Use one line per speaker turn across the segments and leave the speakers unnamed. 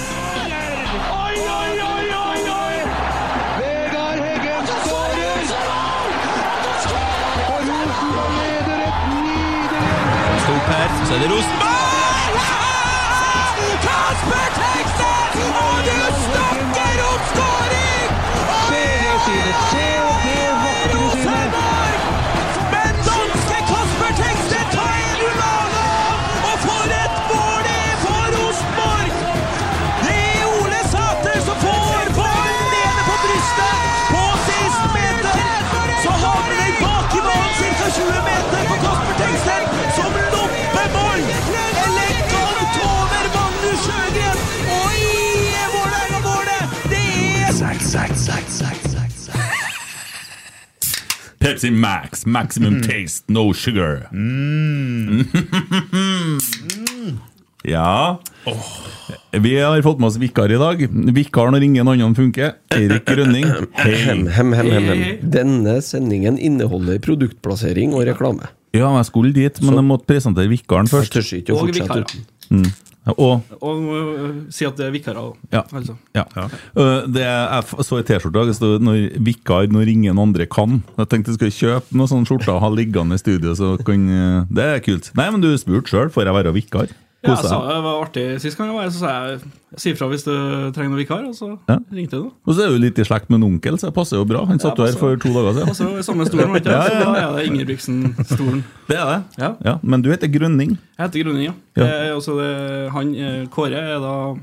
Oi, oi, oi, oi, oi! Vegard Heggen skårer! Og Rosenborg leder et nydelig
Opp her, så er det Rosenborg! Kasper Tekstad! Og du snakker om skåring!
Se det synet! Se det vakre synet!
Rosenborg! Men danske Kasper Tekstad tar en ulana! Og for et mål det er for Rosenborg! Det er Ole Sæter som får ballen nede på brystet på 16 meter. Så havner den bak i banen ca. 20 meter på Kasper Tekstad, som loppemål! Elegant over Magnus Sjøgren! Og i er Vålerenga-målet! Det er
Pepsi Max, maximum taste, no sugar. ja. Vi har fått med oss vikar i dag. Vikar når ingen annen funker. Erik Grønning.
Hem,
Hei.
hem, hem, hem, hem. Denne sendingen inneholder produktplassering og reklame.
Ja, jeg skulle dit, men jeg måtte presentere vikaren
Jeg
først. Mm.
tør ikke å
Og
fortsette
vikarer.
uten.
Og
Og må øh, si at det er vikarer òg.
Ja.
Altså.
ja. Uh, Det jeg f- så i T-skjorte i dag, det stod når 'vikar når ingen andre kan'. Jeg tenkte jeg skulle kjøpe noen sånne skjorter og ha liggende i studio. Så kan, uh, det er kult. Nei, men du spurte sjøl, får jeg være vikar?
Ja,
Kos
altså, jeg sa
deg.
det var artig sist gang jeg var her, så sa jeg si ifra hvis du trenger noen vikar, og så
Ja.
ringte jeg nå.
Og så er jeg jo litt i slekt med en onkel, så jeg passer jo bra. Han satt jo her for to dager
Og
siden.
så i samme stolen, vet du.
Ja,
Ja,
ja, ja.
ja, det er Ingebrigtsen-stolen.
Det er det.
Ja.
Ja, men du heter Grønning.
Jeg heter Grunning, ja.
Ja.
Det er også det, han, eh, Kåre er da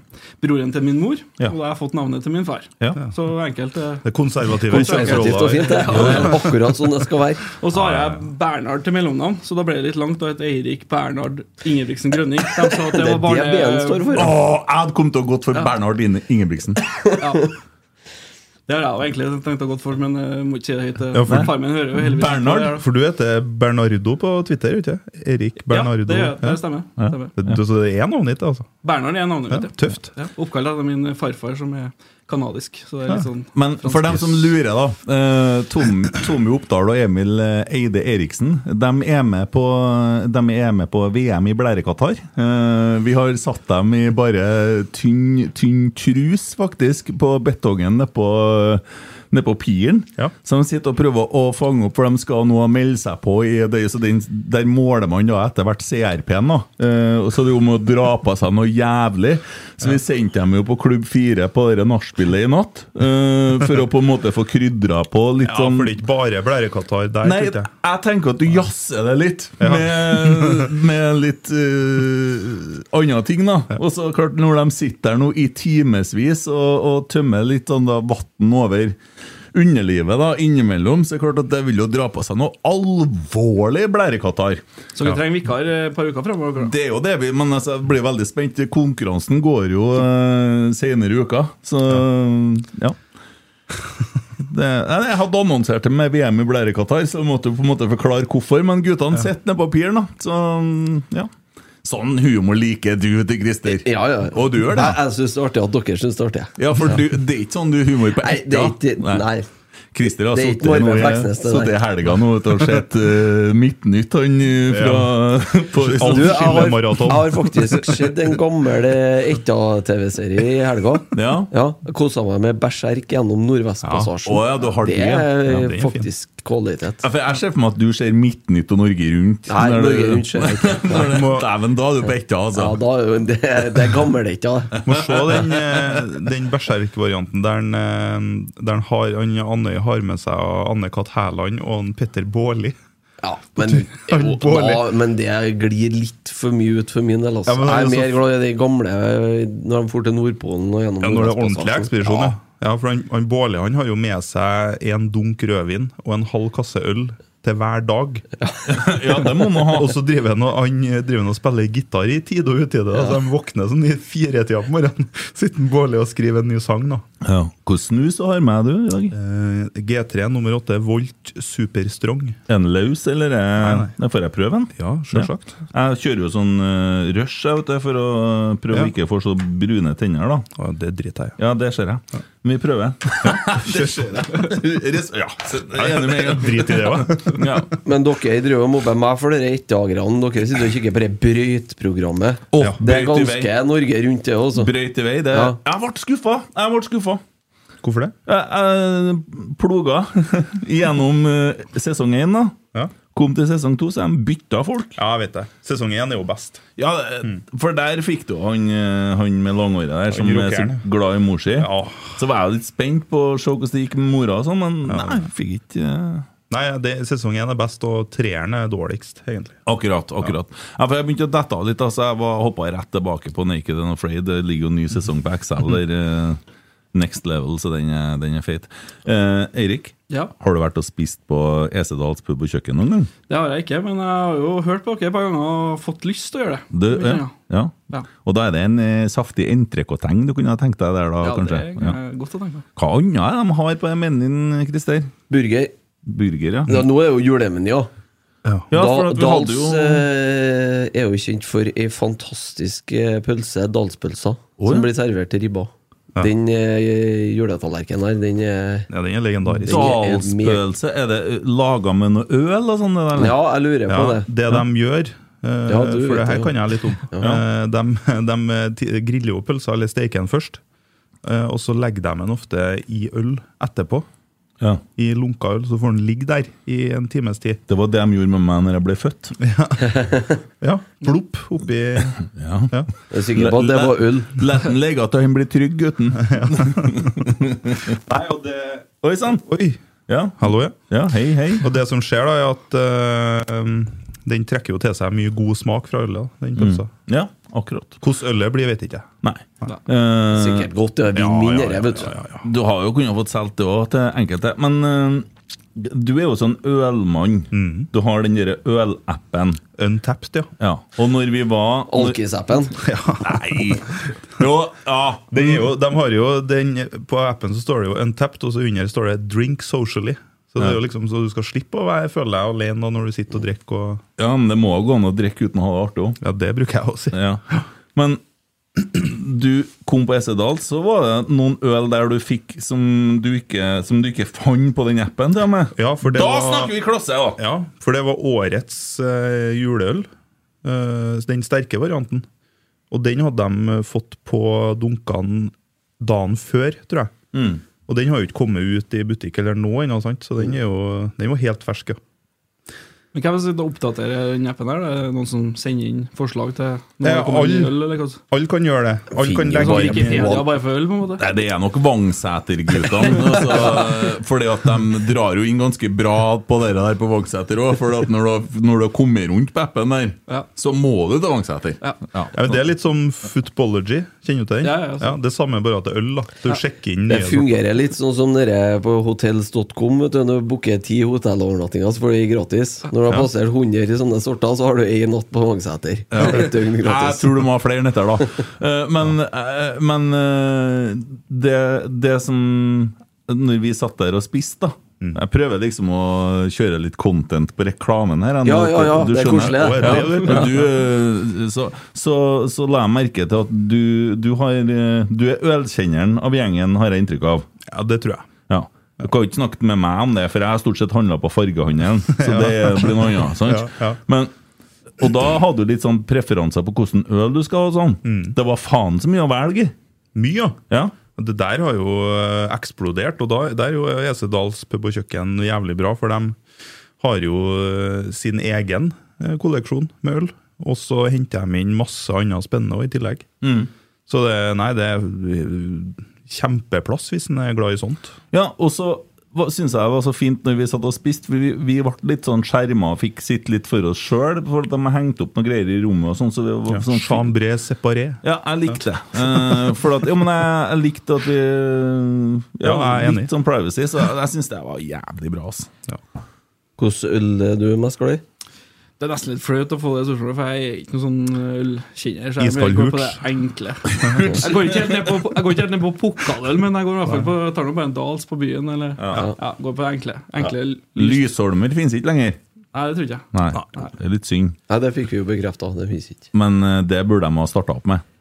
broren til min mor,
Ja.
og da har jeg fått navnet til min far.
Ja.
Så enkelt. eh.
Det konservative.
Konservativt og fint, det. Det er Akkurat sånn det skal være.
Og så har jeg Bernhard til mellomnavn, så da ble det litt langt. Da het Eirik Bernhard Ingebrigtsen Grønning. De sa at det
Det
var
er det
barne...
B-en står for.
Å, jeg hadde kommet til å gått for Bernhard Ine- Ingebrigtsen.
Ja. Det har jeg jo egentlig tenkt å gå for, men jeg må ikke si det høyt. eh,
Ja, for-
Far min hører jo heldigvis ikke på det her,
Bernhard?
da.
For du heter Bernardo på Twitter, ikke sant? Erik Bernardo.
Ja, det, gjør jeg. det stemmer. stemmer.
Ja. Du- Så det er navnet ditt, altså?
Bernhard er navnet
Ja,
mitt. ja.
tøft.
Ja. Oppkalt etter min farfar, som er kanadisk. Så det er litt sånn
Men for dem som lurer, da. eh, Tom, Tommy Oppdal og Emil eh, Eide Eriksen de er med på, de er med på VM i blærekatar. Eh, vi har satt dem i bare tynn, tynn trus, faktisk, på betongen nedpå ned på piren.
Ja.
Så de sitter og prøver å fange opp, for de skal nå melde seg på. I det, så den, der måler man da etter hvert CRP-en. da. Eh, og så det er om å dra på seg noe jævlig. Så vi sendte dem jo på Klubb 4 på det nachspielet i natt. eh, for å på en måte få krydra på litt
Ja,
sånn
for det er ikke bare blærekatar der,
Nei,
tenkte jeg.
jeg tenker at du jazzer det litt, med, med litt uh, andre ting, da. Og så klart, når de sitter der nå i timevis og, og tømmer litt sånn da vann over underlivet da, innimellom, så er det klart at det vil jo dra på seg noe alvorlig blærekatar.
Så vi trenger vikar eh, et par uker framover.
Det er jo det vi Men altså, jeg blir veldig spent. Konkurransen går jo eh, senere i uka, så ja. Det, nei, jeg hadde annonsert det med VM i blærekatar, så jeg måtte jo på en måte forklare hvorfor. Men guttene sitter ned på piren, da. Så ja. Sånn humor liker du til Christer.
Ja, ja.
Og du gjør det.
Jeg, jeg syns det er artig at dere syns det er artig.
Ja, for du, det er ikke sånn du humor på
Nei, det er
ekte.
ikke Nei.
Christer har
Det er ikke
sittet
Marve
nå i-
Fleksnes, det der.
sittet i helga nå vet du, og sett eh, Midtnytt, han eh, fra på,
Du, jeg, har, jeg har faktisk sett en gammel eh, Etta-TV-serie i helga.
Ja.
Kosa meg med Berserk gjennom Nordvestpassasjen.
Ja. Å, ja, du har
det
det, ja.
er
Ja, det er
faktisk kvalitet.
Ja, for jeg ser for meg at du ser Midtnytt og Norge Rundt.
Nei,
Når det-
Norge Rundt ser jeg ikke.
Når det- Dæven, da er du på ekte, altså.
Ja, da, er jo- det, det er gammel Etta, det.
Må se den, eh, den berserk-varianten der, han, eh, der han har, han Andøy har med seg Anne-Kat. Hærland og han Petter Baarli.
Ja, men,
Han
jo,
Baarli.
da, men det glir litt for mye ut for min del. Altså.
Ja, men det er
jeg er mer
så-
glad i de gamle eh, når de for til Nordpolen og gjennom
Ja, når det er
Nordvestpassasjen.
ordentlig ekspedisjon, ja.
Ja.
ja for han, han Baarli han har jo med seg en dunk rødvin og en halv kasse øl til hver dag.
Ja, det må man ha.
Og så driver han og, han eh, driver han og spiller gitar i tide og utide. da, Så de våkner sånn i firetida på morgenen. Sitter han Baarli og skriver en ny sang, da.
Ja. Hvordan snus du har med du i dag?
Eh, G3 nummer 8 Volt Superstrong.
En løs, eller? Nei,
Nei, nei.
Får jeg prøve en?
Ja, selvsagt.
Jeg kjører jo sånn eh, rush jeg, vet du, for å prøve
Ja.
å ikke få så brune tenner. da
Ja, det driter jeg i.
Ja, det ser jeg. Men vi prøver. det ser jeg. Res- Ja, så jeg er enig med en gang.
Drit i det, hva?
Ja.
Men dere driver og mobber meg for dere ettdagerne. Dere sitter og kikker på det brøytprogrammet.
Å,
det
brøyt
er
i
ganske Norge rundt, det også.
Brøyt i vei. Det.
Ja.
Jeg ble skuffa! Jeg ble skuffa.
Hvorfor det?
Jeg, jeg ploga gjennom eh, sesong én, da.
Ja.
Kom til sesong to, så de bytta folk.
Ja, jeg vet det. Sesong én er jo best.
Ja, For der fikk du han, eh, han med langhåret der som er så
rockeren.
glad i mor si.
Ja.
Så var jeg litt spent på å se hvordan det gikk med mora, og sånn, men nei, fikk ikke eh,
Nei, det, sesong én er best, og treeren er dårligst, egentlig.
Akkurat. akkurat ja. for Jeg begynte å dette av litt. Altså, jeg hoppa rett tilbake på Naked and Afraid. Det ligger jo ny sesong på Excel der. eh, Next level, så den er, den er feit. Eh, Eirik,
Ja.
har du vært og spist på Esedals pub og kjøkken noen gang?
Det har jeg ikke, men jeg har jo hørt på dere et par ganger og fått lyst til å gjøre det.
Du,
Mye
ja.
ganger.
ja.
Ja.
Og da er det en eh, saftig entrecôteng du kunne ha tenkt deg der, da,
Ja, det
kanskje?
er
Ja.
eh, godt å tenke på.
Hva annet er det de har på den menyen, Christer?
Burger.
Burger, ja.
Ja, nå er jo julemenyen, ja.
Ja,
Da,
for at vi
Dals
hadde jo
eh, er jo kjent for ei fantastisk eh, pølse, Dalspølsa, som blir servert til ribba. Den eh, juletallerkenen der, den er
Ja, den er legendarisk.
Dalspølse, er det laga med noe øl og sånn? det der?
Ja, jeg lurer på det.
det de gjør eh,
Ja,
For
du vet
det her
det, ja.
kan jeg litt om. Eh, de, de ti- griller jo pølser, eller steker den først. eh, og så legger de den ofte i øl etterpå.
Ja.
I lunka øl. Så får den ligge der i en times tid.
Det var det de gjorde med meg når jeg ble født.
Ja, Plopp oppi
Ja.
ja.
Jeg er sikker på at det var øl.
La den ligge til han blir trygg, gutten.
Nei, og det
Oi sann!
Oi!
Ja.
Hallo, ja.
ja, hei, hei.
Og det som skjer, da, er at eh, um, den trekker jo til seg mye god smak fra ølet. da, Den pølsa.
Mm. Ja, akkurat.
Hvordan ølet blir, vet jeg ikke.
Nei. Eh,
Sikkert godt. Det er vin
ja,
mindre,
ja,
vet du.
du har jo kunnet fått solgt det òg til enkelte, men eh, du er jo sånn ølmann.
Mm.
Du har den derre ølappen.
Untapped, ja.
Ja. Og når vi var når,
Alkis-appen.
Nei! Jo, ja.
Den er jo, de har jo den, på appen så står det jo 'untapped', og så under står det 'drink socially'. Så det er jo liksom så du skal slippe å være, føle deg alene da, når du sitter og drikker. Og,
ja, men det må jo gå an å drikke uten å ha det artig òg.
ja, det bruker jeg å si.
Ja. Men du kom på Esedal, så var det noen øl der du fikk som du ikke, som du ikke fant på den appen. til og med.
Ja, for det
Da
var-
snakker vi klasse, da!
Ja, for det var årets eh, juleøl. Eh, den sterke varianten. Og den hadde de eh, fått på dunkene dagen før, tror jeg.
Mm.
Og den har jo ikke kommet ut i butikk eller nå ennå, sant? så den, er jo, den var helt fersk. Ja.
Men hvem sitter og oppdaterer den appen her? Er det noen som sender inn forslag til
Eh,
når det kommer
alle-
ny øl, eller hva?
Alle kan gjøre det. Alle kan
Finner
Sånn at vi
legge
ikke
inn
er fedia bare for øl, på en måte?
Nei, det er nok Vangsæter-guttene. altså, fordi at de drar jo inn ganske bra på det der på Vangseter òg. For at når du, har- når du har kommet rundt på appen der,
Ja.
så må du til Vangseter.
Ja.
ja, men Det er litt som footballogy. Kjenner du til den?
Ja, altså. ja, sant.
det samme, bare at det er øl. da Du sjekker inn
Det
nye sorter.
fungerer litt sånn som dere på hotels.com. vet du, Når du booker ti hotellovernattinger, så får du de gratis. Når du har passert 100 i sånne sorter, så har du én natt på Vangseter. Et døgn
Jeg
gratis.
tror du må ha flere netter, da. Eh, Men, eh, men eh, det, det som Når vi satt der og spiste, da Jeg prøver liksom å kjøre litt content på reklamen her. jeg,
Ja,
nå,
ja, ja,
du
det er
skjønner.
koselig, det.
Ja, men du, eh, så, så, så la jeg merke til at du, du, har, eh, du er ølkjenneren av gjengen, har jeg inntrykk av.
Ja, det tror jeg.
Ja. Du kan jo ikke snakke med meg om det, for jeg har stort sett handla på fargehandelen. Så det
Ja.
blir noe annet. sant?
Ja, ja.
Men, og da hadde du litt sånn preferanser på hvilken øl du skal ha. og sånn.
Mm.
Det var faen så mye å velge i.
Mye,
ja.
Det der har jo eh, eksplodert, og da, der er jo EC Dahls pub og kjøkken jævlig bra, for de har jo eh, sin egen eh, kolleksjon med øl. Og så henter de inn masse annet spennende også i tillegg.
Mm.
Så det, nei, det er eh, kjempeplass hvis en er glad i sånt.
Ja, og så syns jeg det var så fint når vi satt og spiste. for Vi, vi ble litt sånn skjerma og fikk sitte litt for oss sjøl. For at de hengte opp noen greier i rommet. og sånn, så det var
Ja,
sånn
Chambré séparé.
Ja, jeg likte det. Eh, for at, jo, men jeg, jeg likte at vi Ja,
Ja, jeg er enig.
Litt sånn privacy, så jeg syns det var jævlig bra. ass.
Hvilken øl er du mest glad i?
Det er nesten litt flaut å få det spørsmålet, for jeg er ikke noen sånn ølkjenner. Så jeg
Iskald
går på det
hurts.
enkle. Jeg går ikke helt ned på, jeg går ikke helt ned på pokaløl, men jeg går i hvert fall på, tar nå bare en dals på byen. Eller, ja. går på det enkle. enkle lys.
Lysholmer finnes ikke lenger.
Nei, det tror jeg ikke.
Nei, det er litt synd.
Nei, det fikk vi jo bekrefta. Det fins ikke.
Men eh, det burde de ha starta opp med.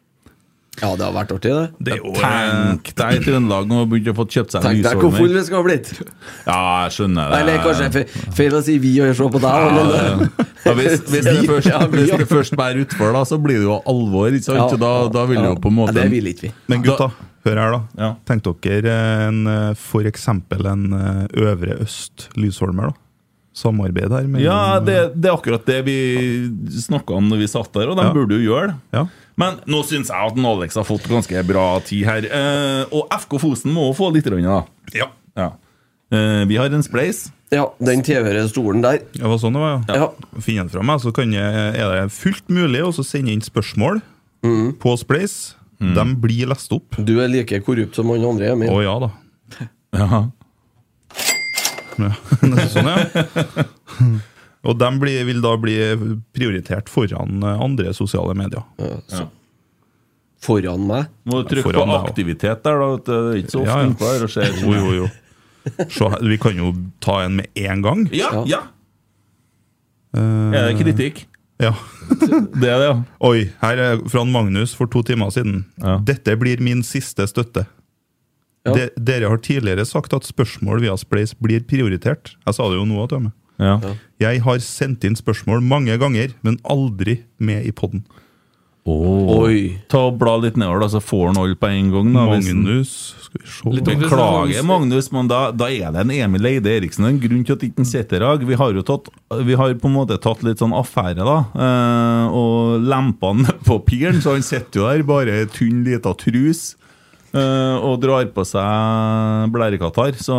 Ja, det har vært artig, det.
Det er jo
Tenk deg Trøndelag nå begynte å få kjøpt seg
Tenk deg hvor full
lysholmer.
vi skal ha blitt!
Ja, jeg skjønner det.
Eller kanskje fe- feil å si vi og se på deg.
Ja,
eller?
det- ja, hvis, hvis det
Vi-
først,
ja, vi-
hvis det først bærer utfor, da, så blir det jo alvor. Ikke sant?
Ja,
da, da vil det jo på en måte
Ja, det vil ikke vi.
Men gutta, hør her, da.
Ja.
Tenk dere en, eh, for eksempel en eh, Øvre Øst Lysholmer, da. Samarbeid her. mellom-
Ja, det, det er akkurat det vi snakka om når vi satt der, og de
Ja.
burde jo gjøre det.
Ja.
Men nå syns jeg at en Alex har fått ganske bra tid her. Eh, og FK Fosen må få litt, rønne, da.
Ja.
Ja. Eh, vi har en spleis.
Ja, den TV-ere stolen der.
Det var sånn det var, ja.
Ja.
Finn den fra meg, så kan jeg, er det fullt mulig å så sende inn spørsmål på Splace.
Mm.
De blir lest opp.
Mm. Du er like korrupt som han andre,
Å
Emil.
ja, da.
Ja.
Ja. sånn, ja. Og de blir, vil da bli prioritert foran eh, andre sosiale medier.
Foran meg.
Må du trykke
Foran
på
deg også.
aktivitet der, da. vet du. Det er ikke så ofte
Ja, ja.
innpå her og skjer.
Jo, jo, jo. Så, her- vi kan jo ta en med en gang.
Ja,
Ja.
ja.
Eh,
Er det kritikk?
ja.
Det er det, ja.
Oi, her er fra en Magnus for to timer siden.
Ja.
Dette blir min siste støtte.
Ja.
De, dere har tidligere sagt at spørsmål via Splace blir prioritert. Jeg sa det jo nå at du er med.
ja.
Jeg har sendt inn spørsmål mange ganger, men aldri med i podden.
Oi.
Ta og bla litt nedover, da, så får han alle på en gang. Da, hvis han-
Magnus Skal vi se
Litt om-
Beklager, Magnus, men da, da er det en Emil Eide Eriksen. Det er En grunn til at ikke han sitter her. Vi har jo tatt, vi har på en måte tatt litt sånn affære, da. eh, og lempa han på piren, så han sitter jo der bare i tynn lita trus. eh, og drar på seg blærekatter. Så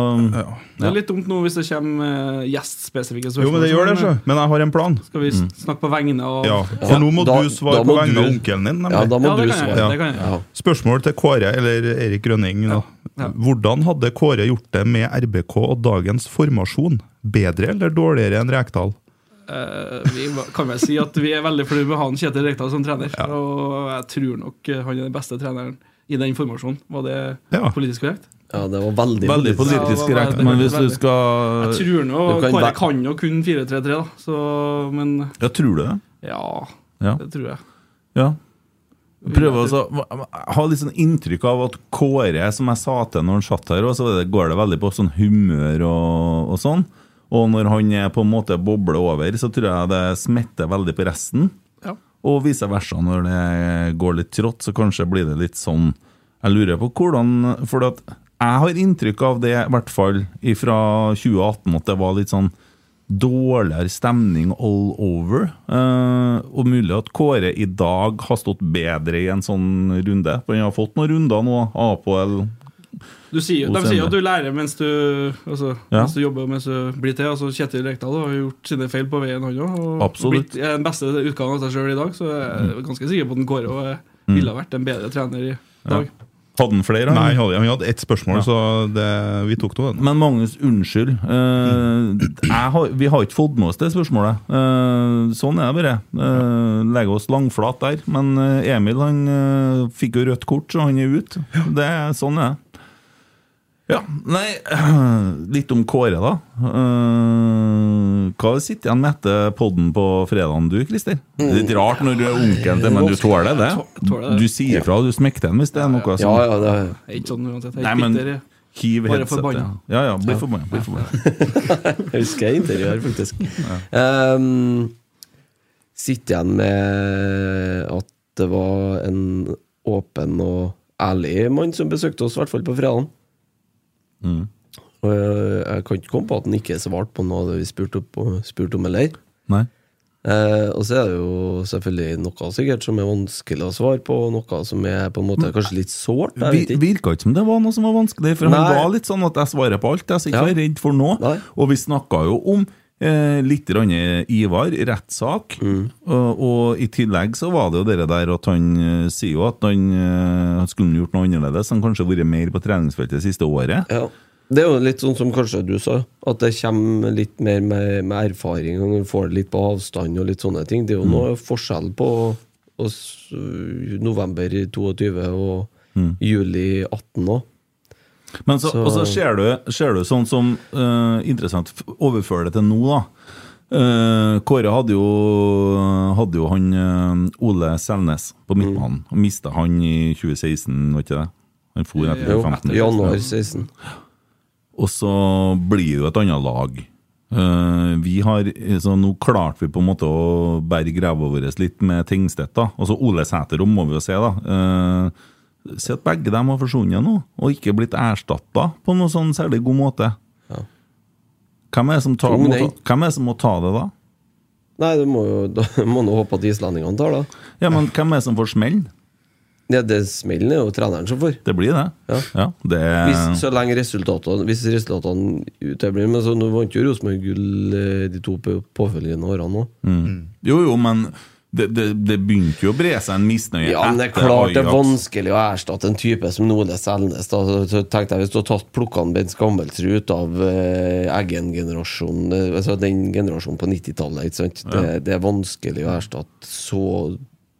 Det er litt dumt nå hvis det kommer eh, gjestspesifikke spørsmål. sånn,
Jo, men det gjør det,
sånn,
sjø.
eh,
Men jeg har en plan.
Skal
Mm.
vi s- snakke på vegne av
Ja,
Ja,
For nå må
da-
du svare
da
på
må
vegne
du-
av onkelen din.
Ja, da
nemlig.
må
Ja,
du
det kan jeg,
svare.
det kan jeg.
Ja.
Spørsmål til Kåre, eller Erik Grønning. Da.
ja.
Hvordan hadde Kåre gjort det med RBK og dagens formasjon? Bedre eller dårligere enn Rekdal?
Eh, vi va- kan vel si at vi er veldig fornøyd med han Kjetil Rekdal som trener. Og jeg tror nok eh, han er den beste treneren i den formasjonen. Var det
Ja.
politisk korrekt?
Ja, det var veldig,
veldig politisk
Ja,
korrekt,
veldig,
men hvis du
veldig. Jeg
skal
tror nå
Du kan
Kåre
væ-
kan jo kun 4-3-3, da. Så, men
Ja, tror du det?
ja,
Ja.
det tror jeg.
Ja. Prøve å ha litt sånn inntrykk av at Kåre, som jeg sa til når han satt her, også, så er det- går det veldig på sånn humør og, og sånn. Og når han er på en måte bobler over, så tror jeg det smitter veldig på resten.
Ja.
Og vice versa, når det går litt trått, så kanskje blir det litt sånn Jeg lurer på hvordan For at jeg har inntrykk av det, i hvert fall fra 2018, at det var litt sånn dårligere stemning all over. Eh, og mulig at Kåre i dag har stått bedre i en sånn runde. For han har fått noen runder nå. Apol
Du sier, de
God
sier
stemning.
at du lærer mens du, altså,
Ja.
mens du jobber og mens du blir til. Altså, Kjetil Rekdal har jo gjort sine feil på veien, han òg. Og
Absolutt. Mm.
blitt eh, den beste utgaven av seg sjøl i dag. Så jeg er ganske sikker på at den Kåre også, eh, ville ha vært en bedre trener i dag.
hadde han flere?
Nei,
han?
han hadde, han hadde ett spørsmål, så det, vi tok nå den.
Men Magnus, unnskyld. Eh, jeg har, vi har ikke fått med oss det spørsmålet. Eh, sånn er det bare. Uh, legger oss langflat der. Men eh, Emil han eh, fikk jo rødt kort, så han er ute. Det er sånn er det. Ja, nei Litt om Kåre, da. Eh, hva sitter igjen med etter podden på fredagen, du, Christer?
Mm.
Litt rart når du er onkelen til, men du tåler det?
Tå- tåler det.
Du sier fra, du smekter den hvis det er noe
Ja,
som
ja, det
Det er ikke sånn uansett. Jeg
Nei,
er ikke
men
bitter. jeg.
Hiv
Bare
headsetet.
forbanna.
Ja, ja, bli
Ja.
forbanna. Bli
Ja.
forbanna.
Jeg husker jeg interiør, faktisk. Ehm, Sitter igjen med at det var en åpen og ærlig mann som besøkte oss, i hvert fall på fredagen.
Mm.
Og jeg, jeg kan ikke komme på at han ikke svarte på noe av det vi spurte opp- spurte om, eller?
Nei.
Eh, og så er det jo selvfølgelig noe sikkert som er vanskelig å svare på, og noe som er på en måte kanskje litt sårt. jeg vet
Vi- Virka ikke som det var noe som var vanskelig, for han
Nei.
ga litt sånn at jeg svarer på alt. Jeg er ikke
Ja.
være redd for noe.
Nei.
Og vi snakka jo om eh, litt grann Ivar, rettssak,
Mm.
og, og i tillegg så var det jo det der at han eh, sier jo at han, eh, han skulle gjort noe annerledes. Han kanskje vært mer på treningsfeltet det siste året.
Ja. Det er jo litt sånn som kanskje du sa, at det kommer litt mer med, med erfaring. Og du får det litt på avstand og litt sånne ting. Det er jo
Mm.
noe forskjell på oss, øh, november i 22 og juli i 18 òg.
Mm. Men så,
Så-
Og så ser du, ser du sånn som eh, Interessant, f- overfør det til nå, da. Eh, Kåre hadde jo, hadde jo han eh, Ole Selnes på midtbanen. og Mista han i 2016, var ikke det? Han for etter
Jo,
15.
januar 16.
Og så blir det jo et annet lag. Eh, vi har, så Nå klarte vi på en måte å berge ræva vår litt med Tingstedt. da Og så Ole Sæterom, må vi jo se. da Eh, Se at begge dem har forsvunnet nå, og ikke blitt erstatta på noen sånn særlig god måte.
Ja.
Hvem er det som, tar,
Tung
må,
den.
ta, hvem er det som må ta det, da?
Nei, det må jo da, må nå håpe at islendingene tar det.
Ja, men Hvem er det som får smellen?
Ja, det smellen er jo treneren som får.
Det blir det.
Ja.
det
Hvis, så lenge resultatene Hvis resultatene uteblir Men så nå vant jo Rosenborg gull eh, de to på- påfølgende årene òg.
Jo, jo, men det, det, det begynte jo å bre seg en misnøye
Ja, men det er
etter
klart det er
Ajax.
vanskelig å erstatte en type som Ole Selnes. Da. Så- Så tenkte jeg Hvis du hadde tatt plukka han Bent Skammelsrud ut av eh, Eggen-generasjonen eh, altså Den generasjonen på 90-tallet, ikke sant? Det, det er vanskelig å erstatte så,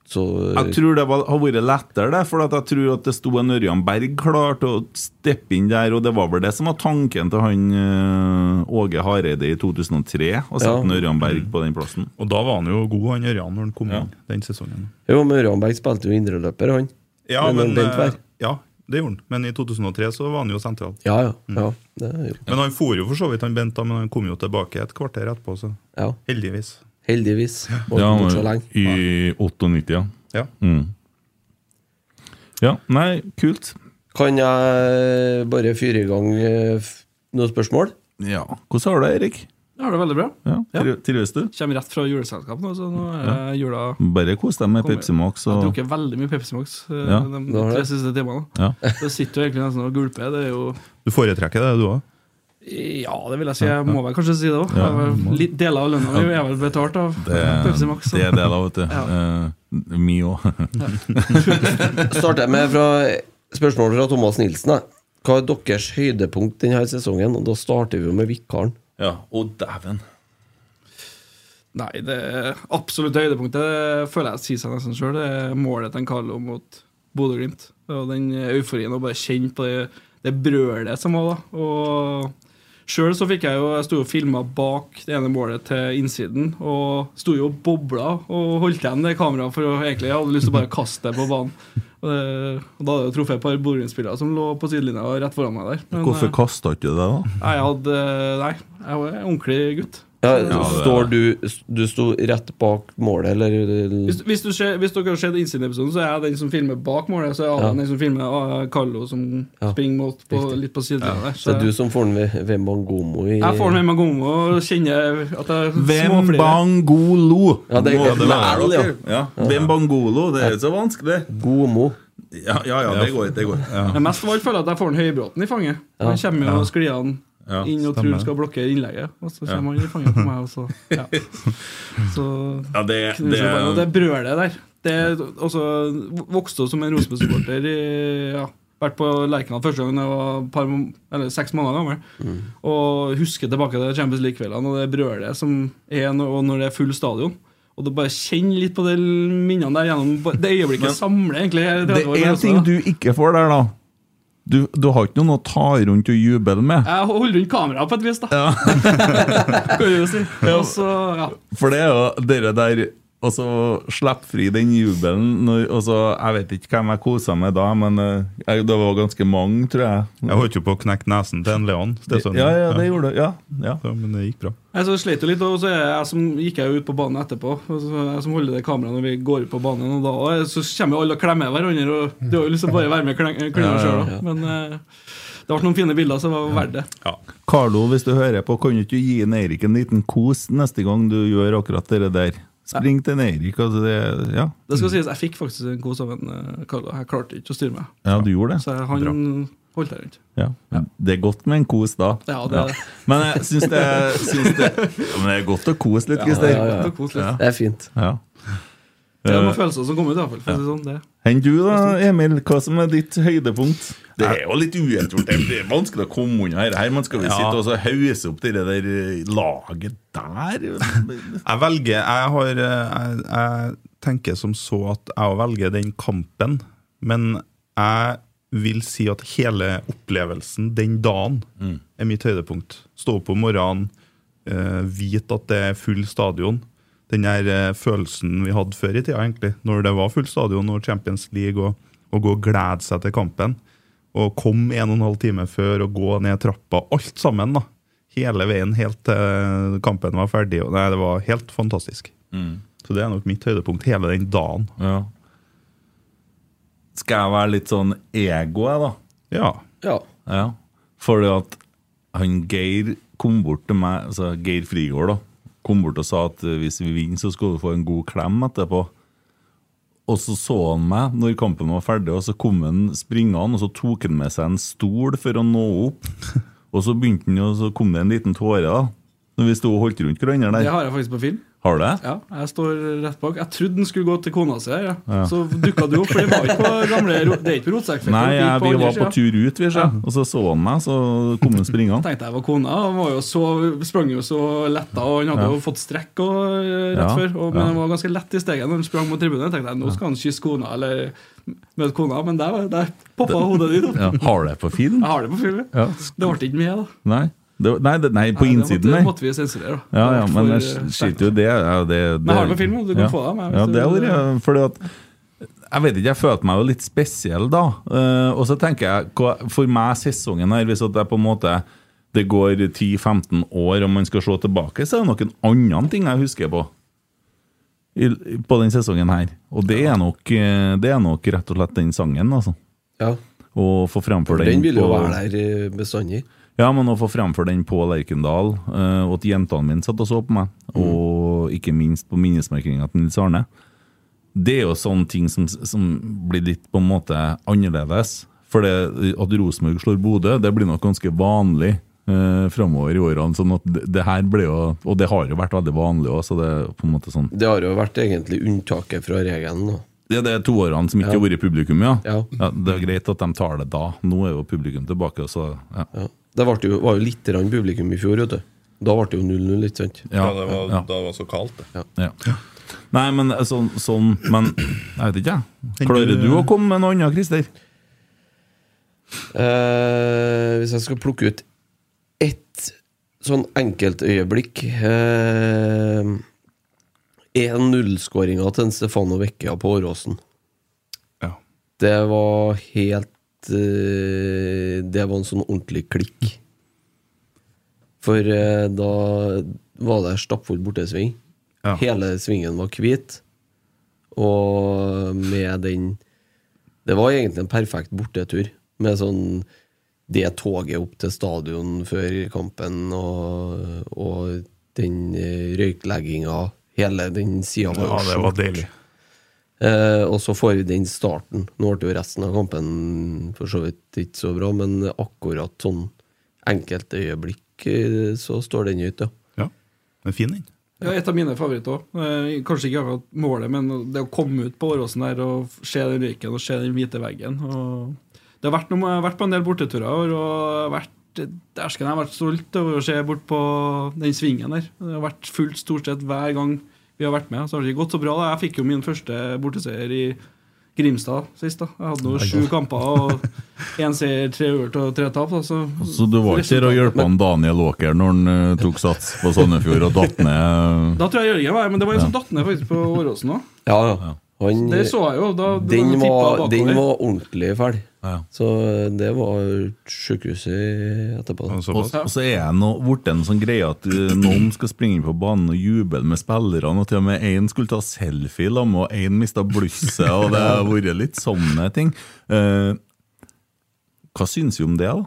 så
Jeg tror det var, har vært lettere, det, for at jeg tror at det sto en Ørjan Berg klar til å steppe inn der, og det var vel det som var tanken til han eh, Åge Hareide i 2003, å sette
Ja.
en Ørjan Berg på den plassen.
Og da var han jo god, han Ørjan, når han kom
Ja.
inn den sesongen.
Jo, men Ranberg spilte jo indreløper, han.
Ja,
Men
men,
Bent var-
eh, ja, det gjorde han. Men i 2003 så var han jo sentral.
Ja, ja. ja, det er jo.
Men han for jo for så vidt, han Bent, da, men han kom jo tilbake et kvarter etterpå, så
ja.
heldigvis.
Heldigvis. Var ikke borte så lenge.
i 98, ja. Mm.
Ja.
Ja, nei, kult.
Kan jeg bare fyre i gang eh, f- noen spørsmål?
Ja. Hvordan har du det, Erik?
Jeg har det veldig bra.
Ja,
Ja.
tri- Trives du?
Kommer rett fra juleselskap nå, så nå er det Eh, jula
Bare kos deg med
Kommer.
Pepsi Max.
Jeg har
Og...
drukket veldig mye Pepsi Max eh,
Ja.
de
Du har
tre
det?
siste timene.
Ja.
Så sitter du egentlig nesten og gulper. Det er jo
Du foretrekker det, du òg?
Ja, det vil jeg si. Jeg må vel kanskje si det òg.
Ja,
Deler av lønna mi er vel betalt av
Det,
Pepsi Max. så-
det er det, da, vet du. Eh, Ja.
Ja.
Mye òg.
starter jeg med fra spørsmålet fra Thomas Nilsen. da. Hva er deres høydepunkt denne sesongen? Og da starter vi jo med vikaren.
Ja, å dæven.
Nei, det absolutte høydepunktet føler jeg sier seg nesten sjøl. Det er målet til en Carlo mot Bodø-Glimt. Og den euforien å bare kjenne på det, det brølet som var da. Og sjøl så fikk jeg jo Jeg sto og filma bak det ene målet til innsiden. Og sto jo og bobla og holdt igjen det kameraet, for å, egentlig jeg hadde lyst til å bare kaste det på banen. Og, det, og da hadde jeg truffet et par Bodø-Glimt-spillere som lå på sidelinja og rett foran meg der. Men,
Hvorfor
eh,
kasta ikke du det, da?
Nei, jeg hadde eh, Nei, jeg var en ordentlig gutt.
Ja,
det-
står du, du sto rett bak målet,
Hvis,
eller eh,
hvis, du ser, hvis dere har sett Innsiden-episoden, så er jeg den som filmer bak målet. Så er jeg
Ja.
den som filmer ah, Carlo som
Ja.
springer mot på,
Riktig.
litt på siden der.
Så det
Så
er du som får den ved, ved Mangomo i
jeg får den med meg gang og kjenner at jeg
Hvem
småflirer.
Bangolo?
Ja, det er
Må være
Vel, ja.
dere. ja. Hvem Bangolo? Det er ikke så vanskelig.
Gomo.
Ja, ja, ja det går. Det går.
Men mest av alt føler jeg at jeg får den Høybråten i fanget. Han kommer jo og sklir han
Ja,
inn og tror han skal blokke innlegget, og så kommer han i fanget på meg, og så ja. Så
Ja, det,
knuser
det,
jeg bare. Og det brølet der det er også, Vokste opp som en Rosenborg-supporter i ja, Vært på Lerkendal første gang da jeg var et par, må- eller seks måneder gammel. Og husker tilbake til Champions League-kveldene og det brølet som er når, og når det er full stadion. Og du bare kjenn litt på de minnene der gjennom bare- Det øyeblikket samler egentlig hele
det
30 år,
er
også,
ting
da.
du ikke får der, da. Du, du har ikke noen å ta rundt og juble med.
Jeg holder rundt kameraet på et vis, da. kan du jo si. Og så, ja.
For det er jo dere der Og så slippe fri den jubelen. Når, og så, Jeg vet ikke hvem jeg kosa med da, men eh, jeg, det var ganske mange, tror jeg.
Jeg holdt jo på å knekke nesen til en Leon. stesønnen.
Ja, ja, det sånn. gjorde du. Ja, ja.
Ja, men det gikk bra.
Jeg så slet jo litt, og så er jeg som, gikk jeg jo ut på banen etterpå. Og så jeg som holder det kameraet når vi går ut på banen, og da og så kommer jo alle og klemmer hverandre. Og det var jo liksom bare å være med og kleng- klemme sjøl, da. Men eh, det ble noen fine bilder, så det var verdt det.
Carlo, hvis du hører på, kan du ikke gi en Eirik en liten kos neste gang du gjør akkurat det der? Spring til en Eirik. Altså det, ja.
Det skal sies, Jeg fikk faktisk en kos av en eh, Carlo. Jeg klarte ikke å styre meg,
ja, du gjorde det.
så jeg, han holdt jeg rundt.
Ja. Det er godt med en kos da.
Ja, det er det.
Men jeg syns det, syns det ja, Men det er godt å kose litt, Christer.
ja, ja.
Det var koselig.
Det er fint.
Ja. Eh,
Det var noen følelser som kom ut, i hvert fall. For å si det sånn, det.
Enn du da, Emil? Hva som er ditt høydepunkt? Det er jo litt uentuelt. Det er vanskelig å komme unna dette. her. Man skal jo sitte og så hause opp det der eh, laget der.
Jeg velger Jeg, har, eh, jeg, jeg tenker som så at jeg også velger den kampen, men jeg vil si at hele opplevelsen den dagen er mitt høydepunkt. Stå opp om morgenen, eh, vite at det er full stadion. Den her eh, følelsen vi hadde før i tida, egentlig, når det var full stadion og Champions League, og, og gå og glede seg til kampen. Og kom en og en halv time før og gå ned trappa. Alt sammen, da. Hele veien helt til kampen var ferdig. Og nei, det var helt fantastisk. Så det er nok mitt høydepunkt hele den dagen.
Mm. Ja. Skal jeg være litt sånn ego, jeg, da?
Ja.
Ja.
Ja. Fordi at han Geir kom bort til meg, altså Geir Frigård, da, kom bort og sa at eh, hvis vi vinner, så skal du få en god klem etterpå. Og så så han meg når kampen var ferdig, og så kom han springende, og så tok han med seg en stol for å nå opp. Og så begynte han, og så kom det en liten tåre, da. Når vi sto og holdt rundt hverandre
det
der.
har jeg faktisk på film.
Har du det?
Ja, jeg står rett bak. Jeg trodde den skulle gå til kona si, her, ja. så dukka du opp. For det var ikke på gamle ro- Det er ikke på rotsekkfeltet.
Nei,
det gikk
jeg, vi
andre
var på
siden.
tur ut, vi, så. og så så han meg, så kom han springende.
tenkte jeg var kona. og Han var jo så, sprang jo så letta, og han hadde jo fått strekk og, eh, rett
Ja,
før. Og, men
ja.
han var ganske lett i steget når han sprang mot tribunen. tenkte jeg, nå skal han kysse kona eller møte kona, men der, var- der poppa hodet ditt opp.
Ja. Har du det på film?
Jeg har det på film.
Ja.
Det ble ikke mye, da.
Nei, det, nei, det, nei på
Nei, det
innsiden,
måtte,
nei.
måtte vi sensurere. da.
Ja,
Det
ja,
ble
men
for,
jeg
eh,
sk-
sterkt.
skiter jo i det. Ja, det, det
Men har du på film, du kan
ja.
få det av meg hvis
Ja, det
du-
har vært Fordi at jeg vet ikke, jeg følte meg jo litt spesiell da. Eh, og så tenker jeg, hva- for meg sesongen her, hvis at jeg på en måte det går 10-15 år og man skal se tilbake, så er det noen andre ting jeg husker på. I, på den sesongen her. Og det er, nok, eh, det er nok rett og slett den sangen, altså.
ja.
Å få fremfor den
Den vil jo
på-
være der eh, bestandig.
ja, men å få fremfor den på Lerkendal, eh, og at jentene mine satt og så på meg,
Mm.
og ikke minst på minnesmerkinga til Nils Arne, det er jo sånne ting som, som blir litt på en måte annerledes. For det, at Rosenborg slår Bodø, det blir nok ganske vanlig eh, framover i årene. sånn at det, det her ble jo, Og det har jo vært veldig vanlig òg, så det er på en måte sånn
Det har jo vært egentlig unntaket fra regelen. Da.
Det er de to årene som ikke har vært publikum, ja.
Ja.
Det er greit at de tar det da. Nå er jo publikum tilbake, så ja.
Ja. Det ble jo, var jo litt grann publikum i fjor, vet du. Da ble det jo 0-0, ikke sant?
Ja, ja.
det var så kaldt, det.
Ja. Nei, men eh, sånn, sånn Men jeg vet ikke, jeg.
Tenker
Klarer
du-
du å komme med noe annet, Christer?
Eh, hvis jeg skal plukke ut ett sånn enkeltøyeblikk eh, 1-0-skåringa til en Stefano Vecchia på Åråsen.
Ja.
Det var helt eh, Det var en sånn ordentlig klikk. For eh, da var det stappfull bortesving.
Ja.
Hele svingen var hvit. Og med den Det var egentlig en perfekt bortetur. Med sånn det toget opp til stadion før kampen og, og den eh, røyklegginga Hele den sida var
Ja,
jo
det var deilig.
Eh, og så får vi den starten. Nå ble jo resten av kampen for så vidt ikke så bra, men akkurat sånn enkelte øyeblikk eh, så står den ut, ja.
Ja. Men fin den.
Ja, et av mine favoritter òg. Eh, kanskje ikke akkurat målet, men det å komme ut på Åråsen der og se den røyken og se den hvite veggen. Og det har vært noe, jeg har vært på en del borteturer i år, og jeg har vært Dæsken, jeg har vært stolt over å se bort på den svingen der. Det har vært fullt stort sett hver gang vi har vært med. Så har det ikke gått så bra. da. Jeg fikk jo min første borteseier i Grimstad sist. da Jeg hadde nå sju kamper og én seier, tre uavgjort og tre tap. Da, så
Så du var ikke der og hjalp han Daniel Åker når han eh, tok sats på Sandefjord og datt ned?
Da tror jeg Jørgen var her, men det var en som datt ned faktisk på Åråsen òg.
Ja, ja. Han,
Det så jeg jo. Da,
Eh, den,
tippa
var,
bakover.
den var ordentlig fæl.
Ja.
Så eh, det var sjukehuset etterpå.
Og
Og,
såpass.
og så er han nå blitt en sånn greie at eh, noen skal springe inn på banen og juble med spillerne, og til og med én skulle ta selfie sammen, og én mista blusset, og det har vært litt sånne ting. Eh, hva syns vi om det, da?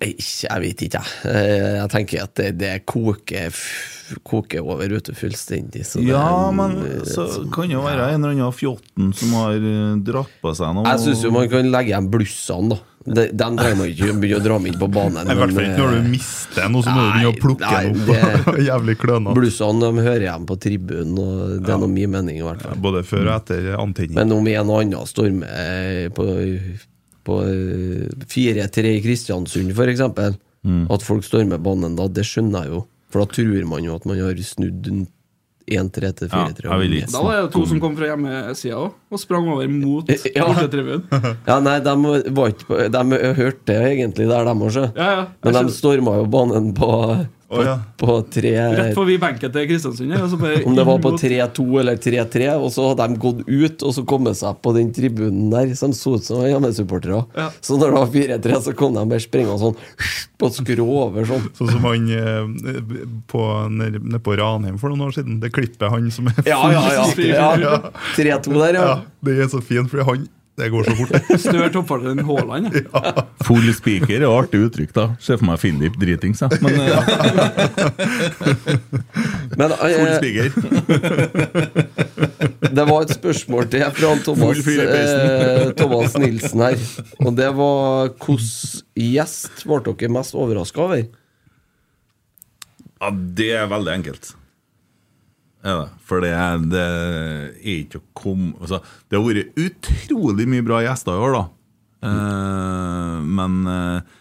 Nei, ikke- Jeg vet ikke, jeg. Eh, Jeg tenker at det, det koker, f- koker over ute fullstendig. Så det, eh,
Ja, men så kan jo være en eller annen fjotten som har eh, dratt på seg noe.
Jeg syns jo man kan legge igjen blussene, da. De, dem trenger man ikke begynne å dra med inn på banen.
Nei, I hvert fall
men,
ikke når
eh,
du mister noe, så må du
Nei,
begynne å plukke
nei,
den
det-
opp. Jævlig klønete.
Blussene de hører hjemme på tribunen, og det er nå min mening, i hvert fall.
Både før og etter antenning.
Men om en og annen stormer eh, på, på eh, 4-3 i Kristiansund, f.eks.,
Mm.
at folk stormer banen da, det skjønner jeg jo. For da tror man jo at man har snudd en 1-3 til 4-3.
Ja, jeg vil ikke
Da var det to som kom fra hjemmesida òg, og sprang over mot
Ja.
bortetribunen.
Ja, nei, de, var ikke, på- de hørte det egentlig der, de også.
Ja, ja, jeg
Men de
skjønner.
storma jo banen på, på,
Å, ja.
på tre
Rett forbi benken til Kristiansund. ja, og så bare
Eh, Om det var
inn
på
mot-
3-2 eller 3-3, og så hadde de gått ut og så kommet seg på den tribunen der. Så de så ut som de var hjemmesupportere.
Ja.
Så når det var 4-3, så kom de bare springende sånn på skrå over sånn.
Sånn som han eh, på, nede nede på Ranheim for noen år siden. Det klippet han som er
Ja, ja, ja. ja. 3-2 der, ja.
Ja, Det er så fint, fordi han Det går så fort.
Stør toppfarteren Haaland. ja.
Full speaker er artig uttrykk, da. Ser for meg Philip dritings, jeg. Men eh,
Men
full
eh,
speaker.
det var et spørsmål til fra han Thomas,
Full fyr i
eh, Thomas Nilsen her. Og det var hvilken gjest ble dere mest overraska over?
Ja, det er veldig enkelt. Ja, da, for det er, det er ikke å komme altså, Det har vært utrolig mye bra gjester i år, da. Eh, men eh,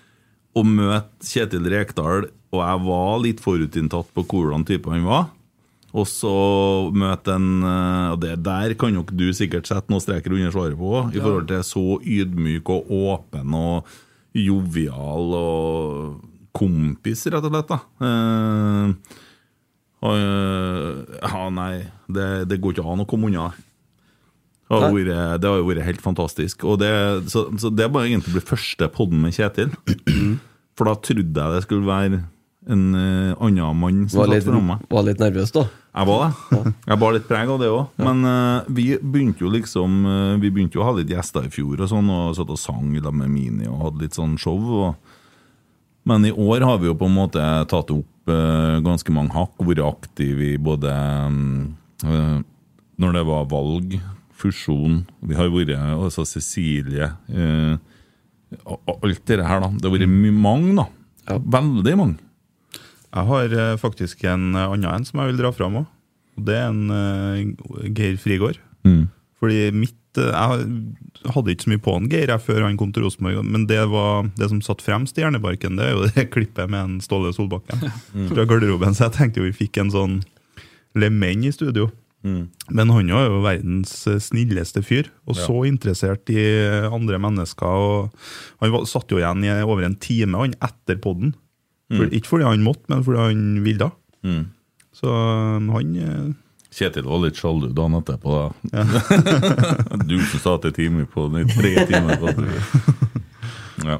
å møte Kjetil Rekdal, og jeg var litt forutinntatt på hvordan type han var Og så møte en eh, Og det der kan nok du sikkert sette noen streker under svaret på òg, i forhold til så ydmyk og åpen og jovial og kompis, rett og slett. da eh, og, øh, ja, nei, det, det går ikke an å komme unna. Det har
Nei.
vært- det har jo vært helt fantastisk. Og det, så, så det bare egentlig ble første podden med Kjetil. For da trodde jeg det skulle være en øh, annen mann som
Var
satt
litt,
foran meg.
var litt nervøs, da.
Jeg var det. Jeg bar litt preg av det òg. Men eh, vi begynte jo liksom eh, Vi begynte jo å ha litt gjester i fjor og sånn, og satt og sang i lag med Mini og hadde litt sånn show. Og... Men i år har vi jo på en måte tatt opp eh, ganske mange hakk, vært aktive i både eh, eh, Når det var valg, fusjon Vi har vært altså Cecilie eh, og- og Alt det her, da. Det har vært
Mm.
mye mange, da. Veldig mange.
Jeg har eh, faktisk en eh, annen en som jeg vil dra fram òg. Og det er en eh, Geir Frigård. Fordi mitt eh, Jeg hadde ikke så mye på han Geir jeg, før han kom til Rosenborg, men det, var, det som satt fremst i Hjernebarken, det er jo det klippet med en Ståle Solbakken fra garderoben. Så jeg tenkte jo vi fikk en sånn lemenn i studio.
Mm.
Men han var jo verdens eh, snilleste fyr, og så interessert i eh, andre mennesker. Og han var, satt jo igjen i over en time han etter podden. For, ikke fordi han måtte, men fordi han ville. Så eh, han eh,
Kjetil var litt sjalu dagen etterpå. Da. du som satt i time på den i tre timer. På. Ja.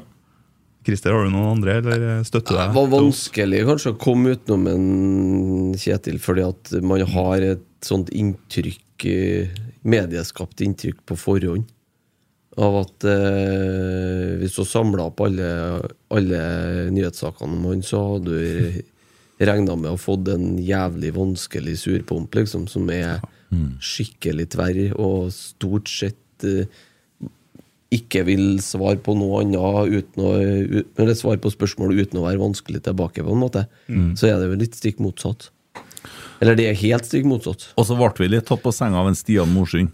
Christer, har du noen andre, eller eh, støtter
Det
deg?
var vanskelig kanskje å komme utenom en Kjetil, fordi at man har et sånt inntrykk eh, Medieskapt inntrykk på forhånd av at eh, hvis du samla opp alle, alle nyhetssakene om han, så hadde du regna med å fått en jævlig vanskelig surpomp, liksom, som er skikkelig tverr og stort sett eh, ikke vil svare på noe annet uten å, ut, eller svare på spørsmål uten å være vanskelig tilbake, på en måte,
Mm.
så er det jo litt stikk motsatt. Eller det er helt stikk motsatt.
Og så ble vi litt tatt på senga av en Stian Morsund.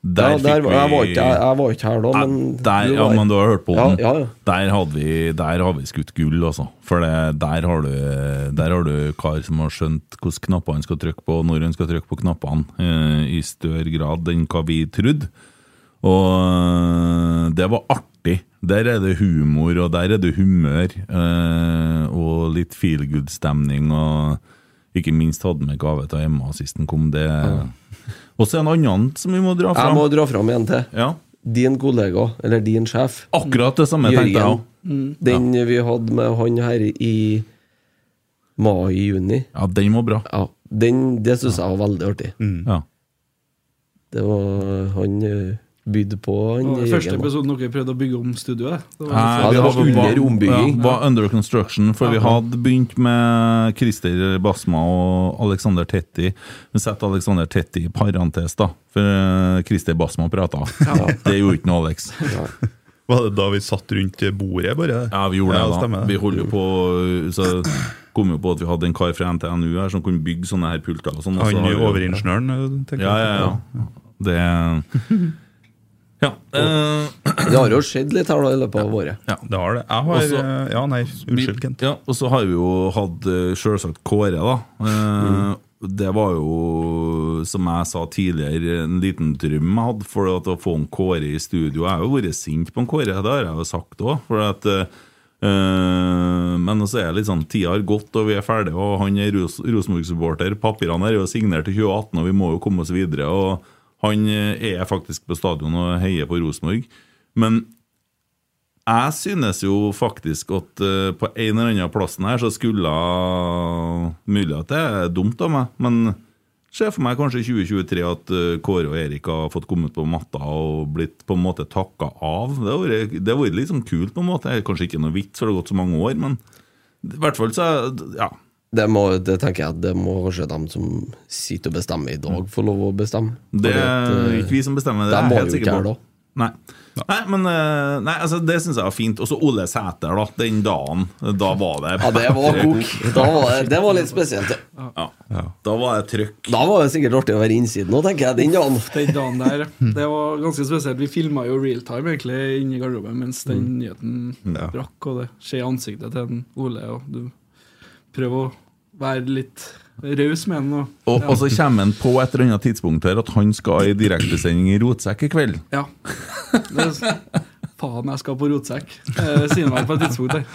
Der
ja, der,
fikk vi
jeg, var ikke, jeg, jeg var ikke her da,
Ja,
men
der,
du
ja,
var-
men du har hørt på
Ja,
den.
ja, ja.
Der, hadde vi, der har vi skutt gull, altså. For det, der, har du, der har du kar som har skjønt hvilke knapper han skal trykke på, og når han skal trykke på knappene, eh, i større grad enn hva vi trodde. Og eh, det var artig. Der er det humor, og der er det humør. Eh, og litt feel good-stemning, og ikke minst hadde med gave til Emma sist den kom. Det. Og så er det en annen som vi må dra
Jeg
fram.
må dra fram en til.
Ja.
Din kollega, eller din sjef,
Akkurat det samme
Jørgen.
tenkte jeg òg.
den vi hadde med han her i mai-juni,
Ja, den var bra. Mm.
ja, den, det syns jeg var veldig artig.
Ja.
Det var Han ø, bydde på han
Det var den første
Jørgen. da.
episoden dere prøvde å bygge om studioet. Det var
Nei,
Ja, det
vi
var
hadde-
under ombygging.
Ja, var under construction, for vi hadde begynt med Christer Basma og Alexander Tetti. Men sett Alexander Tetti i parentes, da, for eh, Christer Basma prata. Det gjorde ikke noe Alex.
Var det da vi satt rundt bordet, bare?
Ja, vi gjorde
Ja,
det, da.
stemmer det.
Vi holdt jo på eh, Så kom jo på at vi hadde en kar fra NTNU her som kunne bygge sånne her pulter. og sånn. og så
Han
har vi-
overingeniøren, tenker
Ja, ja, ja. Det Ja. eh,
Det har jo skjedd litt her da i løpet av året.
Det har det. Jeg har
Også-
eh, Ja, nei, unnskyld, Kent.
Ja, og så har vi jo hatt eh, selvsagt Kåre, da. Eh,
Mm.
Det var jo, som jeg sa tidligere, en liten drøm jeg hadde for at å få en Kåre i studio. Jeg har jo vært sint på en Kåre, det har jeg jo sagt òg. For at eh, eh, men så er det litt sånn tida har gått, og vi er ferdige, og han er Ros Rosenborg-supporter. Papirene er jo signert til 2018, og vi må jo komme oss videre. Og han eh, er faktisk på stadion og heier på Rosenborg. Men jeg synes jo faktisk at eh, på en eller annen plassen her så skulle Mulig at det er dumt av meg, men ser for meg kanskje i 2023 at eh, Kåre og Erik har fått kommet på matta og blitt på en måte takka av. Det har vært- det har vært litt sånn kult, på en måte. Det er kanskje ikke noe vits, for det har gått så mange år, men i hvert fall så er- Ja.
Det, må, det tenker jeg at det må kanskje dem som sitter og bestemmer i dag, få lov å bestemme.
Mm. Det
Fordi at, eh,
er
ø,
ikke vi som bestemmer det.
de
er jeg
var
helt
jo
sikker
ikke her
på.
da.
Nei. Nei, men eh, nei, altså, det syns jeg var fint. Og så Ole Sæter, da. Den dagen. Da var det
Ja, det var kok. Da var det, det var litt spesielt. det.
Ja. Da var det trøkk.
Da var det sikkert artig å være innsiden òg, tenker jeg. Den dagen.
Den dagen der, det var ganske spesielt. Vi filma jo real time egentlig inni garderoben mens den
Mm.
nyheten
Ja.
brakk, og det skjer i ansiktet til en Ole, og du prøver å være litt raus med den. Og,
Og, og så kommer han på et eller annet tidspunkt her at han skal i direktesending i Rotsekk i kveld.
ja. Det, er s- faen, jeg skal på rotsekk, eh, sier han vel på et tidspunkt. der.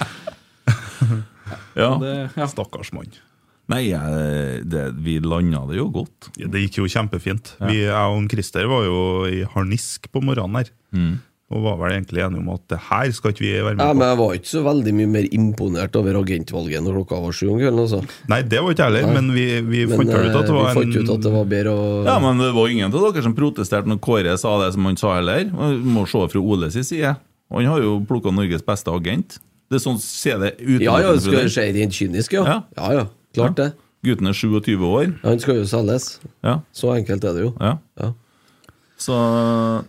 Ja.
Det, ja.
Stakkars mann.
Nei, eh, det, vi landa det jo godt.
Ja, det gikk jo kjempefint. Vi, jeg og han Christer var jo i harnisk på morgenen her.
Mm.
Og var vel egentlig enige om at det her skal ikke vi være
Ja,
med
men
på.
jeg var ikke så veldig mye mer imponert over agentvalget når klokka var sju om kvelden. Altså.
Nei, det var ikke jeg heller, men vi, vi
Men
fant vel ut
eh,
at det var
vi fant
en
ut at det var bedre å
Ja, Men det var ingen av dere som protesterte når Kåre sa det som han sa heller. Vi må se fra Ole sin side. Han har jo plukka Norges beste agent. Det er sånn ser det ut.
Ja, ja, det skal jo skje rent kynisk, ja.
Ja.
Ja, ja, klart det.
Gutten er 27 år.
Han skal jo selges.
Ja,
Så enkelt er det jo.
ja.
Ja.
Så,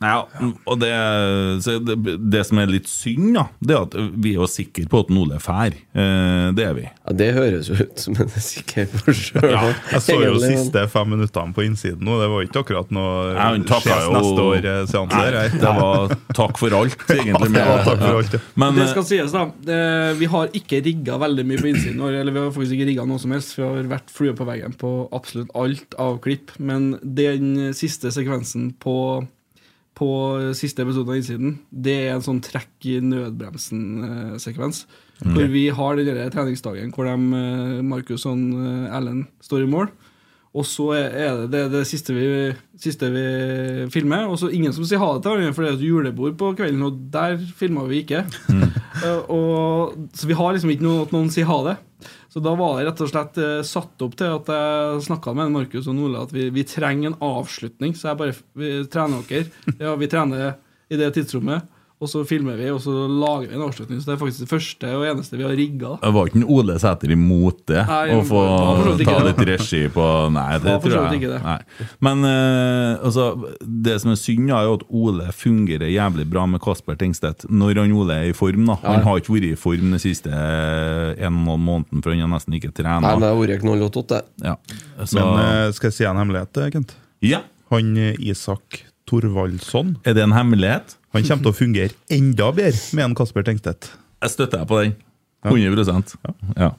nei, ja, og det, så det, det som er litt synd, da, det er at vi er jo sikre på at en Ole fær. Eh, det er vi.
Ja, det høres jo ut som en sikker for sjøl.
ja, Jeg så jo siste fem minuttene på innsiden, og det var ikke akkurat noe
Ja, hun takka
skjes
jo
neste år-seanse
Nei,
der. jeg.
Det var takk for alt,
Ja,
egentlig.
det var takk for alt, ja.
Men,
Det skal sies, da. Det, vi har ikke rigga veldig mye på innsiden. i år, Eller vi har faktisk ikke rigga noe som helst. Vi har vært flue på veggen på absolutt alt av klipp. Men den siste sekvensen på, på siste episode av Innsiden, det er en sånn trekk i nødbremsen-sekvens. Hvor vi har den der treningsdagen hvor de, eh, Markus og eh, Ellen står i mål. Og så er er det det, er det siste, vi, siste vi filmer. Og så ingen som sier ha det til hverandre, for det er et julebord på kvelden, og der filma vi ikke. Eh, og, så vi har liksom ikke noe at noen sier ha det. Så da var det rett og slett eh, satt opp til at jeg snakka med Markus og Ole at vi, vi trenger en avslutning, så jeg bare vi trener dere. Ja, vi trener i det tidsrommet, og så filmer vi, og så lager vi en avslutning. Så det er faktisk det første og eneste vi har rigga.
eh, var ikke en Ole Sæter imot det?
Nei,
å få
han var for så vidt
ta
ikke det.
litt regi på Nei, det
Han var for så
tror
vidt
jeg
ikke det.
Nei. Men eh, altså, det som er synd, er jo at Ole fungerer jævlig bra med Kasper Tengstedt når han Ole er i form. da Han har ikke vært i form de siste eh, en og en halv måneden, for han har nesten ikke
Nei, men
trent.
det har vært knallhått, det.
Ja.
eh,
Så
Men eh, skal jeg si en hemmelighet, Kent?
ja.
Han eh, Isak Thorvaldsson.
Er det en hemmelighet?
Han kommer til å fungere enda bedre med en Kasper Tengstedt.
Jeg støtter deg på den. 100 ja.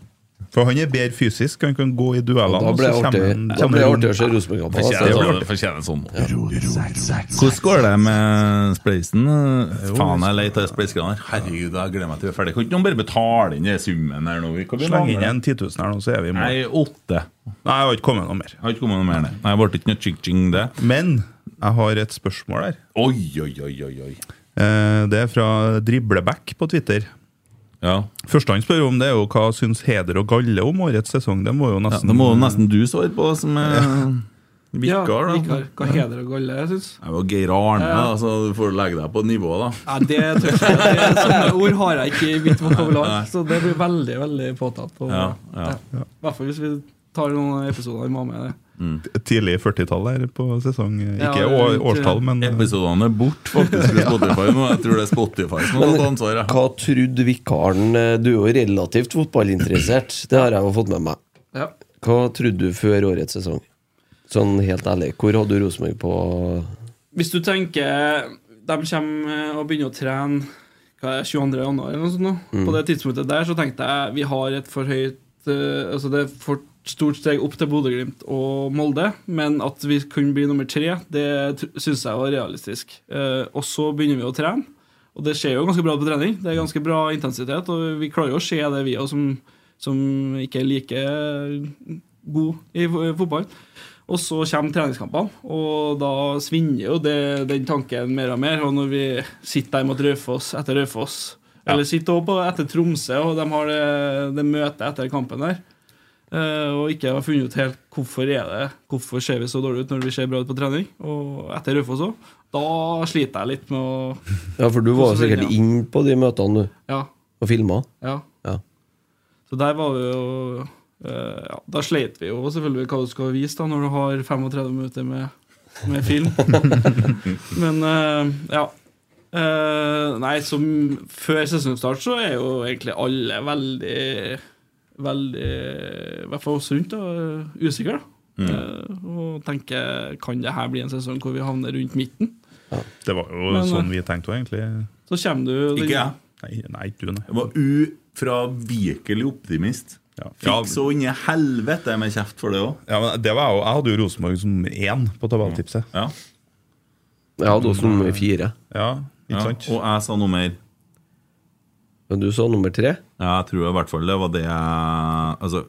For han er bedre fysisk, han kan gå i duellene.
Da blir det
og så kommer
artig,
han-
da blir det artig å se Rosenborg-kampen.
Fortjener
altså.
sånn. Fortjener sånn. Hvordan går det med spleisen? Faen, jeg leter etter spleisekraner. Herregud, jeg gleder meg til vi er ferdig. Kan ikke noen bare betale inn den summen her nå? Vi kan bli
Sleng inn
vanlige.
en 10 000 her nå, så er vi i
Nei,
mål.
åtte.
Nei, jeg har ikke kommet noe mer.
Har ikke kommet noe mer, nei. Nei, ble ikke noe ching-ching, det.
Men jeg har et spørsmål her.
Oi, oi, oi, oi, oi.
Eh, Det er fra Dribleback på Twitter.
Ja.
Første han spør om, det er jo hva syns Heder og Galle om årets sesong. Det må jo
ja.
nesten
Det må jo nesten du svare på, som eh, er vikar,
ja,
da.
vikar. Hva heder og galle, jeg syns.
Jeg var Geir Arne, da, så du får legge deg på nivået, da.
Nei, det tør jeg ikke. Det- Sånne ord har jeg ikke i mitt vokabular, så det blir veldig veldig påtatt. Og,
Ja, ja.
I hvert fall hvis vi tar noen episoder vi må ha med det.
Mm.
tidlig 40-tall her på sesong.
Ja,
Ikke år, årstall, men
Episodene er borte faktisk fra Spotify nå. Jeg tror det er Spotify som har tatt ansvaret.
Hva trodde vikaren eh, Du er jo relativt fotballinteressert, det har jeg jo fått med meg.
Ja.
Hva trodde du før årets sesong? Sånn helt ærlig, hvor hadde du Rosenborg på
Hvis du tenker De kommer eh, og begynner å trene hva er det, 22. januar eller noe sånt nå. På det tidspunktet der så tenkte jeg vi har et for høyt eh, Altså det er for stort steg opp til Bodø-Glimt og Molde, men at vi kunne bli nummer tre, det syns jeg var realistisk. Eh, og så begynner vi å trene, og det skjer jo ganske bra på trening. Det er ganske bra intensitet, og vi klarer jo å se det, vi òg, som, som ikke er like god i fo- fotball. Og så kommer treningskampene, og da svinner jo det, den tanken mer og mer. Og når vi sitter der mot Raufoss etter Raufoss, eller sitter også på etter Tromsø, og de har det, det møtet etter kampen der, eh, og ikke har funnet ut helt hvorfor er det Hvorfor ser vi så dårlig ut når vi ser bra ut på trening, og etter Raufoss òg, da sliter jeg litt med å
Ja, for du var jo sikkert inn på de møtene, du,
Ja.
og filma.
ja.
Ja.
Så der var vi jo eh, ja, Da sleit vi jo selvfølgelig hva du skal vise da når du har 35 minutter med, med film. Men eh, ja. Eh, nei, som før sesongstart så er jo egentlig alle veldig Veldig I hvert fall oss rundt da, usikre.
Mm.
da. Eh, og tenker kan det her bli en sesong hvor vi havner rundt midten?
det var jo
Men,
sånn vi tenkte òg, egentlig.
Så kommer du
Ikke jeg.
Nei, nei, du, nei.
Jeg var ufravikelig optimist.
Ja. Ja,
Fikk så inn i helvete med kjeft for det òg.
ja, men det var jo, jeg hadde jo Rosenborg som nummer én på tabelltipset.
Ja.
Jeg hadde også nummer fire.
Ja, ikke
Ja.
sant?
Og jeg sa noe mer.
Men du sa nummer tre.
Ja, jeg tror i hvert fall det var det jeg altså,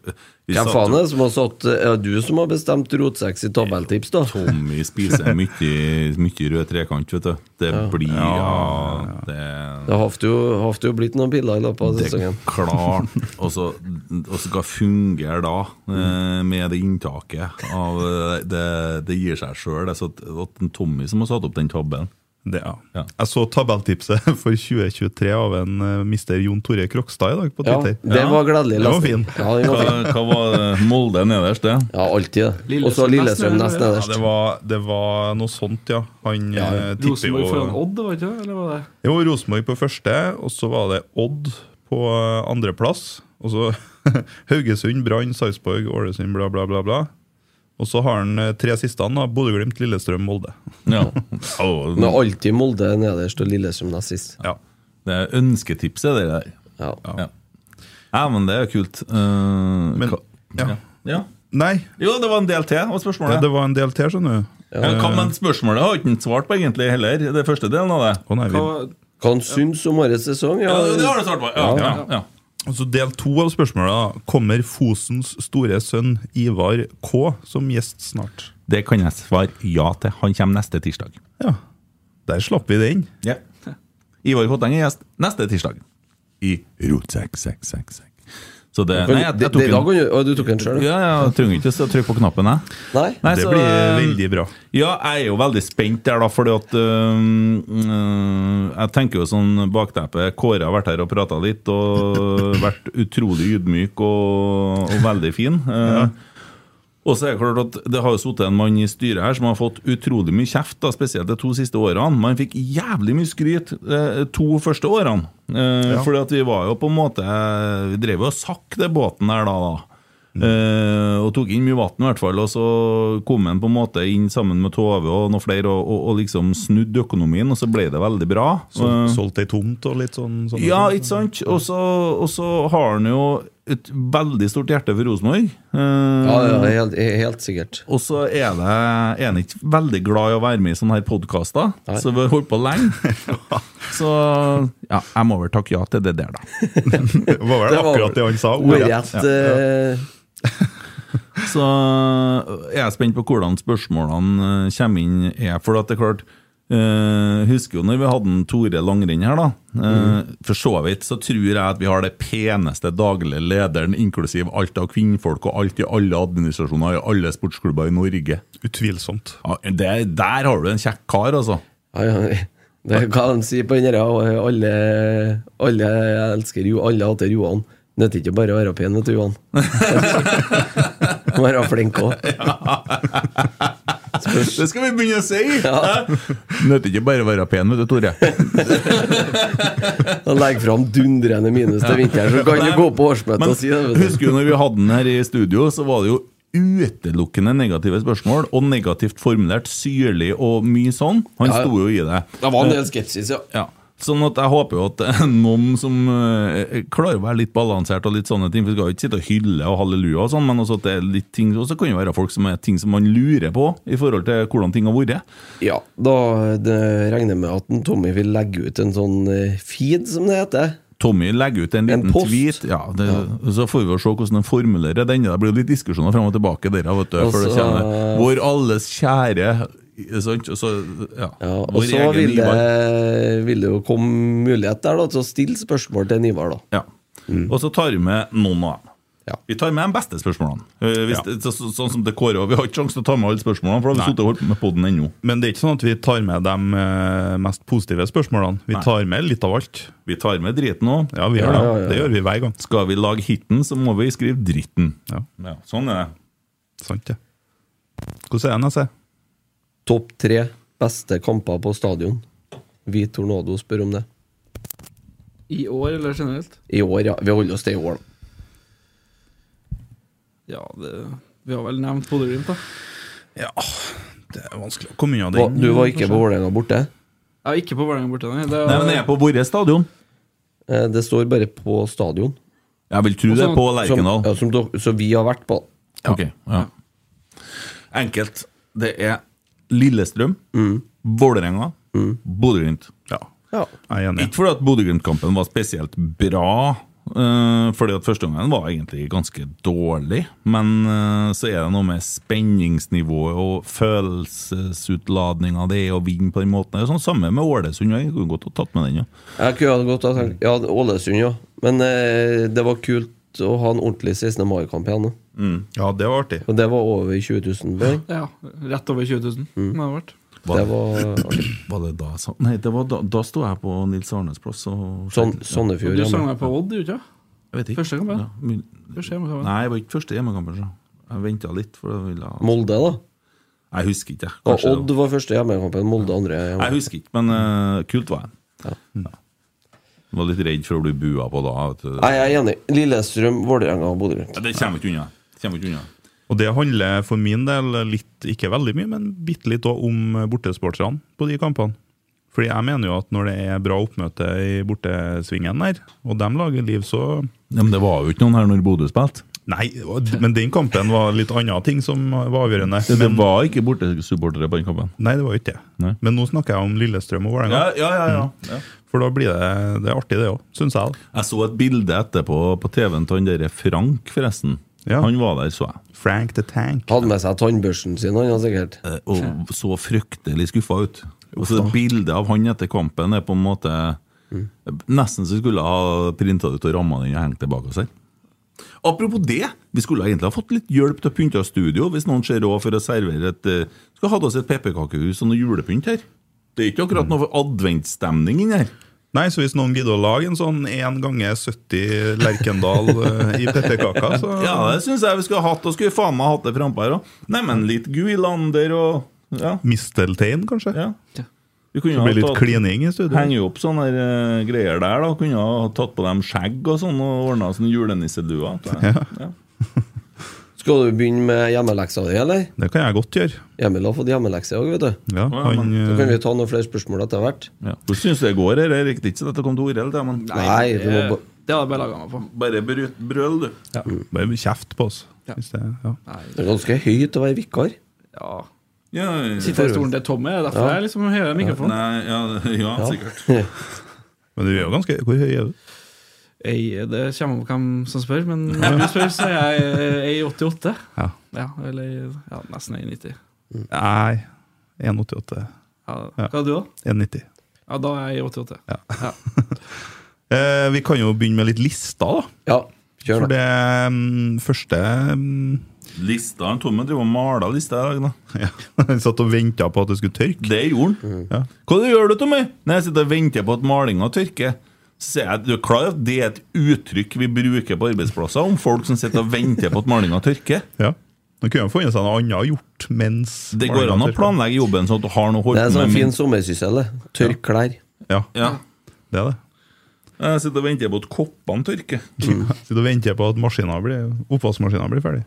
vi
Hvem
satt
faen
jo-
er det som har satt Er det du som har bestemt rotsekk i tabelltips, da?
Tommy spiser mye, mye rød trekant, vet du. Det blir ja, Det,
Det har haft jo, haft jo blitt noen piller i løpet av
det er
sesongen.
klart. Og så og så skal fungere da, eh, med det inntaket av eh, Det, det gir seg sjøl. Det er så at- at en Tommy som har satt opp den tabben.
Det, ja.
Ja.
Jeg så tabelltipset for 2023 av en eh, mister Jon Tore Krokstad i dag på
Ja,
Twitter.
det
Ja.
var gledelig.
Den var
lesning.
fin.
Ja, den var fin.
Hva, hva var det? Molde nederst, det?
Ja, alltid det.
Lillestrøm
Og så Lillestrøm
nest
nest
Ja,
nederst.
nederst.
det, var, det var noe sånt, ja. Han eh, tipper
Rosenborg foran
jo
Odd, var det ikke det? Eller var det?
Jo, Rosenborg på første, og så var det Odd på eh, andreplass. Og så Haugesund, Brann, Sarpsborg, Ålesund, bla, bla, bla. bla. Og så har han eh, tre siste, han, da. Bodø-Glimt, Lillestrøm, Molde.
Ja. Å,
Men alltid Molde nederst og Lillestrøm nest sist.
Ja.
det er ønsketipset, det der.
Ja.
Ja. ja, men det er jo kult. Eh,
Men
hva-
ja.
ja. ja.
Nei,
Jo, det var en del til av
ja,
spørsmålet.
det var en del til, skjønner du. Å
Men hva med spørsmålet har ikke han svart på egentlig heller. Det første delen av det.
nei, vi,
Hva-
Hva han syns om årets sesong? Sånn, Ja,
Ja, det har du svart på. Ja, ja, ja.
Eh, Og så Del to av spørsmålet da. kommer Fosens store sønn Ivar K som gjest snart.
Det kan jeg svare ja til. Han kommer neste tirsdag.
Ja, der slapp vi det inn.
Ja. Ivar Kotteng er gjest neste tirsdag. I Rotsekk, sekk, sekk, sekk. Så det Nei, jeg, jeg
Det-
tok
det- da
den.
kan du- Å, du tok en sjøl?
Ja, ja, jeg trenger ikke å trykke på knappen, jeg.
Nei?
Nei,
Det
så,
blir
eh,
veldig bra.
Ja, jeg er jo veldig spent der, da, fordi at øhm, øh, Jeg tenker jo sånn bakteppe Kåre har vært her og prata litt, og vært utrolig ydmyk og, og veldig fin. Eh, Og så er det klart at det har jo sittet en mann i styret her som har fått utrolig mye kjeft, da, spesielt de to siste årene. Man fikk jævlig mye skryt de to første Eh, årene. Eh, Fordi at vi var jo på en måte Vi drev jo og sakk det båten her da. da. Eh, og tok inn mye vann, i hvert fall. Og så kom han på en måte inn sammen med Tove og noen flere og, og, og liksom snudde økonomien, og så ble det veldig bra.
Sol,
Eh,
solgt ei tomt og litt sånn? sånn
ja, ikke sant? Og så, og så har han jo et veldig stort hjerte for Rosenborg. Eh,
Ja, ja, helt, helt sikkert.
Og så er det- er han ikke veldig glad i å være med i sånne her podkaster,
Nei.
så vi har holdt på lenge. Så ja, jeg må vel takke ja til det der, da.
Det var vel
Det var-
akkurat det han sa.
Ordrett.
ja,
eh,
Så jeg er spent på hvordan spørsmålene eh, kommer inn. Er, for at det er klart eh, Husker jo når vi hadde en Tore Langrenn her, da. Eh,
Mm.
For så vidt så tror jeg at vi har det peneste daglige lederen, inklusiv alt av kvinnfolk og alt i alle administrasjoner i alle sportsklubber i Norge.
Utvilsomt.
Ja, Det, der har du en kjekk kar, altså.
ja, ja. Det er hva de sier på den der alle, alle elsker jo, alle hater Johan. Nytter ikke bare å være pen, vet du, Johan. Må være flink òg.
Det skal vi begynne å si! Nødte ikke bare å være pen, vet du, Tore.
Legg fram dundrende minus til vinteren, så kan du gå på årsmøtet
Men
og si det. Vet du.
Husker du når vi hadde den her i studio, så var det jo utelukkende negative spørsmål, og negativt formulert, syrlig og mye sånn. Han
Ja, ja.
sto jo i det.
Det var en del skepsis, ja.
Ja. Sånn at jeg håper jo at det er noen som eh, klarer å være litt balansert og litt sånne ting. For vi skal jo ikke sitte og hylle og halleluja og sånn, men også at det er litt ting Og så kan det være folk som er ting som man lurer på i forhold til hvordan ting har vært.
Ja, da det regner jeg med at en Tommy vil legge ut en sånn eh, feed, som det heter.
Tommy legger ut en
En
liten
post.
tweet, ja, det, så får vi jo se hvordan han formulerer den. Det blir jo litt diskusjoner frem og tilbake der. Vet du, for det
Også-
kommer, vår alles kjære ikke sant? Og så, ja,
Ja, og
vår
så
egen
vil det,
Ivar.
vil det jo komme mulighet der da, til å stille spørsmål til en Ivar, da.
Ja. Og så tar vi med noen av dem.
Mm. Ja.
Vi tar med de beste spørsmålene. Eh, hvis det, så, så, sånn som det Kåre, og Vi har ikke sjanse til å ta med alle spørsmålene, for da har vi sittet og holdt på med podden ennå.
Men det er ikke sånn at vi tar med de eh, mest positive spørsmålene. Vi
Nei.
tar med litt av alt.
Vi tar med driten òg.
Ja, vi gjør det. Det gjør vi hver gang.
Skal vi lage hiten, så må vi skrive dritten.
Ja.
Ja, sånn er det.
Sant, det. Hvordan er
altså?
NSE?
Topp tre beste kamper på stadion. Vi Tornado spør om det.
I år, eller generelt?
I år, ja. Vi holder oss til i år, da.
Ja, det, vi har vel nevnt Bodø-Glimt, da.
Ja, det er vanskelig å komme unna
Hva-
den.
Du var ikke på Vålerenga borte?
Jeg er ikke på Vålerenga borte, nei. Det
Nei, men jeg er på vårt stadion.
Eh, Det står bare på stadion.
Jeg vil tro det er på
Som,
Lerkendal.
ja, som dere- så vi har vært på.
Ja. ja. Enkelt. Det er Lillestrøm,
Mm.
Vålerenga, Bodø-Glimt.
Ja.
Jeg er enig.
Ikke fordi at Bodø-Glimt-kampen var spesielt bra, eh, fordi at første gangen var egentlig ganske dårlig. Men eh, så er det noe med spenningsnivået og følelsesutladninga det er å vinne på den måten. Det er sånn samme med Ålesund. Jeg kunne godt ha tatt med den. Ja.
Jeg kunne godt ha tenkt Ja, Ålesund, ja. Men eh, det var kult å ha en ordentlig 16. mai-kamp igjen. da.
Mm. Ja, det var artig.
Og det var over 20 000 poeng.
Ja, rett over 20 000. Det har vært.
Var,
Mm. Det var artig.
var det da sånn? Nei, det var da, da sto jeg på Nils Arnes plass. Og,
Sånn,
Og
Sandefjord
Du sang
hjemme.
meg på Odd, gjorde du ikke?
jeg vet ikke.
Første kamp, ja.
ja. min-
Første hjemmekamp.
Nei, det var ikke første hjemmekampen. Så. Jeg venta litt. for jeg ville...
Molde, da.
Jeg husker ikke.
Og
kanskje det
Odd var første hjemmekampen, Molde andre.
var- Jeg
hjemme.
husker ikke, men eh, kult var jeg. Ja. Jeg var litt redd for å bli bua på da. Vet du.
Nei, jeg er enig. Lillestrøm, Vålerenga og Bodø-Glimt.
Ja, Det kommer ikke unna. Kommer ikke unna.
Og det handler for min del litt, ikke veldig mye, men bitte litt òg om bortesporterne på de kampene. Fordi jeg mener jo at når det er bra oppmøte i bortesvingen der, og de lager liv, så
Ja, men det var jo ikke noen her når Bodø spilte.
Nei, det var- men den kampen var litt andre ting som var avgjørende.
Det, det
Men,
var ikke bortesupportere på den kampen.
nei, det var jo ikke det.
Nei.
Men nå snakker jeg om Lillestrøm og Vålerenga, Mm.
ja, ja,
for da blir det, det er artig, det òg, syns jeg. da.
Jeg så et bilde etterpå på TV-en til han derre Frank, forresten.
Ja.
Han var der, så jeg.
Frank the Tank.
Hadde med seg tannbørsten sin, han ja, sikkert.
Eh, og så fryktelig skuffa ut. Og så Bildet av han etter kampen er på en måte
Mm.
Nesten så skulle jeg ha printa ut og ramma den og hengt det bak oss her. Apropos det, vi skulle egentlig ha fått litt hjelp til å pynte av studio hvis noen ser råd for å servere et eh, Skal ha oss et pepperkakehus og noe julepynt her. Det er ikke akkurat noe adventsstemning inni her.
Nei, så hvis noen gidder å lage en sånn 1 ganger 70 Lerkendal eh, i pepperkaker, så
Ja, det syns jeg vi skulle ha hatt, og skulle faen meg hatt det frampå her òg. Neimen, litt Guilander og Ja.
Misteltein, kanskje?
ja.
Ja.
Vi kunne
Det
ha
blir litt
tatt-
klining i studio.
Henger jo opp sånne her, eh, greier der. da Kunne ha tatt på dem skjegg og sånn og ordna sånn julenisseduer. Ja. Ja.
Skal du begynne med hjemmeleksa di, eller?
Det kan jeg godt gjøre.
Emil har fått hjemmelekse i dag, vet du.
Ja, han,
Så kan
eh,
vi ta noen flere spørsmål etter hvert.
Hvordan syns du det går? her? Jeg riktig ikke så dette kom til Orell, det, men
Nei, du må
Det,
ba-
det hadde jeg bare laga meg på.
bare bry- brøl, du.
bare kjeft på oss. Hvis det, ja.
Mm. det er ganske høyt å være vikar.
Ja.
Ja, ja,
Sitter i stolen til Tommy, det er derfor jeg liksom hører mikrofonen.
Nei, ja, ja, sikkert.
Men du er jo ganske Hvor høy er du?
Ei, det kommer an på hvem som spør, men når du spør, så er jeg 1,88.
Ja.
Ja, eller ja, nesten 1,90.
Nei, 1,88.
Ja. Hva er du, da?
1,90.
Ja, da er jeg 88. Ja.
Eh, vi kan jo begynne med litt lister, da.
Ja, kjør
For
da.
det mm, første mm,
Lista, han Tommy driver og maler lista i dag. da
ja, Han satt og venta på at det skulle tørke.
Det gjorde
Mm.
han. Ja. Hva du gjør du, Tommy? Nei, Jeg sitter og venter på at malinga tørker. Så sier jeg, du er klar over at Det er et uttrykk vi bruker på arbeidsplasser om folk som sitter og venter på at malinga tørker.
Ja. Nå kunne han funnet seg noe annet gjort mens
Det går an å planlegge jobben sånn at du har noe å
Det
holde
er
på
sånn
med.
fin sommersyssel, det. Tørk klær.
Ja,
Ja.
det er det.
Jeg sitter og venter på at koppene tørker.
Mm.
Sitter og venter på at maskinen blir, oppvaskmaskinen blir ferdig.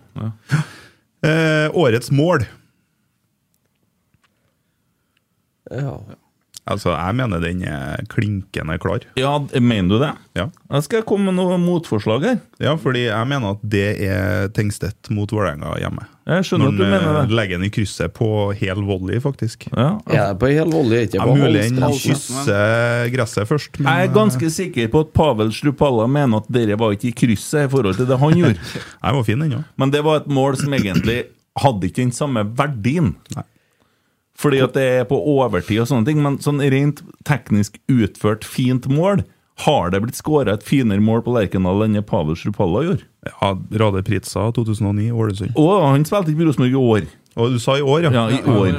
Eh, årets mål.
Ja.
Altså, jeg mener den er klinkende klar.
Ja, mener du det?
Ja.
Jeg skal komme med noe motforslag her.
Ja, fordi jeg mener at det er Tengstedt mot Vålerenga hjemme.
Jeg skjønner
Når
at du
han,
mener
eh,
det.
legger den i krysset på hel volley, faktisk. Det
Ja.
Jeg er på hel volley, ikke
er
på
mulig
halv
han
strand.
kysser gresset først, men eh,
Jeg er ganske sikker på at Pavel Strupalla mener at dere var ikke i krysset i forhold til det han gjorde.
eh, jeg var fin ennå.
Men det var et mål som egentlig hadde ikke den samme verdien. Fordi at det er på overtid og sånne ting, men sånn rent teknisk utført fint mål har det blitt skåra et finere mål på Lerkendal enn det Pavel Strupalla gjorde.
Ja, Rade Pritza 2009, Ålesund.
Og han spilte ikke i Rosenborg i år.
Og du sa i år, ja.
Ja, i år.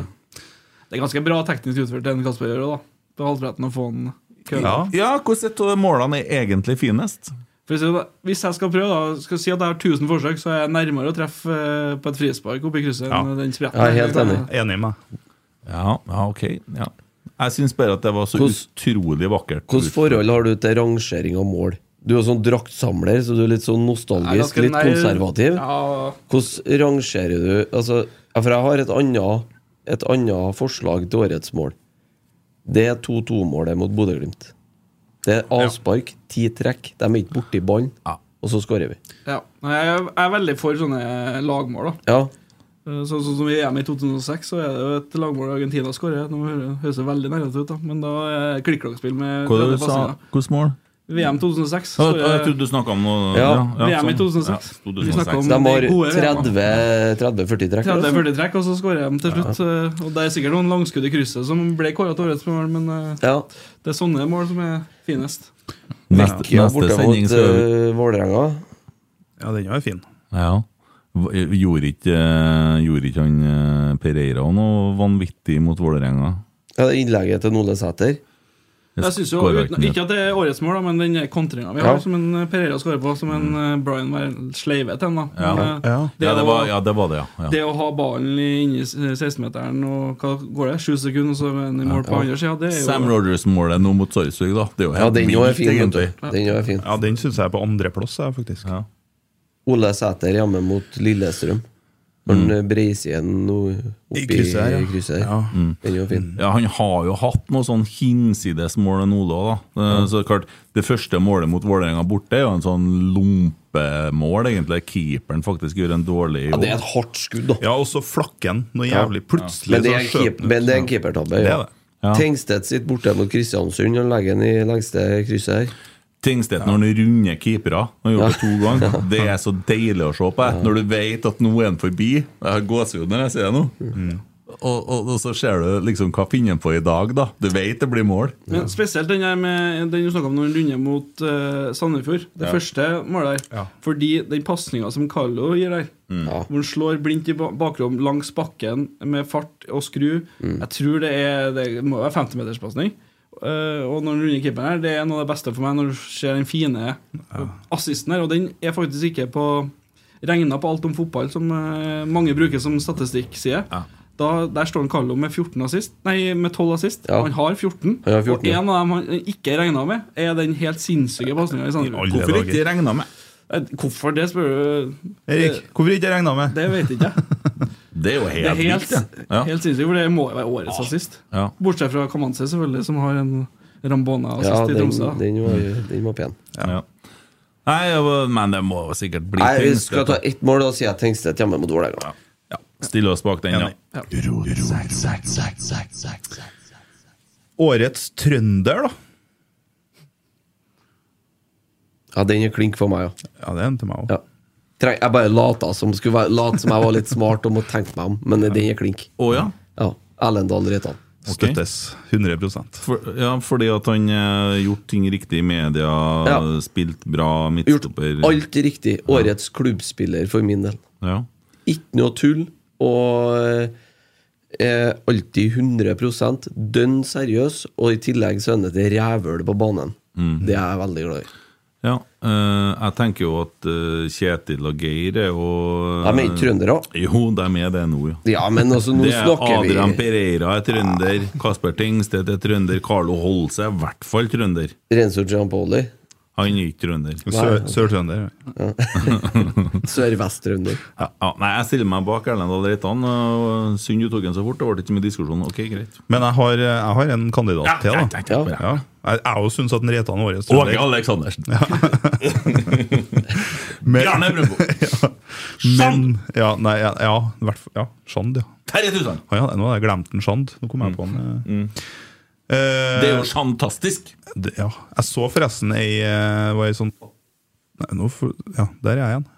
Det er ganske bra teknisk utført, den Kasper gjør òg, da. På halvbretten å få den kølla.
Ja.
Ja, hvordan et av de målene er egentlig finest?
For å si det, Hvis jeg skal prøve, da skal jeg si at jeg har 1000 forsøk, så er jeg nærmere å treffe eh, på et frispark oppe i krysset
Ja.
enn den spretten.
Ja, jeg er helt enig.
Enig med meg.
Ja, ja ok. Ja. Jeg syns bare at det var så
Hvordan-
utrolig vakkert.
Hvilket forhold har du til rangering av mål? Du er sånn draktsamler, så du er litt sånn
Jeg er
nostalgisk,
ganske
litt
nær-
konservativ.
Ja,
Hvordan rangerer du altså, ja, For jeg har et annet, et annet forslag til årets mål. Det er 2-2-målet mot Bodø-Glimt. Det er avspark, ti trekk. De er ikke borti ballen, og så skårer vi.
ja. Nei, Jeg er- jeg er veldig for sånne lagmål. da
Ja,
Eh, Sånn sånn som i EM i 2006, så er det jo et lagmål Argentina skårer. Nå hø- høres det veldig nærmere ut, da men da er det klikk-klakk-spill med
Hva
tredje
du sa
pasninger.
Hvilket mål?
VM 2006.
Ja,
så eh,
Jeg, jeg
er-
trodde du snakka om noe
Ja,
VM i
sånn.
2006.
Ja,
Vi snakket om-
De
Men
har
det er gode VM,
30-40 trekk. altså.
30-40 trekk, og så skårer de til slutt. eh, Og Det er sikkert noen langskudd i krysset som ble kåret til årets mål, men eh,
Ja.
det er sånne mål som er finest.
Neste,
Ja,
neste
borte
sending
mot
skal vi
eh, Vålerenga.
Ja, den var fin.
ja. Hva- Gjorde ikke, eh, gjorde ikke han eh, Pereira noe vanvittig mot Vålerenga?
Ja, det er innlegget til Nole Sæter.
Jeg synes jo,
Skårer
uten,
ikke
Ikke at det er årets mål, da, men den kontringa vi
Ja. Mm.
har, som en eh, Pereira skårer på, som en eh, Brian var sleive til. den, da. Men, eh,
Ja.
Det,
Ja, det var,
å,
ja, det, var det, ja. ja.
det å ha ballen i- inni s- 16-meteren og hva går det, sju sekunder, og så er den i mål på andre sida, det er jo
Sam Rogers-målet nå mot Sarpsborg, da. Det er jo
Ja,
helt
den jo er
vilt,
fin. vet
egentlig.
du. Den jo er fin.
Ja, den syns jeg er på andreplass, jeg, faktisk.
Ja.
Ole Sæter hjemme mot Lillestrøm. Når
Mm.
han breiser igjen nå oppi
I krysset her, ja.
krysset her.
Ja.
Mm.
Den er jo fin.
Ja, Han har jo hatt noe sånn hinsidesmål enn Ole òg, da. Eh, Så det er klart, det første målet mot Vålerenga borte er jo en sånn lompemål, egentlig. Keeperen faktisk gjør en dårlig
Ja,
jobb.
det er et hardt skudd, da.
Ja, og så flakken noe jævlig. Plutselig
Men det er, en
så skjøt
keep,
den ut.
men det er en keepertabbe.
Det
Ja.
er det.
Ja.
Tengstedt sitter borte mot Kristiansund og legger den i lengste krysset her.
Tingstedt når han runder keepere Han gjorde det to ganger Det er så deilig å se på jeg. Når du vet at nå er han forbi Jeg har gåsehud når jeg ser det nå og, og, og så ser du liksom Hva finner han på i dag da Du vet det blir mål
Men spesielt den, her med, den du snakka om når han runder mot eh, Sandefjord. Det første målet der. Fordi den pasninga som Carlo gir der,
Ja.
hvor han slår blindt i ba- bakrom langs bakken med fart og skru
Mm.
Jeg tror det er Det må være 50-meterspasning. Uh, og når han runder keeperen her, det er noe av det beste for meg når du ser den fine assisten her. Og den er faktisk ikke på regna på alt om fotball, som eh, mange bruker som statistikkside. Da, der står han Carlo med 14 assist Nei, med 12 assist.
Ja.
Han har 14.
Han har 14,
Og
ja.
en av dem han ikke regna med, er den helt sinnssyke pasninga i Sandefjord.
Alle
Hvorfor
dager.
ikke regnet med?
Eh, Hvorfor det, spør du?
Erik, hvorfor ikke jeg regna med?
Det vet ikke jeg.
Det er jo
Det er
helt
helt,
vilt, det. Ah, Ja.
helt sinnssykt, for det må jo være årets assist.
Ja.
Bortsett fra Kamanzi, selvfølgelig, som har en Rambona-assist
Ja,
i
den,
Tromsø. da.
den, var, den var pen.
Ja. Nei, jeg var- men det må jo sikkert bli
Nei, vi
Tingstedt,
skal ta
da.
ett mål, da sier jeg Tengstedt hjemme mot Vålerenga.
ja. Stille oss bak den, ja.
Enig. Årets trønder, da.
Ja, den er klink for meg, ja.
Ja, det er en til meg òg.
Ja. Treng, jeg bare lata som, skulle være, lat som jeg var litt smart og måtte tenke meg om, men den er klink.
Å ja.
Ja, Erlendal Reitan.
Ok.
Støttes 100
For, ja, fordi at han har gjort ting riktig i media,
Ja.
spilt bra
Gjort
midtstopper
alt riktig. Årets klubbspiller for min del.
Ja.
Ikke noe tull. Og er alltid 100 dønn seriøs, og i tillegg så er han et rævhøl på banen.
Mm.
Det er jeg veldig glad i.
ja. eh, jeg tenker jo at eh, Kjetil og Geir er jo
De er ikke trøndere.
Jo, de er det nå, ja.
Ja, men altså, nå
Det er
snakker vi
Adrian Pereira er trønder, Kasper Tingstedt er trønder, Carlo Holse er i hvert fall trønder.
Renzo Giampoli.
Han er ikke trønder.
Sør- Sør-trønder. ja.
Sør-vest-trønder.
Ja, ja, nei, jeg stiller meg bak Erlend Dahl Reitan. og Synd du tok den så fort. Det ble ikke så mye diskusjon. Ok, greit.
Men jeg har, jeg har en kandidat til, da.
Ja.
Ja. Jeg jeg også syns at den Reitan er årets
Åge
trønder.
Aleksandersen.
Men,
Bjarne Brøndbo.
men ja, nei, ja, ja, i hvert fall- ja, Sjand, ja.
Terje Tusen.
Ah, ja. Nå hadde jeg glemt en Sjand. Nå kom jeg på den. eh. Eh,
Det er jo fantastisk.
det, ja. Jeg så forresten ei, eh, var ei sånn Nei, nå for, Ja, der er jeg igjen.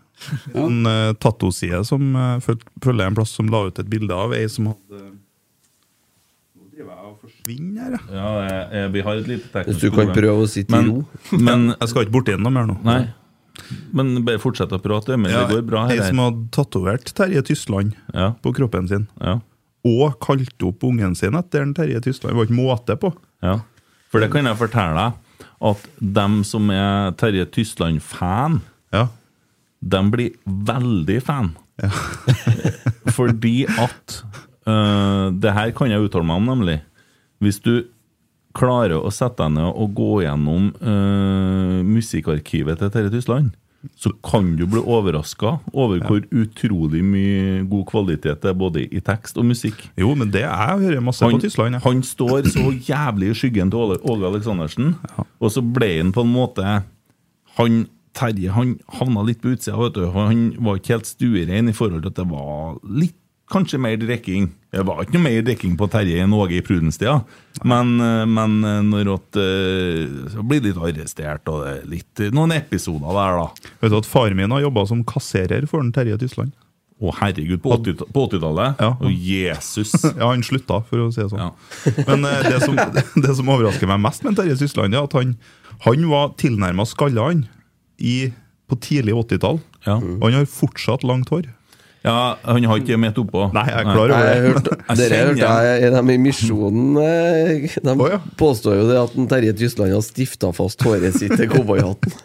En uh, tattoside som eh, føl- følger jeg en plass som la ut et bilde av ei som hadde Nå driver jeg og forsvinner her, jeg.
Ja, eh, vi har et lite teknisk
Hvis du kan
problem.
prøve å sitte i
Men,
ro.
men
Jeg skal ikke borti den noe mer nå.
Nei. Men bare fortsett å prate, men
Ja,
det går bra
Ei
her.
som hadde tatovert Terje Tysland
Ja,
på kroppen sin.
ja,
Og kalte opp ungen sin etter en Terje Tysland. Det var ikke måte på.
ja. For det kan jeg fortelle deg, at dem som er Terje Tysland-fan,
Ja.
de blir veldig fan. Fordi at øh, Det her kan jeg uttale meg om, nemlig. Hvis du klarer å sette deg ned og gå gjennom øh, musikkarkivet til Terje Tysland, så kan du bli overraska over hvor utrolig mye god kvalitet det er både i tekst og musikk.
Jo, men det jeg hører masse
Han,
på Tysland. jeg.
han står så jævlig i skyggen til Åle- Åge Aleksandersen, og så ble han på en måte Han Terje han havna litt på utsida, vet du. for Han var ikke helt stuerein i forhold til at det var litt Kanskje mer drikking. Det var ikke noe mer drikking på Terje enn Åge i Prudenstida, men, eh, men eh, når at eh, Så blir det litt arrestert, og det er litt eh, Noen episoder der, da.
Vet du at Faren min har jobba som kasserer for en Terje Tysland.
Å herregud, på 80-ta- på 80-tallet?
Ja.
Å, Jesus!
Ja, han slutta, for å si det sånn.
Ja.
Men eh, det, som, det som overrasker meg mest med Terje Tysland, er at han, han var tilnærma skalla han i, på tidlig 80-tall.
Ja.
Og han har fortsatt langt hår.
ja, han har ikke mitt oppå.
Nei, jeg er klar over
Jeg
det.
hørte,
Jeg
dere
kjenner
hørte jeg, er de i Misjonen eh, De
Å, ja.
påstår jo det at en Terje Tysland har stifta fast håret sitt til cowboyhatten.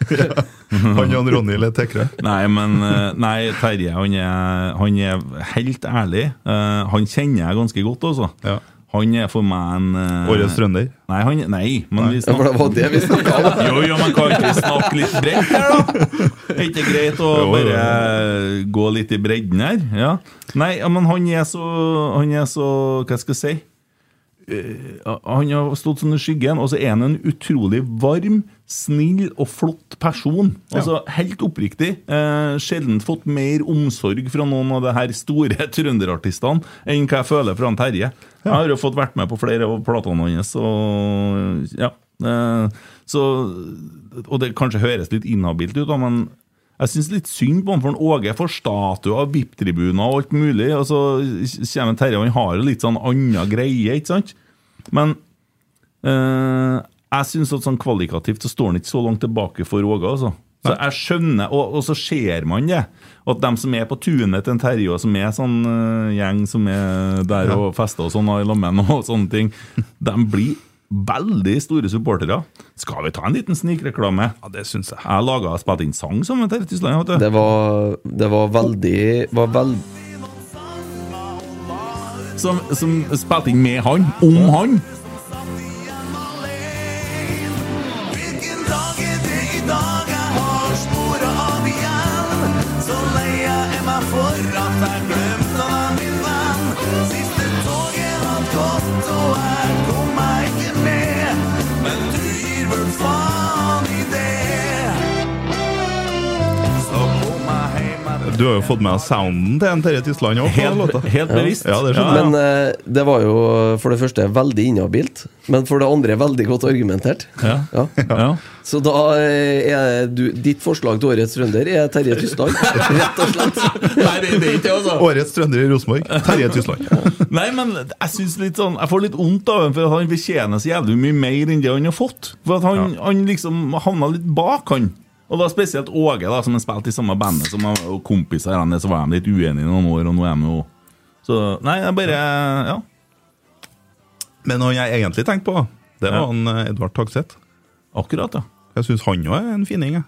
Han og en Ronny Le Tekre.
Nei, men eh, Nei, Terje han er, han er helt ærlig. Eh, han kjenner jeg ganske godt, altså.
Ja.
Han er for meg en eh,
Årets trønder.
Nei, han, nei, men vi
Ja,
snakker
for det var det vi snakka om.
Jo, jo, men kan ikke vi snakke litt bredt her, da? Er ikke det greit å
Jo, jo, jo.
bare eh, gå litt i bredden her? Ja. Nei, ja, men han er så Han er så Hva skal jeg si? Eh, han har stått sånn i skyggen, og så er han en utrolig varm, snill og flott person. Altså Helt oppriktig. Eh, sjelden fått mer omsorg fra noen av de her store trønderartistene enn hva jeg føler fra han Terje. Jeg har jo fått vært med på flere av platene hans, og ja. Eh, så, og det kanskje høres litt inhabilt ut, da, men jeg syns litt synd på han, for han Åge får statuer, VIP-tribuner og alt mulig. Og så kommer en Terje, og han har jo litt sånn anna greie, ikke sant? Men eh, jeg syns at sånn kvalitativt så står han ikke så langt tilbake for Åge, altså. Så jeg skjønner, og, og så ser man det, at de som er på tunet til en Terje, og som er sånn eh, gjeng som er der og fester og sånn og i lammen og sånne ting, de blir veldig store supportere. Skal vi ta en liten snikreklame?
Ja, det syns jeg.
Jeg laga og spilte inn sang som en Terje Tysland. vet du.
Det var, det var veldig var veld,
Som, som spilte inn med han, om han.
Hvilken dag er det i dag jeg har sporet av igjen?
Du har jo fått med deg sounden til en Terje Tysland òg.
Helt- helt bevisst.
Ja, det skjønner
Men
jeg.
eh, det var jo for det første veldig inhabilt, men for det andre veldig godt argumentert.
Ja. Ja.
Så da eh, er du, ditt forslag til årets trønder er Terje Tysland, rett og slett.
Nei, det, det er ikke det, altså.
Årets trønder i Rosenborg, Terje Tysland.
Nei, men jeg synes litt sånn Jeg får litt vondt av ham, for at han fortjener så jævlig mye mer enn det han har fått. For at han, han liksom havna litt bak, han. Og da spesielt Åge, da som har spilt i samme bandet som han- og kompiser. Han, er, så var de litt uenige i noen år, og nå er de jo Så nei, jeg bare Ja.
Men han jeg egentlig tenkte på, det var
Ja.
han eh, Edvard Tagseth.
Akkurat, ja.
Jeg syns han òg er en fining. jeg.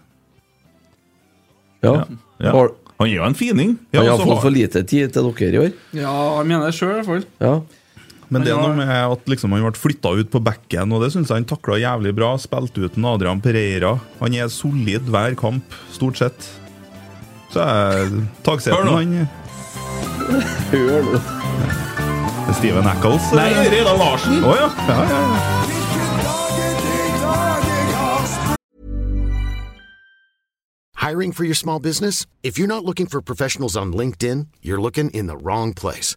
Ja.
ja.
Har,
Han er jo en fining.
Ja,
han
så
har fått
har-
for lite tid til dere i år.
Ja, jeg mener det sjøl, i hvert fall.
Ja.
Men det er
Han
noe
har-
med at liksom han ble flytta ut på bekken, og det syns jeg han takla jævlig bra. Spilte uten Adrian Pereira. Han er solid hver kamp, stort sett. Så er
Hør
Tagseten
nå.
han
Hør nå.
Steven Eccles.
Nei, Reidar Larsen.
Å ja. Ja, ja, ja.
Hiring for your small business? If you're not looking for professionals on LinkedIn, you're looking in the wrong place.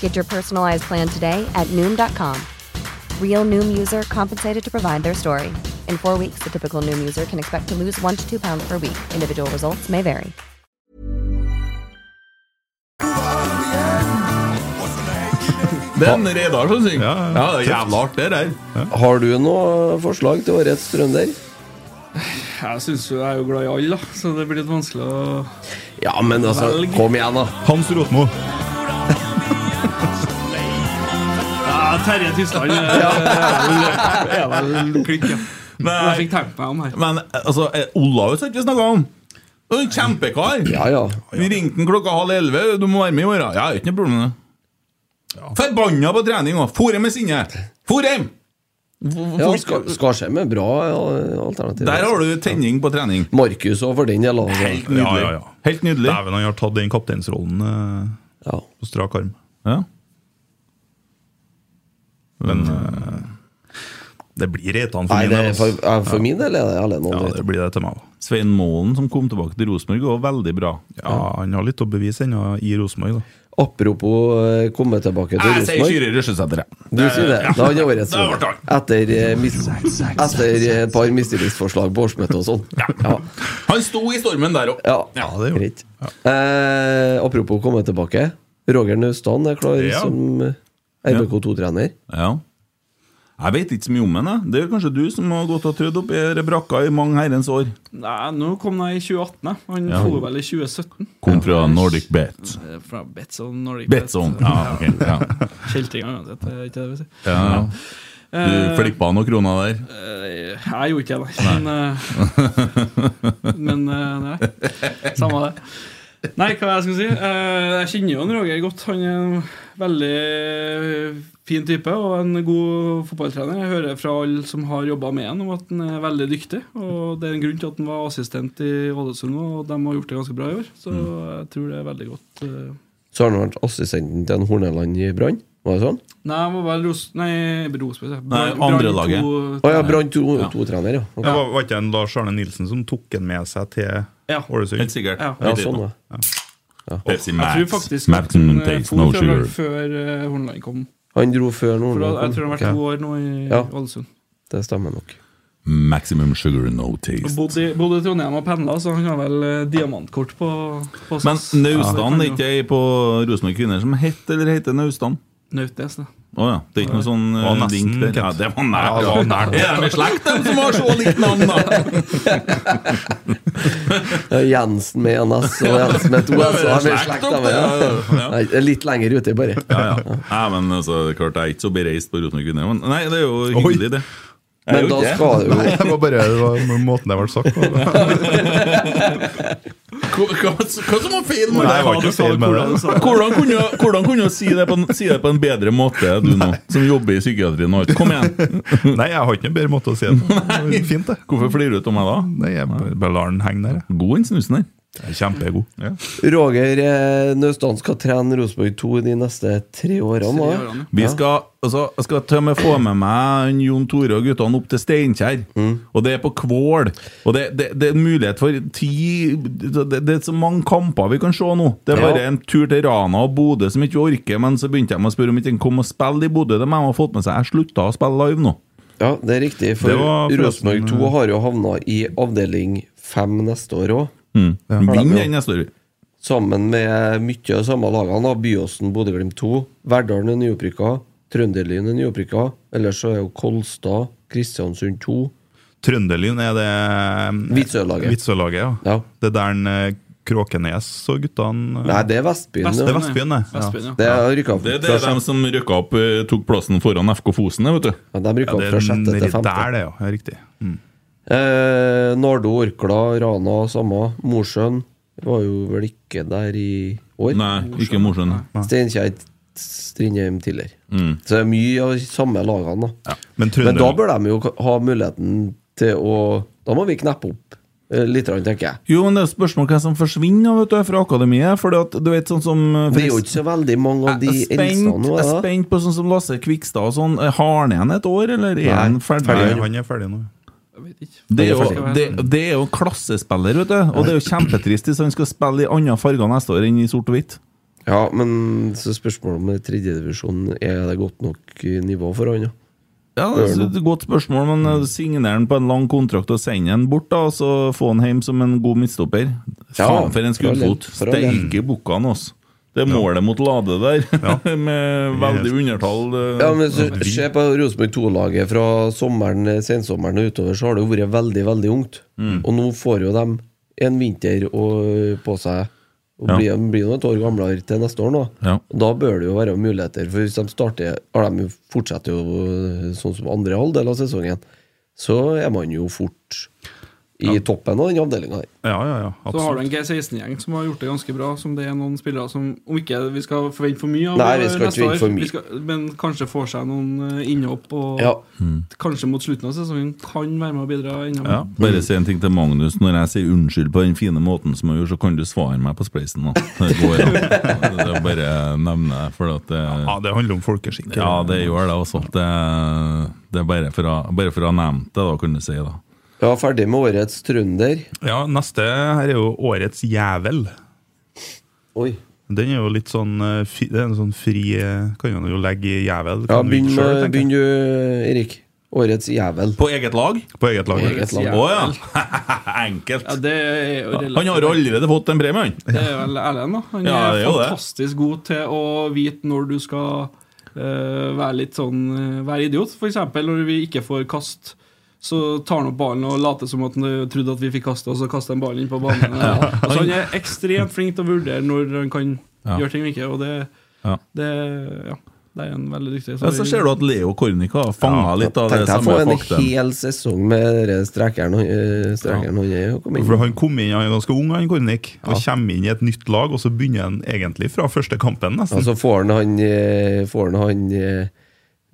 Get your personalized plan today at Noom.com. Real Noom user compensated to provide their story. In four weeks, the typical Noom user can expect to lose one to two pounds per week. Individual results may vary.
Det er en Reidar som synger. Ja, det er jævla artig, det der.
Har du noe forslag til årets trønder?
Jeg synes jo jeg er jo glad i alle, da, så det blir litt vanskelig å
Ja, men altså,
Velg.
kom igjen, da.
Hans Rotmo.
Ja, Terje Tysland eh, er vel er vel klikk, ja. Men jeg fikk tenkt meg om her.
Men altså, eh, Olaus har ikke vi snakka om. Det er en Kjempekar.
Ja, ja.
Vi ringte han klokka halv elleve. Du må være med i morgen. Ja, ikke noe problem med det. Forbanna på trening òg. Fôre med sinne. Fôre hjem!
ja Skar- Skarsheim er bra ja, alternativ.
Der har du tenning på trening.
Markus òg, for den del. altså.
Helt nydelig.
Ja, ja, ja.
Helt nydelig.
Dæven, han har tatt den kapteinsrollen eh,
Ja.
på strak arm.
Ja.
Men eh, det blir Reitan for min
Mm. Nei, det
del.
er
altså.
for, eh, for min del er det alene.
Ja,
om
det
det.
blir det til meg òg.
Svein Målen, som kom tilbake til Rosenborg, var veldig bra.
Ja, han har litt å bevise ennå i Rosenborg, da.
Apropos eh, komme tilbake til
Jeg sier
Rosenborg.
Kyrre Røsjesæter, jeg.
Du sier det. Da er det årets
Da ble
side.
han.
Etter, eh, mis, etter eh, et par mistillitsforslag på årsmøtet og sånn. Ja.
Han sto i stormen der òg.
Ja,
det gjorde
greit. Eh, apropos komme tilbake. Roger Naustdal er klar
Ja.
som RBK2-trener.
Ja. Jeg vet ikke så mye om henne. Det er kanskje du som har gått og trødd opp i denne brakka i mange herrens år.
Nei, nå kom jeg i 2018. jeg. Han
Ja.
dro vel i 2017.
Kom fra Nordic Bet.
Eh, Fra Betson Nordic.
Betson. Ja, ok. Ja.
Kjeltringa uansett. det er Ikke det, vi sier.
Ja. Du
Eh,
flippa noen kroner der.
eh, Jeg gjorde ikke det, nei. men, eh, men eh, nei. Samme det. Nei, hva jeg skal si? Eh, Jeg kjenner jo en Roger godt. Han er en veldig fin type og en god fotballtrener. Jeg hører fra alle som har jobba med han om at han er veldig dyktig. Og Det er en grunn til at han var assistent i Ålesund, og de har gjort det ganske bra i år. Så jeg tror det er veldig godt. eh,
Så har han vært assistenten til en Horneland i Brann. Var det sånn?
Nei, jeg må være Ros... Nei, Rosberg. jeg.
Nei,
Brann-
andre
Brann
laget.
to-
Å ja, Brann to, to trener, ja. Ok.
Det var, var ikke en Lars Arne Nilsen som tok den med seg til
Ja.
Ålesund?
Helt sikkert. Ja.
Ja, sånn, ja. Ja.
Pepsi
Jeg tror faktisk at han eh, for fra Brann før eh, Horneland kom.
Han dro før
For
Nordland
da- jeg tror han har vært
Ok.
to år nå i
Ja.
Ålesund.
Det stemmer nok.
Maximum sugar, no
Og
taste.
Bodde, i- bodde i Trondheim og pendla, så han har vel eh, diamantkort på, på
Men
SAS.
Naustan er ikke ei på Rosenborg Kvinner som het eller heter Naustan?
Nautnes, da.
Å ja. Det er ikke noe sånn
Det var
eh,
nesten,
link der?
Kent.
Ja, det var
Ja, det var nært.
nært. Ja, det er med slekt, dem som har så likt navn, da!
Det er Jensen med en S og Jensen med to S. Og han er slekt, da, men, ja. Nei, det er Litt lenger ute, bare.
Ja, ja. Nei, men altså, det er klart, jeg er ikke så bereist på Rosenborg Kvinner. Men nei, det er jo hyggelig, det. Jeg
Men
er jo
da
ikke
skal det jo- Nei, det var bare- det var måten det ble sagt på.
Hva, hva, hva som var feil
Nei, det var ikke
Du sa
feil med
hvordan-
det.
Hvordan kunne jeg- hvordan kunne jeg si det på en, si det på en bedre måte, du nå, som jobber i psykiatrien? og alt? Kom igjen!
Nei, jeg har ikke en bedre måte å si det på. Det var Fint, det.
Hvorfor flirer du av meg da?
Nei, jeg bare- bare lar den henge der.
jeg. God den snusen der.
Kjempegod.
Roger eh, Naustdal skal trene Rosenborg 2 de neste tre årene. Sånn da.
Vi skal, altså, jeg skal til og med få med meg en Jon Tore og guttene opp til Steinkjer. Og det er på Kvål. Og det, det, det er en mulighet for ti det, det er så mange kamper vi kan se nå. Det er
Ja.
bare en tur til Rana og Bodø som ikke orker, men så begynte de å spørre om ikke en kom og spille i Bodø. Det må de ha fått med seg. Jeg slutta å spille live nå.
Ja, det er riktig. For
Det var forresten-
Rosenborg 2 har jo havna i avdeling 5 neste år òg.
Mm. Vinn den neste år.
Sammen med mye av de samme lagene. da. Byåsen, Bodø-Glimt 2. Verdalen er nyopprykka. Trønderlyn er nyopprykka. Ellers så er jo Kolstad, Kristiansund 2.
Trønderlyn er det
Vitsø-laget.
Vitsø-laget, ja. Det der en, eh, Kråkenes og guttene eh,
Nei, det er Vestbyen.
Det er Vestbyen, det. Ja.
Det er rykka opp
Det, det er
fra
de som rykka opp, eh, tok plassen foran FK Fosen, det, vet du.
Ja, de rykka opp fra sjette til femte.
ja. Riktig.
Mm.
Eh, Nardo, Orkla, Rana, samme. Mosjøen var jo vel ikke der i år?
Nei, ikke Mosjøen.
Steinkjer, Strindheim tidligere.
Mm.
Så det er mye av de samme lagene, da.
Men,
Men da bør de jo ha muligheten til å Da må vi kneppe opp eh, litt, grann, tenker jeg.
Jo, men det er jo spørsmål hvem som forsvinner vet du, fra akademiet. Fordi at, du vet, sånn som
Det er jo ikke så veldig mange av de
Jeg er
eldste
spent,
nå.
jeg er
da.
spent på sånn som Lasse Kvikstad og sånn. Eh, Har han igjen et år, eller er
Nei,
han ferdig?
ferdig. Han er ferdig nå.
Det er,
Han er
jo,
ferdig.
det, det er jo klassespiller, vet du. Og det er jo kjempetrist hvis han skal spille i andre farger neste år enn i sort og hvitt.
Ja, men så spørsmålet om tredjedivisjonen er det godt nok eh, nivå for han, da?
Ja,
Det er
det er et godt spørsmål, men eh, signer han på en lang kontrakt og sender han bort, da, og så få han hjem som en god midtstopper?
Ja,
Faen, for en
for all del,
skuddfot!
for all del.
Steike bukkene, altså. Det er målet mot Lade der, med veldig undertall. eh,
Ja, men så,
vi-
Se på Rosenborg 2-laget fra sommeren, eh, sensommeren og utover, så har det jo vært veldig veldig ungt.
Mm.
Og nå får jo de en vinter og, på seg og
Ja.
blir, blir nå et år gamlere til neste år. Nå.
Ja.
Og Da bør det jo være muligheter, for hvis de starter har de jo fortsetter jo sånn som andre halvdel av sesongen, så er man jo fort i toppen av den avdelinga der.
Ja, ja, ja.
Så har du en G16-gjeng som har gjort det ganske bra. Som det er noen spillere som Om ikke vi skal forvente for mye av
Nei, vi
eh,
skal ikke
neste
forvente
år,
for mye.
vi skal- men kanskje får seg noen eh, innhopp, og
Ja.
kanskje mot slutten av sesongen kan være med og bidra enda mer.
Mm. Ja, bare si en ting til Magnus. Når jeg sier unnskyld på den fine måten som jeg gjør, så kan du svare meg på spleisen. Da. Det går an. Det er bare å nevne det. For at eh, det, ja,
det handler om folkeskikk.
Ja, det gjør det også. Det, det er bare for, å, bare for å ha nevnt det, da, kan du si. da
Ja, ferdig med årets trønder.
Ja, neste her er jo Årets jævel.
Oi.
Den er jo litt sånn eh, fi, Det er en sånn fri eh, Kan man jo legge i jævel.
Ja,
kan vi
begynn
ikke selv,
med-
tenker jeg.
begynn du, Erik. Årets jævel.
På eget lag?
På eget lag.
På eget lag.
Å ja! Enkelt.
Ja, det er jo relativt-
Han har allerede fått en premie, han.
Det er vel Erlend, da. Han
Ja, det
er
er jo det.
fantastisk god til å vite når du skal eh, være litt sånn eh, Være idiot. F.eks. når vi ikke får kast, så tar han opp ballen og later som at han eh, trodde at vi fikk kaste, og så kaster han ballen inn på banen.
Ja.
Altså, han er ekstremt flink til å vurdere når han kan
Ja.
gjøre ting og ikke, og det,
Ja.
det Ja, det er han veldig dyktig
Ja, så ser du at Leo Kornik har fanga litt av det
Tenkte jeg
samme
får en
faktum.
hel sesong med dere strekeren eh, strekeren han er. og kom inn.
For Han kom inn, han er ganske ung, han Kornik, og kommer inn i et nytt lag, og så begynner han egentlig fra første kampen, nesten.
Altså får han han, eh, får han, han eh,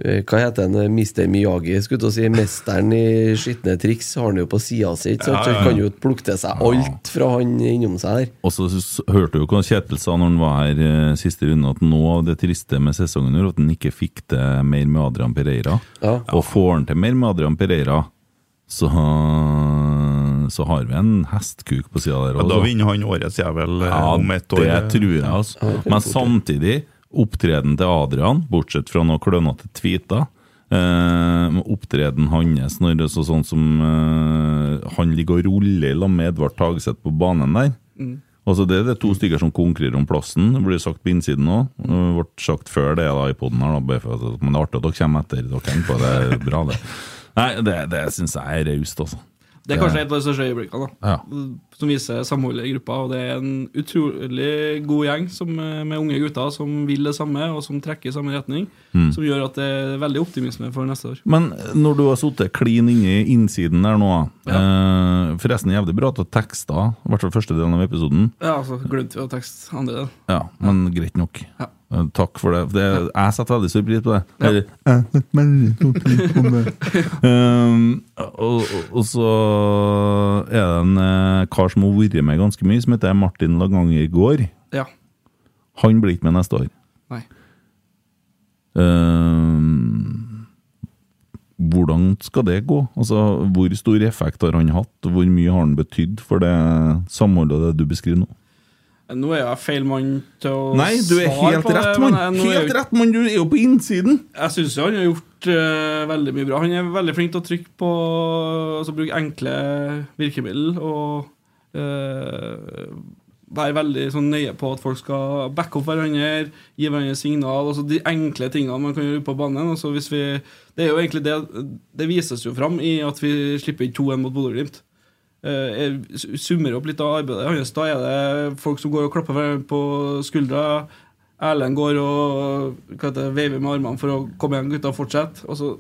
eh, Hva heter han? Mr. Miyagi, skulle jeg til å si. Mesteren i skitne triks har han jo på sida si. ikke sant?
Ja, ja,
Så
ja.
han kan jo plukke til seg alt fra han innom seg der.
Og så s- hørte du jo hva Kjetil sa når han var her eh, siste runde, at noe av det triste med sesongen er at han ikke fikk det mer med Adrian Pereira. Og får han til mer med Adrian Pereira, så, så har vi en hestkuk på sida der
Ja, da
også.
vinner han årets jævel eh,
Ja,
om ett år.
Det tror jeg, altså. Men samtidig, opptreden til Adrian, bortsett fra noen klønete tweeter eh, Opptreden hans når det er så sånn som eh, han ligger og ruller i lag med Edvard Tagseth på banen der
Mm.
Altså Det er det to stykker som konkurrerer om plassen. Det blir sagt på innsiden òg. Det ble sagt før det da i podden her, da, bare for at- men det er artig at dere kommer etter. Dere kommer på det, det er bra, det. Nei, det, det syns jeg er raust, altså.
Det er kanskje et av de største øyeblikkene da.
Ja.
som viser samholdet i gruppa. Og det er en utrolig god gjeng som, eh, med unge gutter som vil det samme, og som trekker i samme retning.
Mm.
Som gjør at det er veldig optimisme for neste år.
Men når du har sittet klin inne i innsiden der nå eh, Forresten, jævlig bra at du teksta, i hvert fall første delen av episoden.
Ja, altså, glemte vi å tekste andre del.
Ja, Men greit nok. Eh, Takk for det. det jeg setter veldig stor pris på det.
Ja.
Eller, Um, og, og- og så er det en eh, kar som har vært med ganske mye, som heter Martin Laganger Gård.
Ja.
Han blir ikke med neste år.
Nei.
Um, hvordan skal det gå? Altså, Hvor stor effekt har han hatt? Hvor mye har han betydd for det samholdet og det du beskriver nå?
Nå er jeg feil mann til å
Nei, du er
svare
helt
på det,
rett,
men
mann.
jeg- nå er
Helt
jeg-
rett, mann. Du er jo på innsiden.
Jeg syns han har gjort eh, veldig mye bra. Han er veldig flink til å trykke på Altså bruke enkle virkemidler og eh, være veldig sånn nøye på at folk skal backe opp hverandre, gi hverandre signal. Altså de enkle tingene man kan gjøre på banen. Altså hvis vi, det er jo egentlig det Det vises jo fram i at vi slipper inn 2-1 mot Bodø-Glimt. Eh, jeg summer opp litt av arbeidet hans. Da er det folk som går og klapper hverandre på skuldra. Erlend går og hva heter, det, veiver med armene for å komme igjen, gutta, fortsett. Og så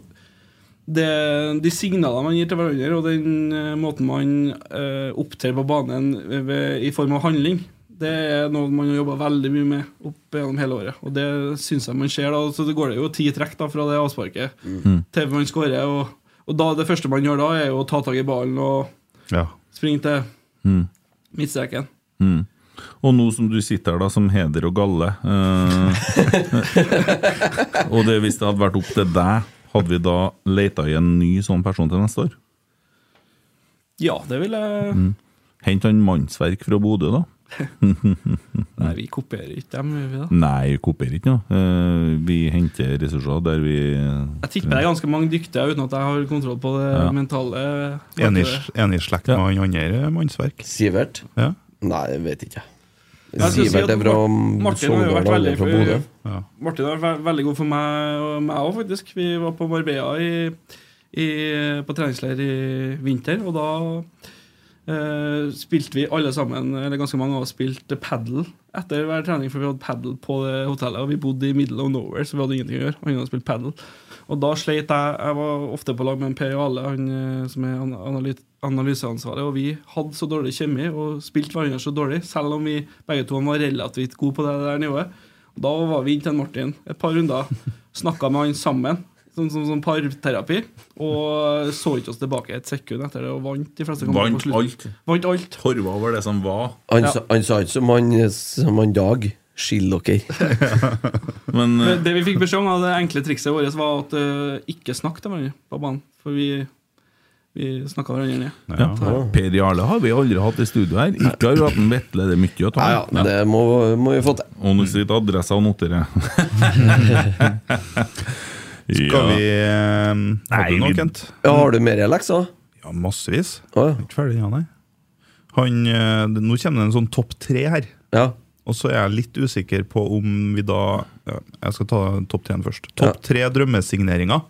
det, de signalene man gir til hverandre, og den eh, måten man eh, opptrer på banen ved, i form av handling, det er noe man har jobba veldig mye med opp gjennom hele året. Og det syns jeg man ser. da, så Det går det jo ti trekk da fra det avsparket
Mm.
til man skårer. Og, og da, det første man gjør da, er jo å ta tak i ballen og
Ja.
springe til
Mm.
midtstreken.
Mm. Og nå som du sitter her da som heder og galle eh, Og det hvis det hadde vært opp til deg, hadde vi da leita i en ny sånn person til neste år?
Ja, det vil jeg
Mm. Hent han mannsverk fra Bodø, da.
Nei, vi kopierer ikke dem, gjør vi da?
Nei, kopierer ikke noe. Eh, vi henter ressurser der vi
Jeg tipper det er ganske mange dyktige uten at jeg har kontroll på det
Ja.
mentale.
Enig i slekt med han andre eh, mannsverk.
Sivert?
Ja.
Nei, jeg vet ikke.
Jeg skal si
Sivert
at
er fra
Mar- Martin har jo
Sogndal,
vært
han
veldig
er fra Bodø.
Martin har vært veldig god for meg og meg òg, faktisk. Vi var på Marbella i, i, på treningsleir i vinter, og da eh, spilte vi alle sammen, eller ganske mange av oss, spilte padel etter hver trening, for vi hadde padel på det hotellet, og vi bodde i middle of nowhere, så vi hadde ingenting å gjøre. Han hadde spilt padel. Og da sleit jeg Jeg var ofte på lag med en Per Ale, han eh, som er an- analyt- analyseansvarlig, og vi hadde så dårlig kjemi og spilte hverandre så dårlig, selv om vi begge to var relativt gode på det der nivået. Og Da var vi inn til en Martin et par runder, snakka med han sammen, sånn som sånn, parterapi, og så ikke oss tilbake et sekund etter det og vant de fleste kampene. på
Vant
slutten.
alt.
Vant alt.
Torva var det som var.
Han,
Ja.
sa, han sa ikke som han, som han Dag. Skill dere.
Men eh,
Men det vi fikk beskjed om, da, det enkle trikset vårt, var at eh, ikke snakk til hverandre på banen. For vi, vi snakka hverandre ned.
Ja. Per Jarle har vi aldri hatt i studio her. Ikke har vi hatt en Vetle, det er mye å ta. Ja,
det må, vi få til.
Og nå sitter adressa og noterer.
Skal vi eh, Nei,
Nei,
du noe,
vi-
Kent?
Ja, har du mer lekser?
Ja, massevis. Ikke ferdig, ja, nei. Han, eh, det- nå kommer det en sånn topp tre her. Og så er jeg litt usikker på om vi da ja, Jeg skal ta topp tre først. Topp tre drømmesigneringer.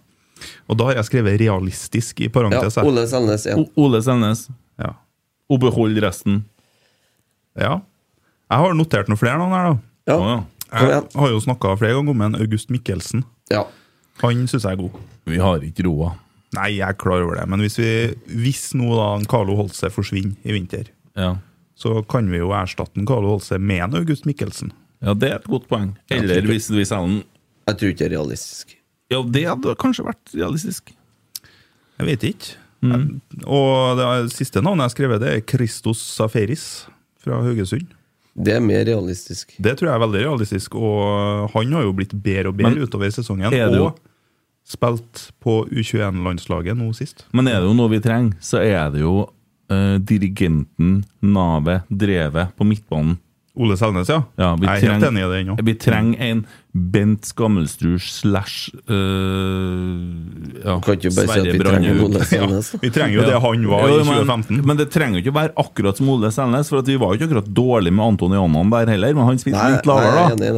Og da har jeg skrevet 'realistisk' i parentes.
Ja,
her.
Ole Selnes igjen.
O- Ole Selnes.
Ja.
Og behold resten.
Ja. Jeg har notert noen flere navn her, da. Jeg har jo snakka flere ganger om en August Mikkelsen. Han syns jeg er god.
Vi har ikke roa.
Nei, jeg er klar over det. Men hvis, vi, hvis nå da en Carlo Holse forsvinner i vinter,
Ja.
så kan vi jo erstatte en Carlo Holse med en August Mikkelsen.
Ja, det er et godt poeng. Eller hvis vi selger den
Jeg tror ikke det er realistisk.
Ja, det hadde kanskje vært realistisk.
Jeg vet ikke.
Mm.
Jeg, og det er- siste navnet jeg har skrevet, det er Christos Saferis fra Haugesund.
Det er mer realistisk.
Det tror jeg er veldig realistisk, og han har jo blitt bedre og bedre
Men
utover sesongen.
er det jo-
Og spilt på U21-landslaget nå sist.
Men er det jo noe vi trenger, så er det jo eh, dirigenten, navet, drevet på midtbanen.
Ole Selnes, ja.
vi
Jeg er helt
trenger-
enig i det ennå.
Vi trenger en Bent Skammelstrud slash eh, ja,
Kan ikke bare si at
Sverre
vi
Brandhaug.
trenger altså. Ole Selnes,
Ja,
da. Vi trenger jo det han var i 2015.
Men, men det trenger jo ikke å være akkurat som Ole Selnes, for at vi var jo ikke akkurat dårlig med Anton Janan der heller, men han spilte
Nei,
litt lavere, da.
nei, jeg er enig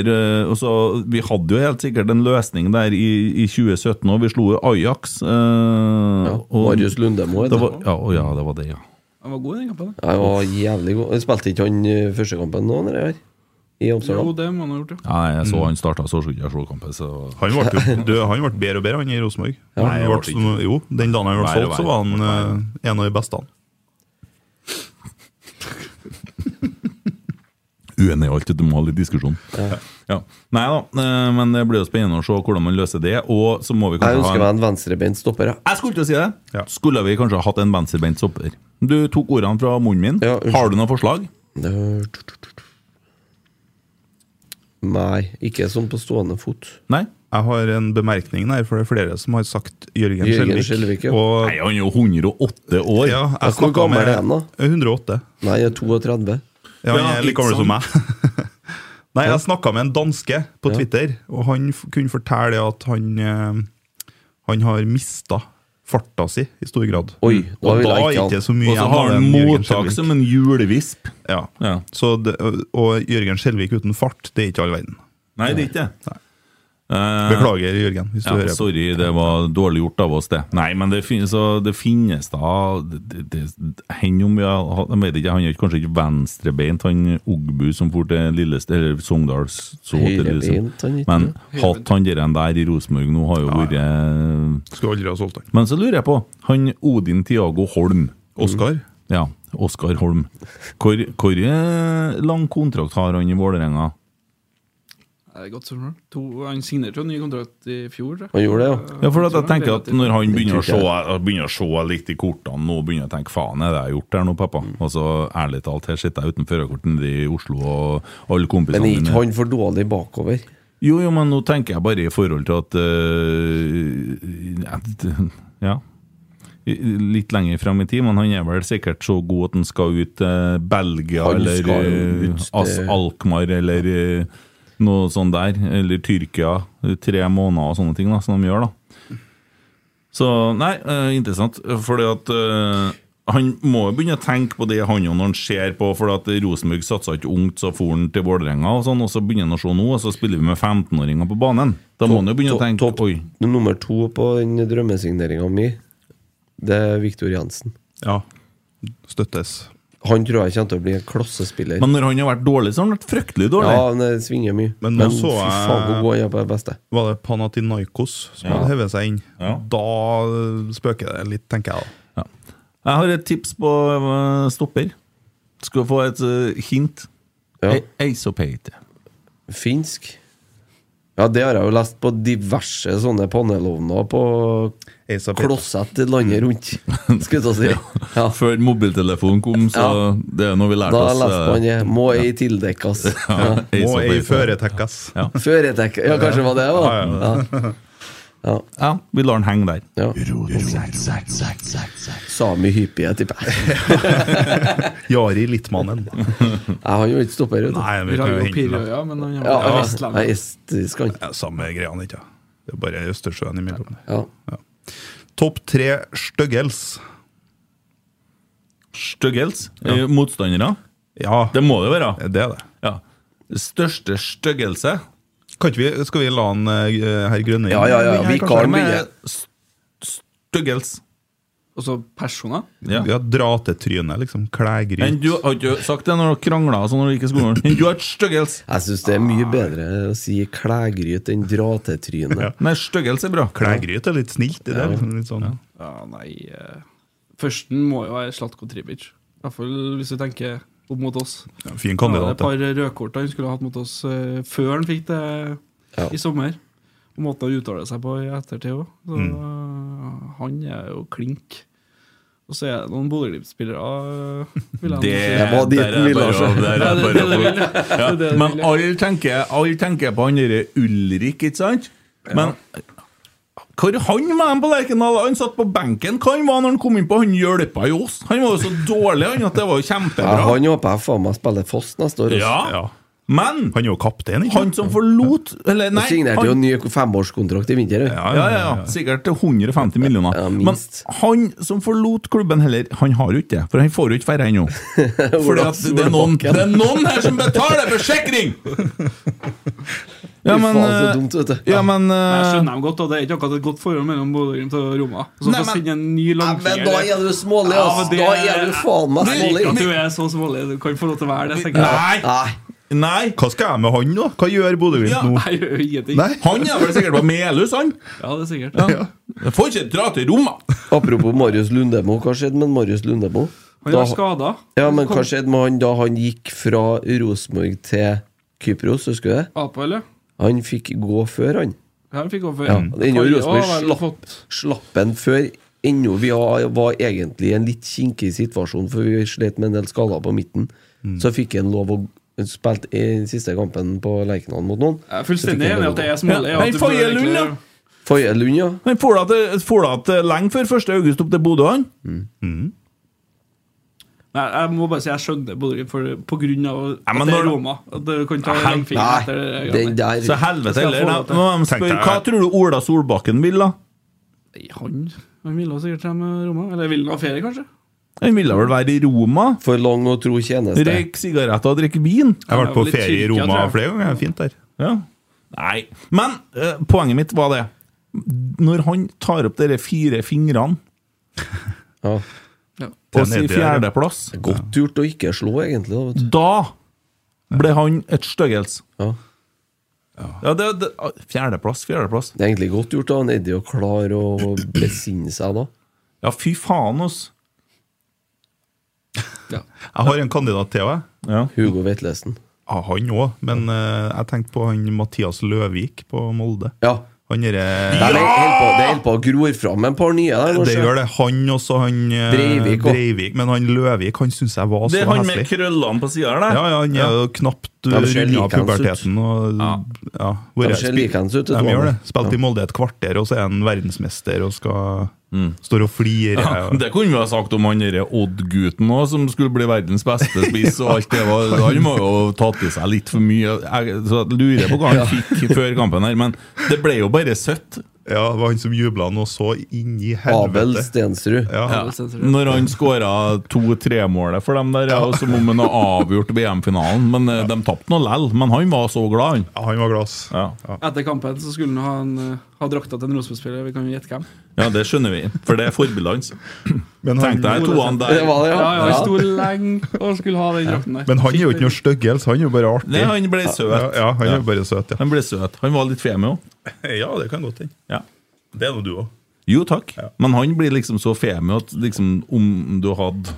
i det.
Eller, eh, og så- vi hadde jo helt sikkert en løsning der i, i 2017 òg. Vi slo jo Ajax. eh, og-
Marius Lundemo, er det?
det var, ja, å ja, det var det, ja.
Han var god i den kampen.
Jeg var jævlig god. Spilte ikke han eh, første kampen nå, når jeg var i
da. Jo,
Amsterdam?
det må han ha gjort, ja.
Nei, jeg så
Mm.
han starta, så skulle jeg slå kampen. Så.
Han ble, jo- du, han ble bedre og bedre, han i Rosenborg.
Ja.
Han
Nei,
ble
det ble
som- Jo, den dagen han ble
Verre,
solgt, så
verre.
var han eh, en av de beste. han.
uenig i alt, du må ha litt diskusjon. Ja. Nei da, eh, men det blir jo spennende å se hvordan man løser det. Og så må vi
Jeg
kanskje
ønsker
ha
meg en venstrebeint stopper, ja.
Jeg skulle til å si det! Skulle vi kanskje ha hatt en venstrebeint stopper? Du tok ordene fra munnen min. Har du noe forslag?
Nei, ikke sånn på stående fot.
Nei.
Jeg har en bemerkning der, for det er flere som har sagt Jørgen,
Jørgen
Skjelvik.
Skjelvik, ja.
og-
Nei, han er jo 108 år.
Ja, jeg
Ja, hvor
snakket
gammel
med-
er han da?
108.
Nei, jeg er 32.
Ja, han er like gammel som meg. Nei, jeg snakka med en danske på
Ja.
Twitter, og han f kunne fortelle at han eh, Han har mista farta si i stor grad.
Oi, da
og
vil
da
jeg ikke
er
han.
ikke så mye
Mm. Og så
igjen
har
av
han
den Jørgen
mottak
Skjelvik.
som en julevisp.
ja.
Ja.
Så det, og Jørgen Skjelvik uten fart, det er ikke all verden.
Nei, det er ikke det. Eh,
Beklager, Jørgen, hvis du
ja,
hører på.
Sorry, det var dårlig gjort av oss, det. Nei, men det finnes, så det finnes da det, det, Hen om vi har hatt- Jeg vet ikke, han er ikke- kanskje ikke venstrebeint, han Ogbu som for til Lillested eller Sogndal. så til Lillesand.
Høyrebeint, han ikke.
Men hatt han der, enn der i Rosenborg nå, har jo vært eh,
Skulle aldri ha solgt han.
Men så lurer jeg på, han Odin Tiago Holm
Oskar?
Ja, Oskar Holm. Hvor, hvor eh, lang kontrakt har han i Vålerenga?
Det er godt spørsmål. To- Han signerte jo en ny kontrakt i fjor. tror jeg.
Ja, for at jeg
Så han
tenker at
relativt-
Når han begynner å se, begynner å se litt i kortene nå, begynner jeg å tenke faen, er det jeg har gjort her nå, pappa?
Mm.
Og så ærlig talt, her sitter jeg uten førerkort nede i Oslo, og alle kompisene
Men er ikke han for dårlig bakover?
Jo, jo, men nå tenker jeg bare i forhold til at øh, at, Ja. Litt lenger frem i tid, men han er vel sikkert så god at han skal ut til Belgia
Han
eller
skal
øh,
ut til-
As Alkmaar eller øh, noe sånt der. Eller Tyrkia. Tre måneder og sånne ting da, som de gjør, da. Så nei, eh, interessant. Fordi at eh, han må jo begynne å tenke på det han jo når han ser på Fordi at Rosenborg satsa ikke ungt, så for han til Vålerenga, og sånn, og så begynner han å se nå, og så spiller vi med 15-åringer på banen. Da må han jo begynne å tenke Oi.
Nummer to på den drømmesigneringa mi, det er Viktor Jensen.
Ja. Støttes.
Han tror jeg kommer til å bli en klassespiller.
Men når han har vært dårlig, så har han vært fryktelig dårlig.
ja, men det svinger mye.
Men nå så
fy
jeg-
faen, hvor god han er på det beste.
Var det Panathinaikos som
Ja.
hadde hevet seg inn?
Ja.
Da spøker det litt, tenker jeg. da.
Jeg har et tips på øh, stopper. Skal få et øh, hint.
Ja.
E- Eisopeite.
Finsk. Ja, det har jeg jo lest på diverse sånne panelovner på klossett landet
Mm.
rundt. Skulle jeg til å si.
Før mobiltelefonen kom, så
Ja.
det er noe vi lærte
Da
oss.
leste
øh,
man det. Må ei tildekkas.
Ja.
Ja.
Må ei
Eisopeite.
føretekkes.
Ja.
Føretek Ja, kanskje det var det, da. Ja, Ja.
ja, vi lar den henge der.
Sami hyppige, tipper jeg.
Jari Littmannen.
Nei, Han er jo ikke stopper, vet du.
Nei, vi kan jo
Rayo
hente den.
Pirjo, ja, men han
Ja,
var
est- nei, estisk han.
Ja, Samme greiene, ikke ja. Det er bare Østersjøen imellom.
Ja.
Topp tre styggels.
Styggels?
Ja.
Eh, Motstandere?
Ja,
Det må det være.
det er det.
Ja. Største styggelse?
Kan ikke vi, skal vi la han eh, herr Grønne
Ja, ja, ja,
Her,
vi
kanskje?
kan
Hvem er
begynne.
st- Styggels.
Også personer.
Ja.
Ja, dra til trynet, liksom.
Men
Klægryt.
du har ikke sagt det når dere krangla og sånn når dere gikk i skolen. Men du har et styggels!
Jeg syns det er mye bedre å si klægryt enn dra til trynet.
Nei, styggels er bra.
Klægryt er litt snilt. Det der, liksom, litt sånn.
Ja, nei eh, Førsten må jo være Slatko Tribic. I hvert fall hvis du tenker opp mot oss.
Ja, fin
Han hadde
kandidat.
et par rødkort han skulle ha hatt mot oss eh, før han fikk det
Ja.
i sommer. måten han uttaler seg på i ettertid òg. Han er jo klink. Og så er det noen Bodø-Glimt-spillere eh, vil jeg
Det,
si.
der er bare å- der er
Ja, det-
bare
det- det-
å-
det-
Ja,
det- det-
Men alle tenker, alle tenker på han derre Ulrik, ikke sant? Men hvor han var han på Lerkendal? Han satt på benken. Hva han var når han kom inn på? Han hjelpa jo oss. Han var jo så dårlig, han, at det var jo
Ja,
kjempebra.
han håper jeg faen meg spiller Foss neste år.
Ja. Men
Han er jo kaptein,
han som forlot Eller, nei.
Han signerte
han-
jo en ny femårskontrakt i vinter. Ja,
ja, ja, ja. Sikkert til 150 millioner. Men han som forlot klubben heller, han har jo ikke det. For han får jo ikke færre ennå. For det, er noen- det er noen her som betaler forsikring! Ja, men,
faen, så
eh,
dumt,
ja, men, eh,
Men jeg skjønner dem godt, og det er ikke akkurat et godt forhold mellom Bodø-Glimt og Roma. Og Så
Nei,
får
men-
sende en ny langfinger
men da er du smålig, ass. Da er du faen meg smålig.
At du er så smålig. Du kan få lov til å være det. tenker
Nei.
jeg.
Nei!
Hva skal jeg med han, da? Hva gjør Bodø-Glimt
Ja,
nå?
jeg gjør ingenting.
Nei.
Han er vel sikkert på Melhus, han?
Ja, det er sikkert.
Ja. Jeg får ikke dra til Roma!
Apropos Marius Lundemo, hva skjedde med Marius Lundemo?
Han var
Da-
skadet.
Ja, men hva skjedde med han da han gikk fra Rosenborg til Kypros, husker du det?
Apa, eller?
Han fikk gå før, han.
Ja, han fikk gå før.
Ja, det ender jo
Kaja
Rosenborg
har vel
slapp, slapp en før ennå. Vi har- var egentlig i en litt kinkig situasjon, for vi slet med en del skader på midten.
Mm.
Så fikk han lov å spille i den siste kampen på Lerkendal mot noen.
Jeg er fullstendig enig i at det er smålig.
Ja,
og at
men
du burde
Faye Lund,
egentlig-
da?
Faye Lund, ja.
Han får da til- får da til lenge før 1. august opp til Bodø, han.
Mm.
Mm.
Mm.
Nei, jeg må bare si jeg skjønner Bodø-Glimt for- på grunn av at
men
det er
når-
Roma. At du kan
Ah,
ta
Nei,
langfinger etter det. greiene.
Så helvete
Skal jeg
heller.
få
da.
lov til?
Nå må de spørre, Hva tror du Ola Solbakken vil, da?
Nei, Han Han ville sikkert til med Roma. Eller ville han ha ferie, kanskje?
Han ville vel være i Roma?
For lang og tro tjeneste.
Røyke sigaretter og drikke vin.
Jeg har vært på ferie i Roma flere ganger. Det er Fint der.
Ja. Nei. Men eh, poenget mitt var det Når han tar opp de fire fingrene
Ja.
og sier fjerdeplass
Godt gjort å ikke slå, egentlig. Da, vet du.
Da ble han et styggels.
Ja.
det, det, ah, fjerdeplass, fjerdeplass.
Det er egentlig godt gjort av Eddie å klare å besinne seg da.
Ja, fy faen, ass.
Jeg har en kandidat til, jeg.
Hugo Vetlesen.
Ja, han òg, men eh, jeg tenkte på han Mathias Løvik på Molde.
Ja.
Han derre
Det er helt på, det er helt på gror fram en par nye der.
Det gjør det. Han også, han eh,
Breivik også.
Breivik. Men han Løvik han syns jeg var så
Det er han med
heslig.
krøllene på sida der.
Ja, ja, han er jo knapt
Ja, de ser
runda
likeens ut.
puberteten. Og, ja. hvor
De
jeg
ser
spil-
likeens ut, det
De
tror jeg.
gjør det. Spilte
Ja.
i Molde et kvarter, og så er han verdensmester og skal står og flirer.
Ja,
og-
det kunne vi ha sagt om han derre Odd-gutten òg, som skulle bli verdens beste spiss. og alt det var, Han må jo ha tatt i seg litt for mye. Jeg så jeg lurer på hva han fikk før kampen her, men det ble jo bare søtt.
Ja, det var han som jubla nå så inn i helvete.
Abel Stensrud.
Ja.
Når han skåra to-tre-målet for dem der, ja, som om han har avgjort VM-finalen. Men eh, de tapte nå lell. Men han var så glad, han.
Ja, han var glass.
Ja.
Etter kampen så skulle han ha, en, eh, ha drakta til en Rosenborg-spiller. Vi kan jo gjette hvem.
ja, det skjønner vi, for det er forbildet hans.
Men han-
Tenk deg toene der.
ja. ja, Han sto lenge og skulle ha den drakten der.
Men han er jo ikke noe styggelse, han er jo bare artig.
Nei, han ble søt.
Ja, ja han er
Ja.
jo bare søt, ja.
Han ble søt. Han var litt femi òg.
Ja, det kan godt hende.
Ja.
Det er nå du òg.
Jo takk, men han blir liksom så femi at liksom, om du hadde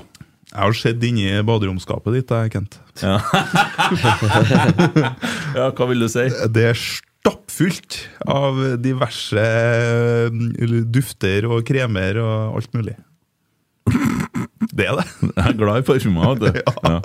Jeg har sett inni baderomsskapet ditt, jeg, Kent.
Ja. ja, hva vil du si?
Det er stappfullt av diverse eh, dufter og kremer og alt mulig. Det er det.
Jeg er glad i parfymer. vet du. Ja.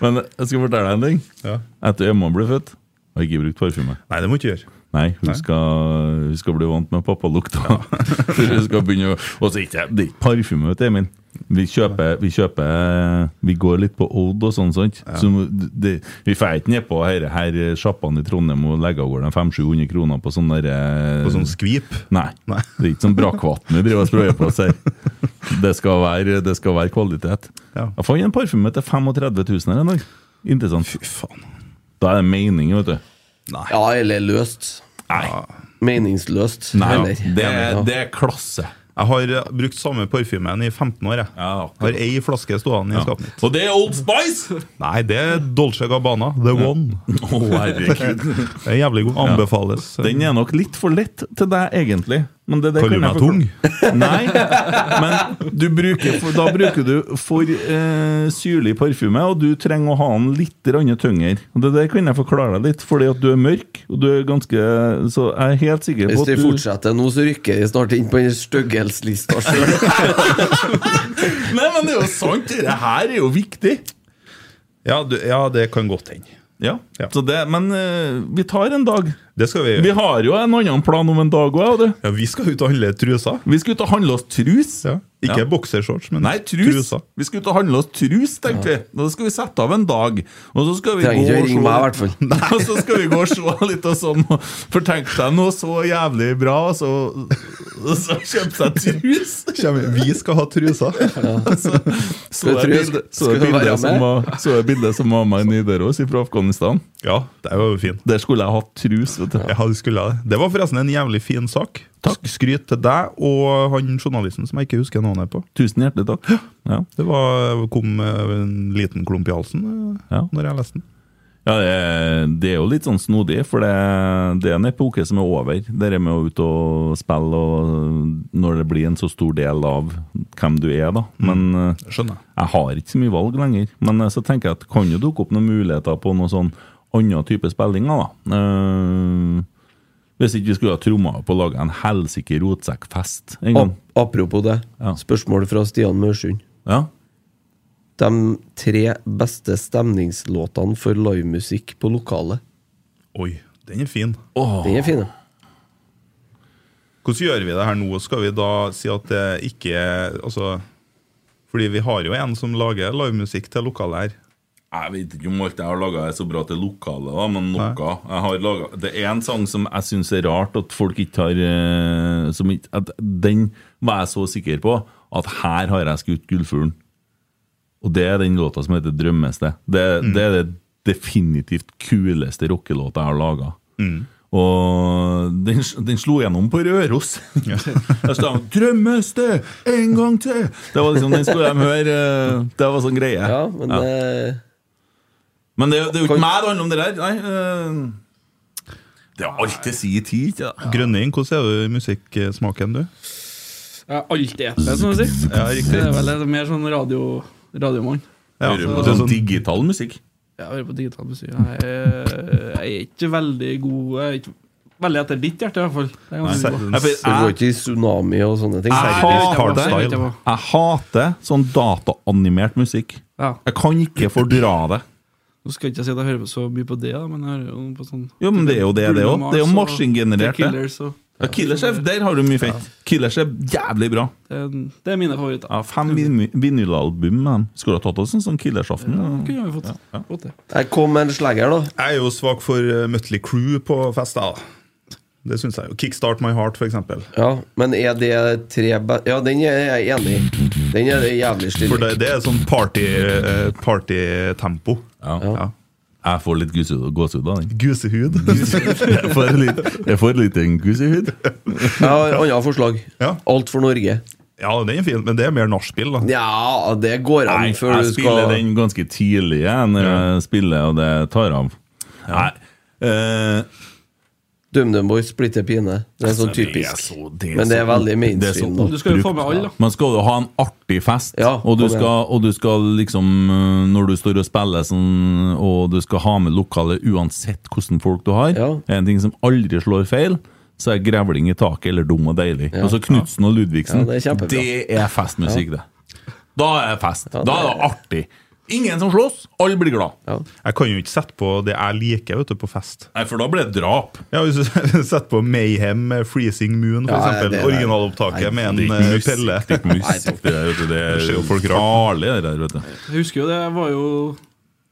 Men jeg skal fortelle deg en ting.
Ja.
Etter Emma ble født, har jeg ikke brukt parfyme.
Nei, det må du ikke gjøre.
Nei, hun,
Nei.
Skal, hun skal bli vant med pappalukta. hun skal begynne å Og så ikke det er ikke parfyme, vet du, Emil. Vi kjøper, vi kjøper Vi går litt på Odd og sånn, sant. Så det, vi får ikke nedpå her, her eh, sjappene i Trondheim og legger av gårde 500-700 kroner på sånn derre
På sånn skvip.
Nei. Det er ikke sånn brakvatn vi driver og sprøyer på oss her. Det skal være, det skal være kvalitet.
Ja.
Jeg fant en parfyme til 35 000 her en dag. Interessant. Fy faen. Da er det mening, vet du.
Ja, eller løst.
Nei.
Meningsløst.
Nei,
eller?
det, er-
Ja.
det er klasse.
Jeg har eh, brukt samme parfymen i 15 år. jeg.
Ja,
Har ei flaske stående i
Ja.
skapet mitt.
Og det er Old Spice!
Nei, det er Dolce Gabbana. The One.
Å, herregud.
Det er jævlig god. Anbefales.
Den er nok litt for lett til deg, egentlig. Men det, det
Kaller du
kan
meg
jeg
tung?
forklare. Nei, men du bruker, for, da bruker du for eh, syrlig parfyme, og du trenger å ha den litt rann tyngre. Og Det der kan jeg forklare deg litt, fordi at du er mørk, og du er ganske Så jeg er helt sikker på
Hvis
at
vi
du
fortsetter nå, så rykker vi snart inn på den styggelslista sjøl.
Nei, men det er jo sant! Det her er jo viktig.
Ja, du, ja det kan godt hende.
Ja. Så det, men eh, vi tar en dag.
Det skal vi gjøre.
Vi har jo en annen plan om en dag òg.
Ja, vi skal ut og handle truser.
Vi skal ut og handle oss trus.
Ikke
Ja.
boksershorts, men
Nei, trus. Vi skal ut og handle oss trus, tenkte vi. Da skal vi sette av en dag. Og så skal vi
Trenger
gå
ikke
og
ringe
se-
meg, i hvert fall.
Nei, Og så skal vi gå og se litt og sånn. For tenk deg noe så jævlig bra, og så, og så kjøpe seg trus.
Kjem- Vi skal ha truser.
Så, Altså, så det bildet, så det bildet som var- så det bildet som var med i Nidaros fra Afghanistan.
Ja, det var jo fint.
Der skulle jeg hatt trus. vet du
Ja, du skulle ha Det Det var forresten en jævlig fin sak. Takk. Skryt til deg og han journalisten som jeg ikke husker navnet på.
Tusen hjertelig takk.
Det var, kom eh, en liten klump i halsen eh, når jeg leste den.
Ja, det er, det er jo litt sånn snodig, for det, det er en epoke som er over. Det er med å ut og spille, og når det blir en så stor del av hvem du er, da. Men eh, jeg har ikke så mye valg lenger. Men eh, så tenker jeg at kan jo dukke opp noen muligheter på noen sånn annen type spillinger, da. Eh, hvis ikke vi skulle ha tromma på å lage en helsike rotsekkfest en gang.
Ap- Apropos det, spørsmål fra Stian Mørsund. De tre beste stemningslåtene for livemusikk på lokalet.
Oi, den er fin.
Den er fin, ja.
Hvordan gjør vi det her nå? Skal vi da si at det ikke Altså Fordi vi har jo en som lager livemusikk til lokalet her.
Jeg vet ikke om alt jeg har laga er så bra til lokalet, da, men noe. Jeg har laget, det er en sang som jeg syns er rart at folk ikke har eh, som ikke, at Den var jeg så sikker på at her har jeg skutt gullfuglen. Og det er den låta som heter 'Drømmested'. Det, det er det definitivt kuleste rockelåta jeg har laga.
Mm.
Og den, den slo gjennom på Røros. Altså, Der står han 'Drømmested, en gang til'! Det var liksom, Den skulle de høre. eh, Det var sånn greie.
Ja, men
Ja.
eh,
Men det, det er jo
Kan-
ikke meg det handler om, det der. Nei, eh, det er alt jeg sier i tid. ikke da?
Grønning, hvordan er du i musikksmaken, du?
Jeg har alltid ett, som du sier.
Ja, riktig.
Det er vel en mer sånn radio, radiomann.
Ja,
Hører
Så-
på sånn digital musikk.
Ja, jeg hører på digital musikk. Jeg er, jeg er ikke veldig god Jeg er ikke veldig etter ditt hjerte, i hvert fall. Det er
Nei,
ganske
ser-
god.
Nei, for
Så det går
jeg-
ikke i tsunami og sånne ting.
Jeg hater, jeg hater sånn dataanimert musikk.
Ja.
Jeg kan ikke fordra det.
Nå skal jeg ikke si at jeg hører på så mye på det, da, men jeg hører jo på sånn
Jo, men det er jo det, det òg. Det er jo
Bruno Mars og
maskingenerert,
The
det.
Killers og-
Ja, Killers er, der har du mye fett. Killers er jævlig bra.
Det er, det er mine favoritter.
Ja, fem vin- vinylalbum. men Skulle ha tatt oss en sånn Killersaften.
Det kunne vi fått. fått det.
Jeg kom med en slegger, da.
Jeg er jo svak for eh, Mötley Crew på fest, da. Det syns jeg jo. Kickstart My Heart, for eksempel.
Ja, men er det tre be Ja, den er jeg enig i. Den er det jævlig stille.
For det, det er sånn party, eh, partytempo.
Ja. Jeg får litt gåsehud gåsehud av den.
Gusehud.
Jeg får litt, jeg får litt en gusehud.
Jeg har annet forslag. Alt for Norge.
Ja, den er fin, men det er mer nachspiel, da.
Ja, det går an
Nei,
før
jeg
du skal
spiller den ganske tidlig jeg, når jeg spiller, og det tar av. Nei. eh,
DumDum Boys splitter pine. Det er sånn
Altså, det er
typisk.
så- det er
Men det er
så-
veldig mainstream.
det er så
da.
oppbrukt. Men skal du ha en artig fest, og, du
kom igjen.
skal, og du skal liksom eh, Når du står og spiller sånn, og du skal ha med lokalet uansett hvordan folk du har, en ting som aldri slår feil, så er grevling i taket eller dum og deilig.
Ja.
Og så Knutsen og Ludvigsen.
Ja, det er kjempebra.
det er festmusikk,
Ja.
det. Da er det fest. Da er det artig. Ingen som slåss, alle blir glad.
Jeg kan jo ikke sette på det jeg liker vet du, på fest.
Nei, for da blir det drap.
Ja, Hvis du setter på Mayhem med 'Freezing Moon', for
Ja, ja,
eksempel,
det er-
originalopptaket
Nei,
med
det
en
er
eh,
musikk,
Pelle
det er ikke musikk, det er, det er,
ser jo
jo
folk rart.
farlig, det der, vet du.
Jeg husker jo det. Jeg var jo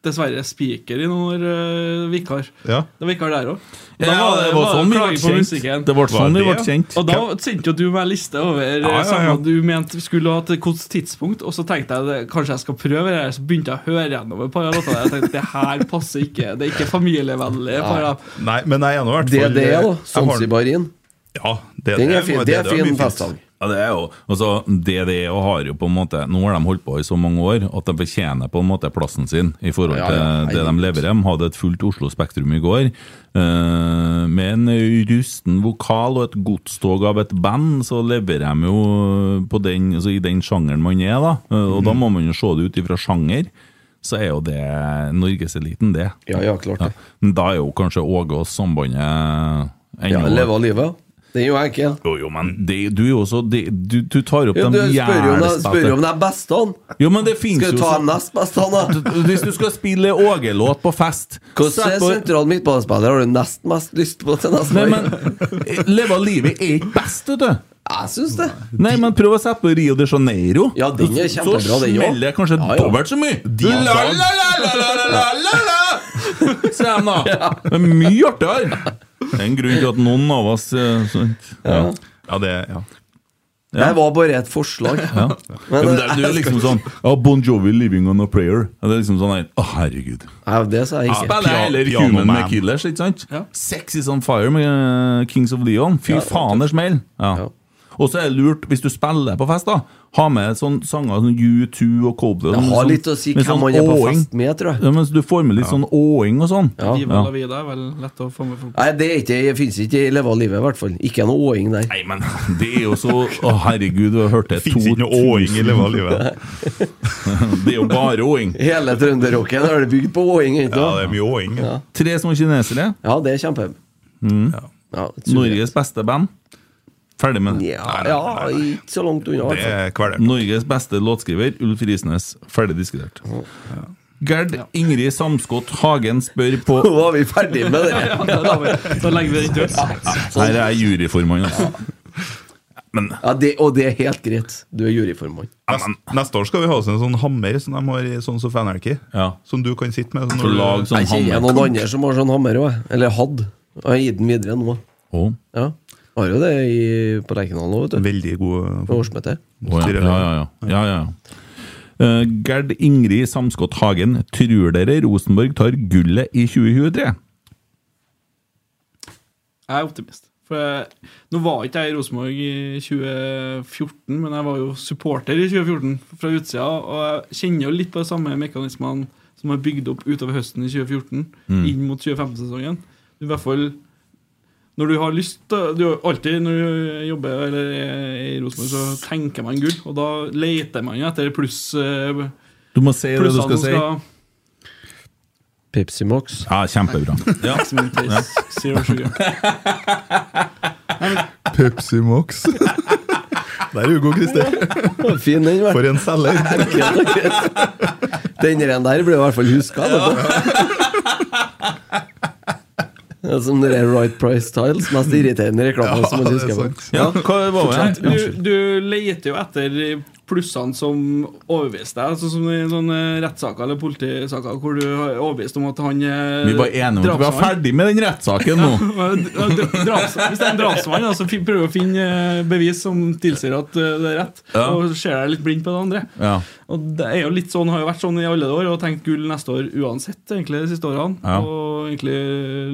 dessverre spiker i noen år, øh, vikar.
Ja.
Det var vikar der òg.
Ja, det var sånn vi ble kjent. Det var sånn vi ble kjent.
Og da sendte jo du meg en liste over ja,
ja, ja.
sanger du mente skulle ha til hvilket tidspunkt, og så tenkte jeg det, kanskje jeg skal prøve det her, så begynte jeg å høre gjennom et par av låtene. Jeg tenkte det her passer ikke, det er ikke familievennlig.
Nei.
Ja.
Nei, men jeg er nå i hvert
Det
fall
er det,
jeg
da.
har-
Zanzibarin.
Ja, det,
Den er
det- det-
fin- Sånn det er
det var
fin
mye fint.
festsang.
Ja, det er jo, altså, det det er, og har jo på en måte, Nå har de holdt på i så mange år at de fortjener på en måte plassen sin i forhold til
Ja, ja,
det de
helt.
leverer. De hadde et fullt Oslo Spektrum i går. eh, med en rusten vokal og et godstog av et band, så leverer de jo på den, altså, i den sjangeren man er. da. Eh, og da
Mm.
må man jo se det ut ifra sjanger. Så er jo det norgeseliten, det.
Ja, ja, klart det.
Men da er jo kanskje Åge og Sambandet ennå
Ja, leve av livet. Den er jo enkel.
Jo, jo, men det, du er jo så det, du, du tar opp
Ja, du
de
spør jo om de-
jævligste
spør jo om de beste, han.
Jo, men det finnes
Skal
jo
du
så-
ta de nest beste, han, da?
Hvis du skal spille Åge-låt på fest
Hvordan er sentral midtbanespiller har du nest mest lyst på til neste
Nei,
gang?
men eh, Leve av livet er ikke best, vet du.
Jeg syns det.
Nei, men prøv å sette på Rio de Janeiro.
Ja, den er kjempebra,
Så
den, ja.
smeller det kanskje
Ja, ja.
dobbelt så mye.
De-
la, la, la, la, la, la, la, la, la. Sier de da. Det er mye artigere. Det er en grunn til at noen av oss eh, sånt. Ja. ja, det ja. Ja.
Det var bare et forslag.
Ja. Men, det,
eh,
er- det er liksom sånn oh, Bon Jovi, 'Living on a Prayer'. Ja, Det er liksom sånn her Å, herregud.
Ja, det sa jeg ikke.
Spiller
Pia-
heller
Piano
Human
Man.
med Killers, ikke sant? Sex is on fire med eh, Kings of Leon. Fy
Ja,
faen, det smeller! Ja. Og så er det lurt, hvis du spiller på fest, da ha med sånn sanger som U2 og Coldplay.
Det
sånn-
har
sånn-
litt å si
med
hvem man er på
åing.
fest med, tror jeg.
Ja, men så du får med litt sånn åing og sånn.
Viva la vida er vel lett å få med folk.
Nei, det, er ikke, det finnes ikke i Leve av livet, i hvert fall. Ikke noe åing der.
Nei, men Det er jo så Å, herregud, du har hørt det
Finnes ikke noe åing i Leve av livet.
det er jo bare åing.
Hele trønderrocken er det bygd på åing. Ikke?
Ja, det er mye åing. Tre små kinesere.
Ja, det er kjempe.
Mm.
suverent.
Norges beste band. Ferdig med det.
Ja, ikke så langt unna. i hvert fall.
Norges beste låtskriver, Ulf Risnes. Ferdig diskutert. Gerd Ingrid Samskott Hagen spør på
Nå var vi ferdig med det.
Ja, da la vi- da legger vi den død.
Her er jeg juryformann, altså.
Ja, det, og det er helt greit. Du er juryformann.
Neste, neste år skal vi ha oss en sånn hammer som de har i sånn som Fanarchy. Som du kan sitte med.
Får lage sånn Jeg kjenner hammer. noen andre som har sånn hammer òg. Eller hadd. Og jeg har gitt den videre nå.
Oh.
Ja. Har jo det i, på Lerkendal nå, vet du.
Veldig god
På årsmøtet.
Å, ja. Ja, ja, ja. ja, ja. Eh, Gerd Ingrid Samskott Hagen, tror dere Rosenborg tar gullet i 2023?
Jeg er optimist. For jeg, nå var ikke jeg i Rosenborg i 2014, men jeg var jo supporter i 2014 fra utsida. Og jeg kjenner jo litt på de samme mekanismene som er bygd opp utover høsten i 2014,
Mm.
inn mot 2015-sesongen. I hvert fall når du har lyst da- du, har Alltid når du jobber eller er i Rosenborg, så tenker man gull. Og da leter man jo etter pluss eh,
Du må si det du
plussene
skal
som
si.
Pepsi Max.
Ja, kjempebra. Ja.
Maximum taste, zero sugar.
Pepsi Max. Der er Hugo Kristi.
Fin den, vel.
For en selger.
Den der der blir i hvert fall huska. Det er som det der Right Price Tiles, mest irriterende reklamen som man husker på. Fortsett.
du, du leter jo etter plussene som overbeviste deg, sånn som i sånne rettssaker eller politisaker hvor du er overbevist om at han er
Vi var enige om at vi var
drapsmann.
ferdig med den rettssaken nå.
Ja, dra- draps, hvis det er en drapsmann, da, så fi- prøv å finne eh, bevis som tilsier at eh, det er rett,
Ja.
og ser deg litt blind på det andre.
Ja.
Og det er jo litt sånn, har jo vært sånn i alle år, og tenkt gull neste år uansett, egentlig, de siste årene.
Ja.
Og egentlig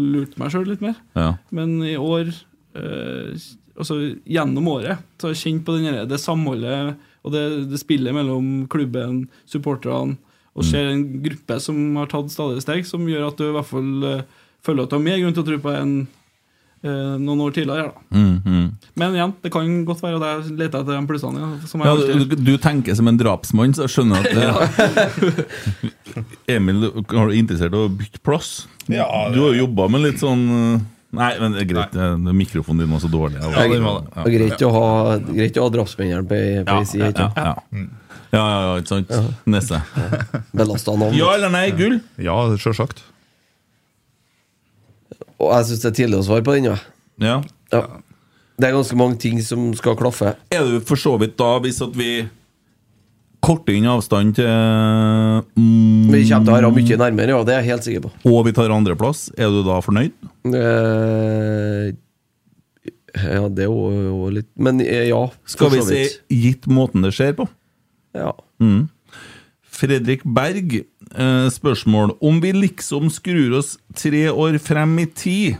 lurt meg sjøl litt mer.
Ja.
Men i år, eh, altså gjennom året, så har jeg kjent på den derre- det samholdet og det, det spillet mellom klubben, supporterne,
Mm.
og ser en gruppe som har tatt stadig steg, som gjør at du i hvert fall eh, føler at du har mer grunn til å tro på enn eh, noen år tidligere. Da.
Mm, mm.
Men igjen, det kan godt være at jeg leter etter de plussene. Ja, som jeg
Ja,
alltid gjør.
du, du tenker som en drapsmann, så jeg skjønner at eh, Emil, har du interessert i å bytte plass?
Ja, det-
du har jo jobba med litt sånn eh, Nei, men det er greit. eh, Mikrofonen din var så dårlig. Jeg
Ja, det er greit å ha, greit å ha drapsmennene på ei på ei side.
ja, ja, ja. Ja, ja, ja, ikke sant? Nesse.
Belasta navn.
Ja eller nei, gull?
Ja, sjølsagt.
Og jeg syns det er tidlig å svare på den, ja.
Ja.
Det er ganske mange ting som skal klaffe.
Er du for så vidt da, hvis at vi korter inn avstand til mm,
Vi kommer til å være mye nærmere, ja. Det er jeg helt sikker på.
Og vi tar andreplass, er du da fornøyd?
Eh, ja, det er jo jo litt Men eh, ja,
Skal
for
vi
så
si
vidt.
gitt måten det skjer på?
Ja.
Mm. Fredrik Berg, eh, spørsmål. Om vi liksom skrur oss tre år frem i tid,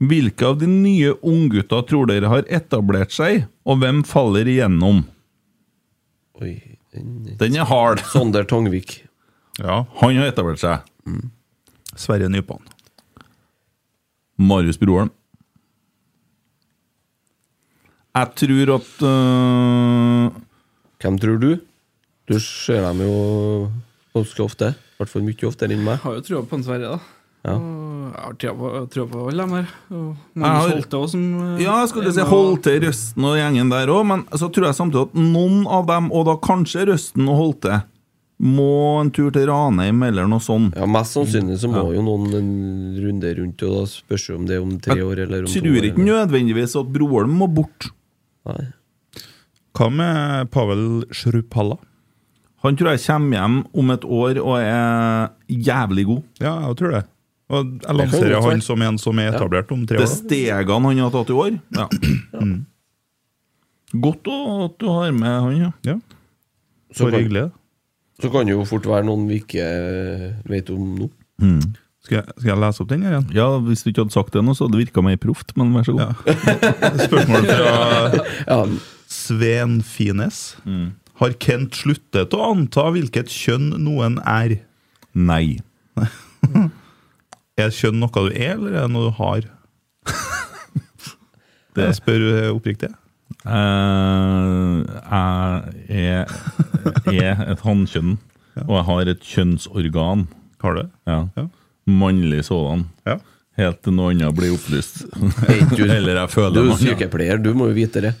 hvilke av de nye unggutta tror dere har etablert seg, og hvem faller igjennom?
Oi, den,
Den er hard.
Sonder Tongvik. Mm.
Ja, Han har etablert seg.
Sverre Nypan.
Marius Broholm. Jeg tror at øh,
Hvem tror du? Du ser dem jo ganske ofte. I hvert fall mye oftere enn meg.
Jeg har jo trua på en Sverre, da.
Ja.
Og Jeg har trua på- trua på alle dem her. Og
Jeg
Magnus
har-
Holte også, som eh,
Ja, jeg skulle
er
si
med
Holte, Røsten og gjengen der òg, men så tror jeg samtidig at noen av dem, og da kanskje Røsten og Holte, må en tur til Ranheim eller noe sånn. sånt.
Ja, Mest sannsynlig så må jo noen en runde rundt, og da spørs jo om det er om tre år eller om to
Tror
år.
ikke nødvendigvis at Broholm må bort.
Nei.
Hva med Pavel Shrupalla? Han tror jeg kommer hjem om et år og er jævlig god.
Ja, jeg tror det. Og jeg lanserer han som en som er etablert om tre år.
Det stegene han har tatt i år. Ja.
Mm.
Godt å, at du har med han, ja.
Så
For
kan-
hyggelig,
Så kan det jo fort være noen vi ikke øh, vet om nå.
Skal, jeg, lese opp den her igjen? Ja, Hvis du ikke hadde sagt det nå, så hadde det virka mer proft, men vær så god.
Spørsmål fra Sven Fines.
Mm.
Har Kent sluttet å anta hvilket kjønn noen er?
Nei.
er kjønn noe du er, eller er det noe du har? det jeg spør eh, oppriktig.
Eh, jeg er, er et hannkjønn, og jeg har et kjønnsorgan.
Har du?
Ja. Mannlig sådan. Helt til noe annet blir opplyst. Eller jeg føler
Du er jo
meg-
sykepleier, du må jo vite det.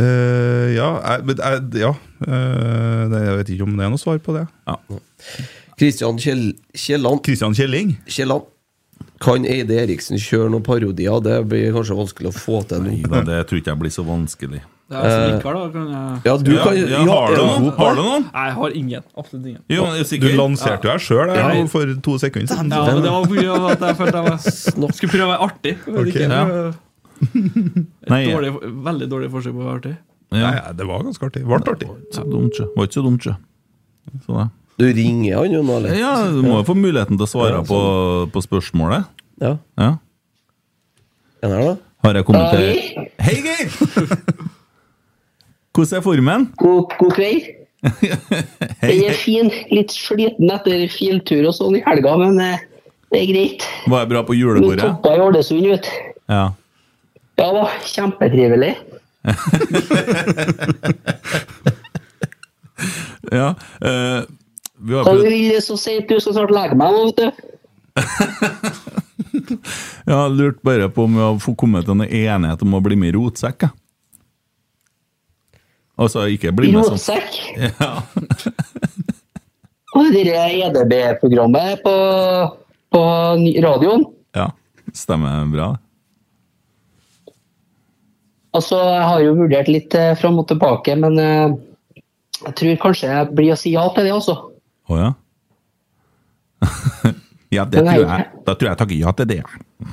Eh, ja, jeg, men jeg- ja. Eh, det, jeg vet ikke om det er noe svar på det.
Kristian Kjell, Kjelland
Kristian Kjelling
Kjelland Kan Eide Eriksen kjøre noen parodier? Det blir kanskje vanskelig å få til nå.
Nei, det tror ikke jeg blir så vanskelig.
Det er som
Eh,
Rikard, da. Kan jeg...
ja, du kan-
Ja, ja, har
ja,
du
ja.
noen? Har du noen?
Nei, jeg har ingen. Absolutt ingen.
Jo, men jeg er sikker.
Du lanserte jo deg sjøl
Ja.
for to sekunder
Ja,
siden.
men det var på grunn av at jeg følte jeg var, skulle prøve å være artig. men
Ok,
ikke,
ja.
prøve-
Nei,
Et dårlig, veldig dårlig forsøk på å være artig.
Nei, ja, det var ganske artig. Vart artig.
Så dumt, sjø. Var ikke så dumt, sjø. Så det.
Du ringer han jo nå, eller? sånn.
Ja, du må jo få muligheten til å svare på, på spørsmålet.
Ja.
ja.
En her, da?
Har jeg kommet til Hei, Geir! Hvordan er formen?
God, god kveld.
Hei,
Den er fin. Litt sliten etter fjelltur og sånn i helga, men eh, det er greit.
Var jeg bra på
Vi
julebordet?
toppa i Ålesund, vet du.
Ja.
Ja da, kjempetrivelig.
ja. eh, vi har
Hva
prøvd
vil så si du skal snart legge meg nå, vet du?
Jeg har lurt bare på om vi har fått kommet til noen enighet om å bli med i rotsekk. jeg. Altså ikke bli med sånn
Rotsekk?
Ja.
Og det der E EDB-programmet på, på ny- radioen.
ja. Stemmer bra.
Altså, jeg har jo vurdert litt eh, fram og tilbake, men eh, jeg tror kanskje jeg blir å si ja til det altså. også.
Å ja? ja, det tror jeg. Da tror jeg jeg takker ja til det.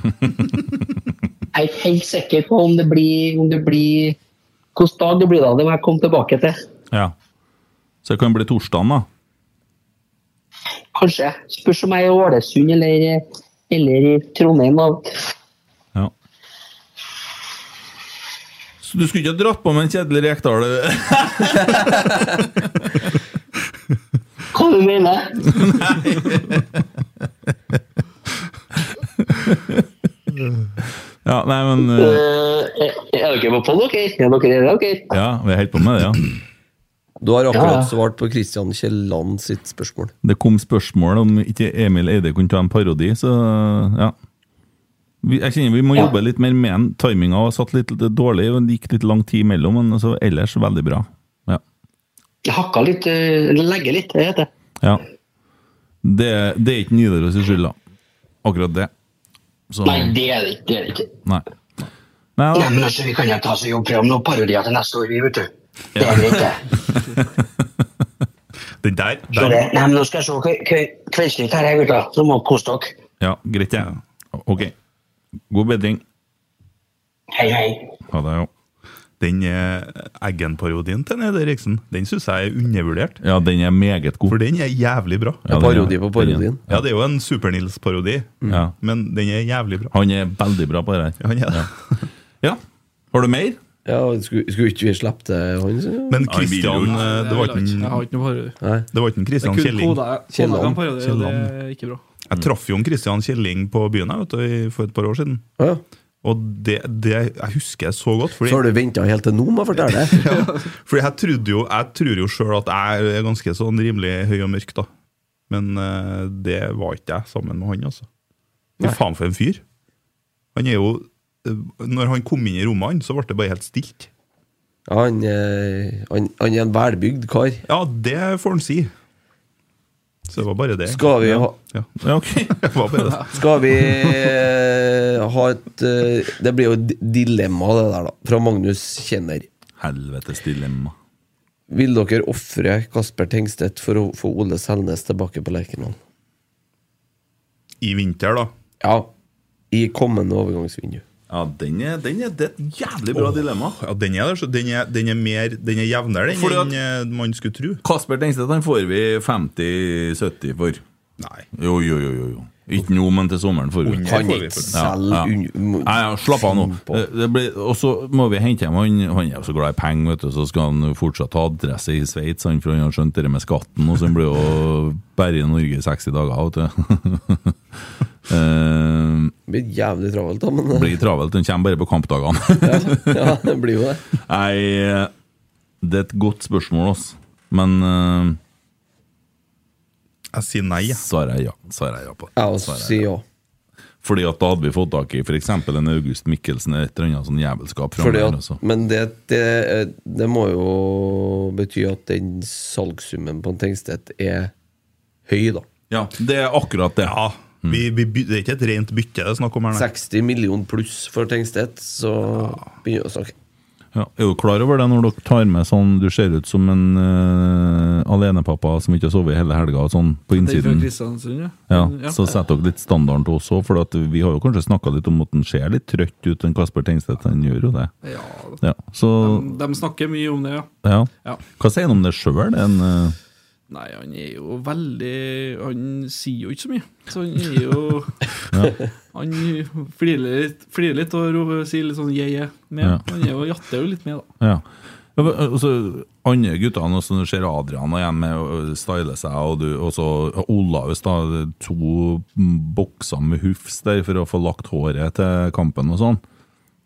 Jeg er ikke helt sikker på om det blir, om det blir Hvilken dag det blir da, det må jeg komme tilbake til.
Ja. Så det kan bli torsdagen, da.
Kanskje. Spørs om jeg er i Ålesund eller, eller i Trondheim. da.
Så du skulle ikke ha dratt på med en kjedelig Rekdal?
Hva du mener
ja, nei, men eh,
Eh, er er dere på poll, dere? Er dere er dere?
Ja, vi holder på med det, ja.
Du har
Ja,
akkurat
ja.
svart på Kristian Kielland sitt spørsmål.
Det kom spørsmål om ikke Emil Eide kunne ta en parodi, så ja. Vi, jeg kjenner Vi må jobbe litt mer med den. Timinga var satt litt dårlig, og det gikk litt lang tid imellom, men altså, ellers veldig bra. Ja.
Jeg hakka litt, eh, legge litt, det heter det.
ja. Det, det er ikke Nidaros sin skyld, da. Akkurat det. Så-
Nei, det er det ikke. Det er det ikke.
Nei.
Nei, men altså, vi kan jo ta oss og jobbe fram noen parodier til neste år, vi, vet du. Det er greit, det.
Den der,
Så
der.
det. Nei, men nå skal jeg se kve- kve- Kveldsnytt her, jeg, gutter. Så må dere kose dere.
Ja, greit, jeg. Ok. God bedring.
Hei, hei.
Ha det, jo.
Den eh, Eggen-parodien til Nede Eriksen Den syns jeg er undervurdert.
Ja, den er meget god.
For den er jævlig bra.
Ja, den er- Parodi på parodien.
Ja, det er jo en Super-Nils-parodi,
Ja.
men den er jævlig bra.
Han er veldig bra på det her.
Han er det.
Ja. Har du mer?
Ja, skulle, skulle ikke vi slippe til han? så?
Men Christian eh, Det var ikke en-
Jeg har ikke noe parodi.
Det var ikke en Christian
Det er kun
Kjelling.
koda- koda kan parodi, og
Kielland.
det er ikke bra.
Jeg traff jo en Christian Kjelling på byen her, vet du, i- for et par år siden. Og det, det jeg husker jeg så godt. Fordi,
Så har du venta helt til nå med å fortelle det?
fordi jeg trodde jo Jeg tror jo sjøl at jeg er ganske sånn rimelig høy og mørk, da. Men eh, det var ikke jeg sammen med han, altså. Fy
Nei.
faen for en fyr. Han er jo eh, Når han kom inn i rommet hans, så ble det bare helt stilt.
Ja, han, eh, han, han er en velbygd kar.
Ja, det får han si. Så det var bare det.
Skal vi
Ja.
ha
Ja.
Det
var bare det.
Skal vi eh, ha et eh, Det blir jo et dilemma, det der, da. Fra Magnus Kjenner.
Helvetes dilemma.
Vil dere ofre Kasper Tengstedt for å få Ole Selnes tilbake på Lerkendal?
I vinter, da?
Ja. I kommende overgangsvindu.
Ja, den er, den er, det er et jævlig bra
Åh,
dilemma.
Ja, den er der, så den er, den er, mer, den er jevnere den,
Fordi at-
enn eh, man skulle tro.
Kasper Tengstedt han får vi 50-70 for.
Nei.
Jo, jo, jo. jo, jo. Ikke nå, men til sommeren får vi.
Under Kan får vi ikke for det. selge
Ja, ja.
un-
Nei, ja, slapp av nå.
på.
Det blir- Og så må vi hente hjem han. Han er jo så glad i penger, vet du, så skal han jo fortsatt ha adresse i Sveits, han, for han har skjønt det med skatten, og så han blir jo bare i Norge i 60 dager, vet du. Eh,
Det blir jævlig travelt, da. Men,
blir travelt. Den kommer bare på kampdagene.
ja, det blir jo det.
Nei, det er et godt spørsmål, altså. Men eh,
Jeg sier nei.
Svarer jeg ja. Svarer jeg ja på det.
Jeg også
Svarer
sier ja.
Fordi at da hadde vi fått tak i f.eks. en August Mikkelsen eller et eller annet sånn jævelskap fra
Fordi
der.
at,
Også.
men det, det, eh, det må jo bety at den salgssummen på en Tengstedt er høy, da.
Ja, det er akkurat det. Mm.
Ja, vi, vi, by- det er ikke et rent bytte det er snakk om her. nei.
60 millioner pluss for Tengstedt, så begynner vi å snakke.
Ja, er du klar over det når dere tar med sånn du ser ut som en eh, alenepappa som ikke har sovet hele helga, og sånn på
Det er fra
innsiden?
Kristiansund, ja.
Ja,
Men, ja.
Så setter dere litt standarden til oss òg, for at vi har jo kanskje snakka litt om at han ser litt trøtt ut, den Kasper Tengstedt. Han gjør jo det.
Ja.
ja så
De, de snakker mye om det, ja.
Ja.
Ja.
Hva sier han om det sjøl? Uh,
Nei, han er jo veldig Han sier jo ikke så mye. Så han er jo
Ja.
Han flirer litt, flirer litt og ro- sier litt sånn je-je med.
Ja.
Han er jo jatter jo litt med, da.
ja. Ja, men, Altså, andre guttene også, når du ser Adrian og igjen med å style seg, og, du, og så Olaus, da. To bokser med hufs der for å få lagt håret til kampen og sånn.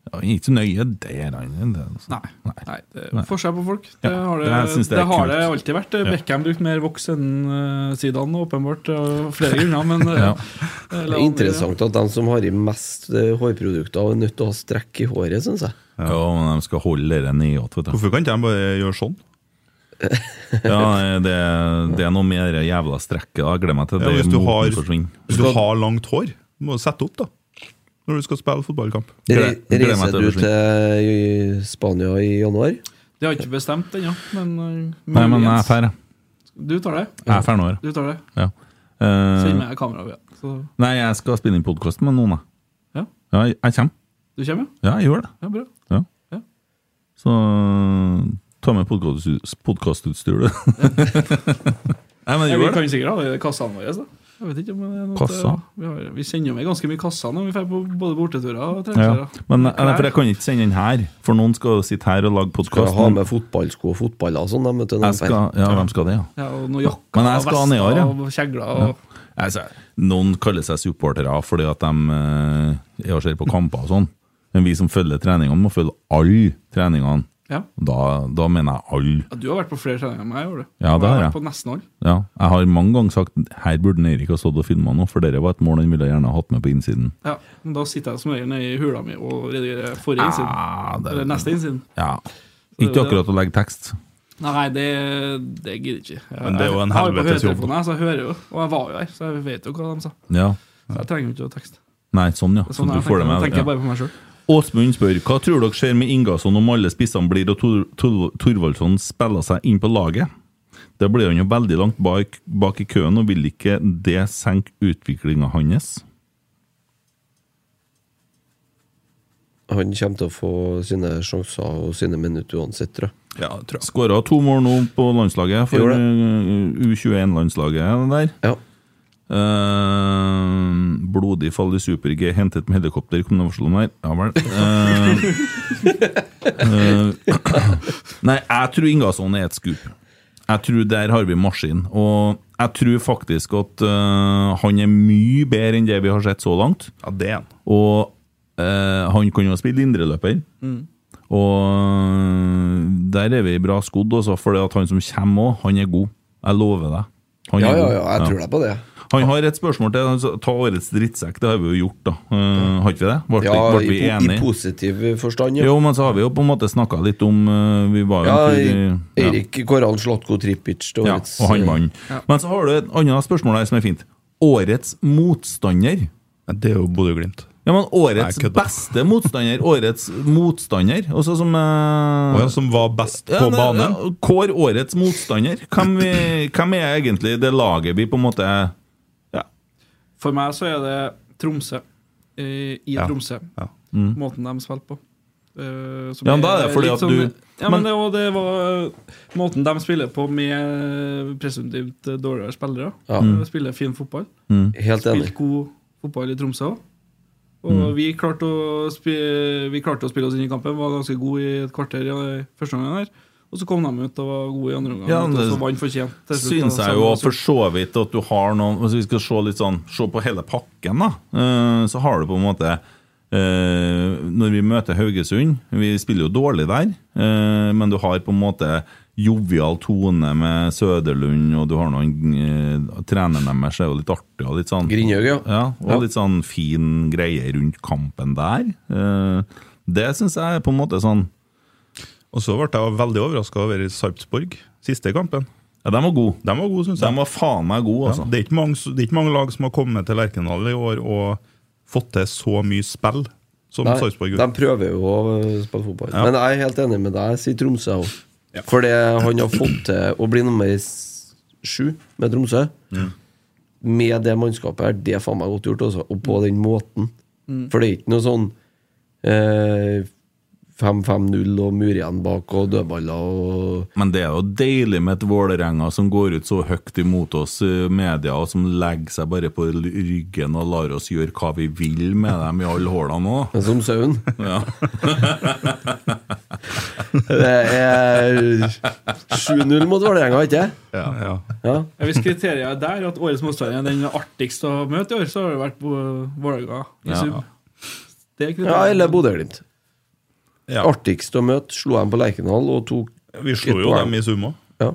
Ja, han er ikke så nøye der, han. Det, altså.
Nei. Nei, det
Nei.
er forskjell på folk. Det
Ja,
har det,
jeg synes
det,
det er
har
kult.
det alltid vært.
Ja.
Beckham brukte mer voks enn eh, Zidane, åpenbart. Av flere grunner, men eh,
Ja. Det
eller
er
andre-
interessant at de som har i mest eh, hårprodukter, er nødt til å ha strekk i håret, syns jeg.
Ja, men de skal holde det nedåt, vet du.
Hvorfor kan ikke de bare gjøre sånn?
Ja, nei, det, det er noe med det jævla strekket. da. Glem meg til
Ja,
det.
hvis, du
moten
har,
forsvinner.
hvis du har langt hår, du må du sette opp da når du skal spille fotballkamp.
Re- Reiser du til eh, Spania i januar?
Det har ikke bestemt ennå, men eh,
Nei, men jeg
muligens.
er ferdig.
Du tar det?
Jeg er ferdig nå.
Du tar det?
Ja.
Send
Eh,
meg kameraet. Ja. Så
nei, jeg skal spille inn podkast med noen, jeg.
Ja.
Ja, jeg jeg kommer.
du kommer,
Ja, jeg gjør det.
ja? Bra.
Ja.
Ja.
Så ta med podkastutstyr, du. Nei, men
Ja, vi
gjør
kan
det.
sikkert ha det i kassene våre. Da. Jeg vet ikke om det er noe
Kassa?
Vi, har, vi sender jo med ganske mye kasser når vi drar på både borteturer og
Ja.
treningsturer.
Men eh, nei, for jeg kan ikke sende den her, for noen skal jo sitte her og lage
Skal
podkast.
ha med fotballsko og fotballer og sånn? de, vet du, når
Jeg
de
skal,
drar.
ja, hvem skal det, ja?
Ja, og noen jakker
Men jeg skal
og
ha nedover,
vester
ja.
og kjegler og
Nei, så- noen kaller seg supportere fordi at de eh, er og ser på kamper og sånn. Men vi som følger treningene, må følge alle treningene.
Ja.
Da, da mener jeg alle.
ja, Du har vært på flere treninger enn meg, gjorde du?
Ja,
Og
det har
jeg.
jeg.
vært På nesten alle.
Ja, jeg har mange ganger sagt her burde den Erik ha stått og filma nå, for dere var et mål han ville gjerne ha hatt med på innsiden.
Ja, men da sitter jeg som regel nede i hula mi og redigerer forrige innsiden. Eller neste innsiden.
Ja. Ikke akkurat å legge tekst.
Nei, det, det gidder jeg ikke. Jeg,
Men det er jo en
jeg har på
helvetes jobb.
høretelefonen her, Så jeg hører jo, og jeg var jo her, så jeg vet jo hva de sa.
Ja.
Så jeg trenger jo ikke å tekste.
Nei, sånn, ja. Så
Sånn
du
er jeg
får det
tenker,
med.
tenker jeg
Ja.
bare på meg selv.
Åsmund spør hva tror dere skjer med Ingasson om alle spissene blir og Tor Tor Thorvaldsson spiller seg inn på laget? Da blir han jo veldig langt bak, bak i køen, og vil ikke det senke utviklinga hans?
Han kommer til å få sine sjanser og sine minutter uansett, tror jeg.
Skåra to mål nå på landslaget for
Gjorde det.
eh, U21-landslaget der.
Ja.
Eh, blodig fall i super-G, hentet med helikopter, kom det varsel om her. Ja vel. Eh,
Um, uh,
eh, nei, jeg tror Ingasson er et skup. Jeg tror der har vi maskin. Og jeg tror faktisk at eh, han er mye bedre enn det vi har sett så langt.
Ja, det er han.
Og eh, han kan jo spille indreløper.
Mm.
Og der er vi bra skodd, også, for det at han som kommer òg, han er god. Jeg lover deg. Han
Ja,
er
ja,
god.
ja, jeg tror deg på det.
Han har et spørsmål til. altså, Ta årets drittsekk, det har vi jo gjort, da. Eh, har ikke vi det? Ble,
Ja,
ble vi
i, po- i
enige?
positiv forstand,
Jo, men så har vi jo på en måte snakka litt om eh, Vi var jo
Ja,
en tur i- ja.
Eirik Koran Slatko Tripic til
Ja,
årets
og han vant.
Ja.
Men så har du et annet spørsmål her som er fint. Årets motstander?
det er jo Bodø-Glimt.
Ja, men årets
Nei, kødda.
beste motstander. Årets motstander. Også som eh,
Å ja, som var best på
Ja, nei,
banen.
ja, Kår årets motstander. Hvem, vi, hvem er egentlig det laget vi på en måte
For meg så er det Tromsø. I, i
Ja.
Tromsø.
Ja. Mm.
Måten de spilte på. Eh, som
Ja, men da er det fordi
litt
at
sånn-
du-
Ja,
men-
men, det, var- det var eh, måten de spiller på med eh, presumptivt dårligere spillere.
Ja.
De Spiller fin fotball.
Mm. Helt enig.
Spilt god fotball i Tromsø òg. Og
Mm.
vi, klarte å spi- vi klarte å spille oss inn i kampen, var ganske gode i et kvarter i eh, første omgang. her Og så kom de ut og var gode i andre omgang.
Ja,
og
det
så vant fortjent. til slutt,
Syns
og
jeg
så-
jo for så vidt at du har noen Hvis vi skal se litt sånn Se på hele pakken, da. eh, Så har du på en måte eh, Når vi møter Haugesund Vi spiller jo dårlig der, eh, men du har på en måte jovial tone med Søderlund, og du har noen eh, Treneren deres er jo litt artig og litt sånn
Grindhaug, ja.
Og
Ja.
litt sånn fin greie rundt kampen der. Eh, Det syns jeg er på en måte sånn
Og så ble jeg veldig overraska over Sarpsborg, siste kampen.
Ja, De var gode,
De var gode, synes jeg.
De var faen meg gode, altså.
Ja, det, er ikke mange, det er ikke mange lag som har kommet til Lerkendal i år og fått til så mye spill som
Nei,
Sarpsborg
De
gjorde.
prøver jo å spille fotball.
Ja.
Men jeg er helt enig med deg, sier Tromsø òg. For det han har fått til å bli nummer s- sju med Tromsø,
Mm.
med det mannskapet her, det er faen meg godt gjort, altså. Og på den måten.
Mm.
For det er ikke noe sånn eh, 5-5-0 og mur igjen bak og dødballer og
Men det er jo deilig med et Vålerenga som går ut så høyt imot oss i media, og som legger seg bare på ryggen og lar oss gjøre hva vi vil med dem i alle hålene òg.
Som sauen.
Ja.
Det er 7-0 mot Vålerenga, ikke
Ja, ja.
ja.
Ja, Hvis kriteriet er der at årets motstander er den artigste å møte i år, så har det vært Bo- Vålerenga i
Ja.
sum. Det er
Ja,
kriteriet.
eller Bodø-Glimt. Artigst å møte. Slo dem på Lerkendal og tok
Vi slo
et
jo
poeng.
dem i sum òg.
Ja.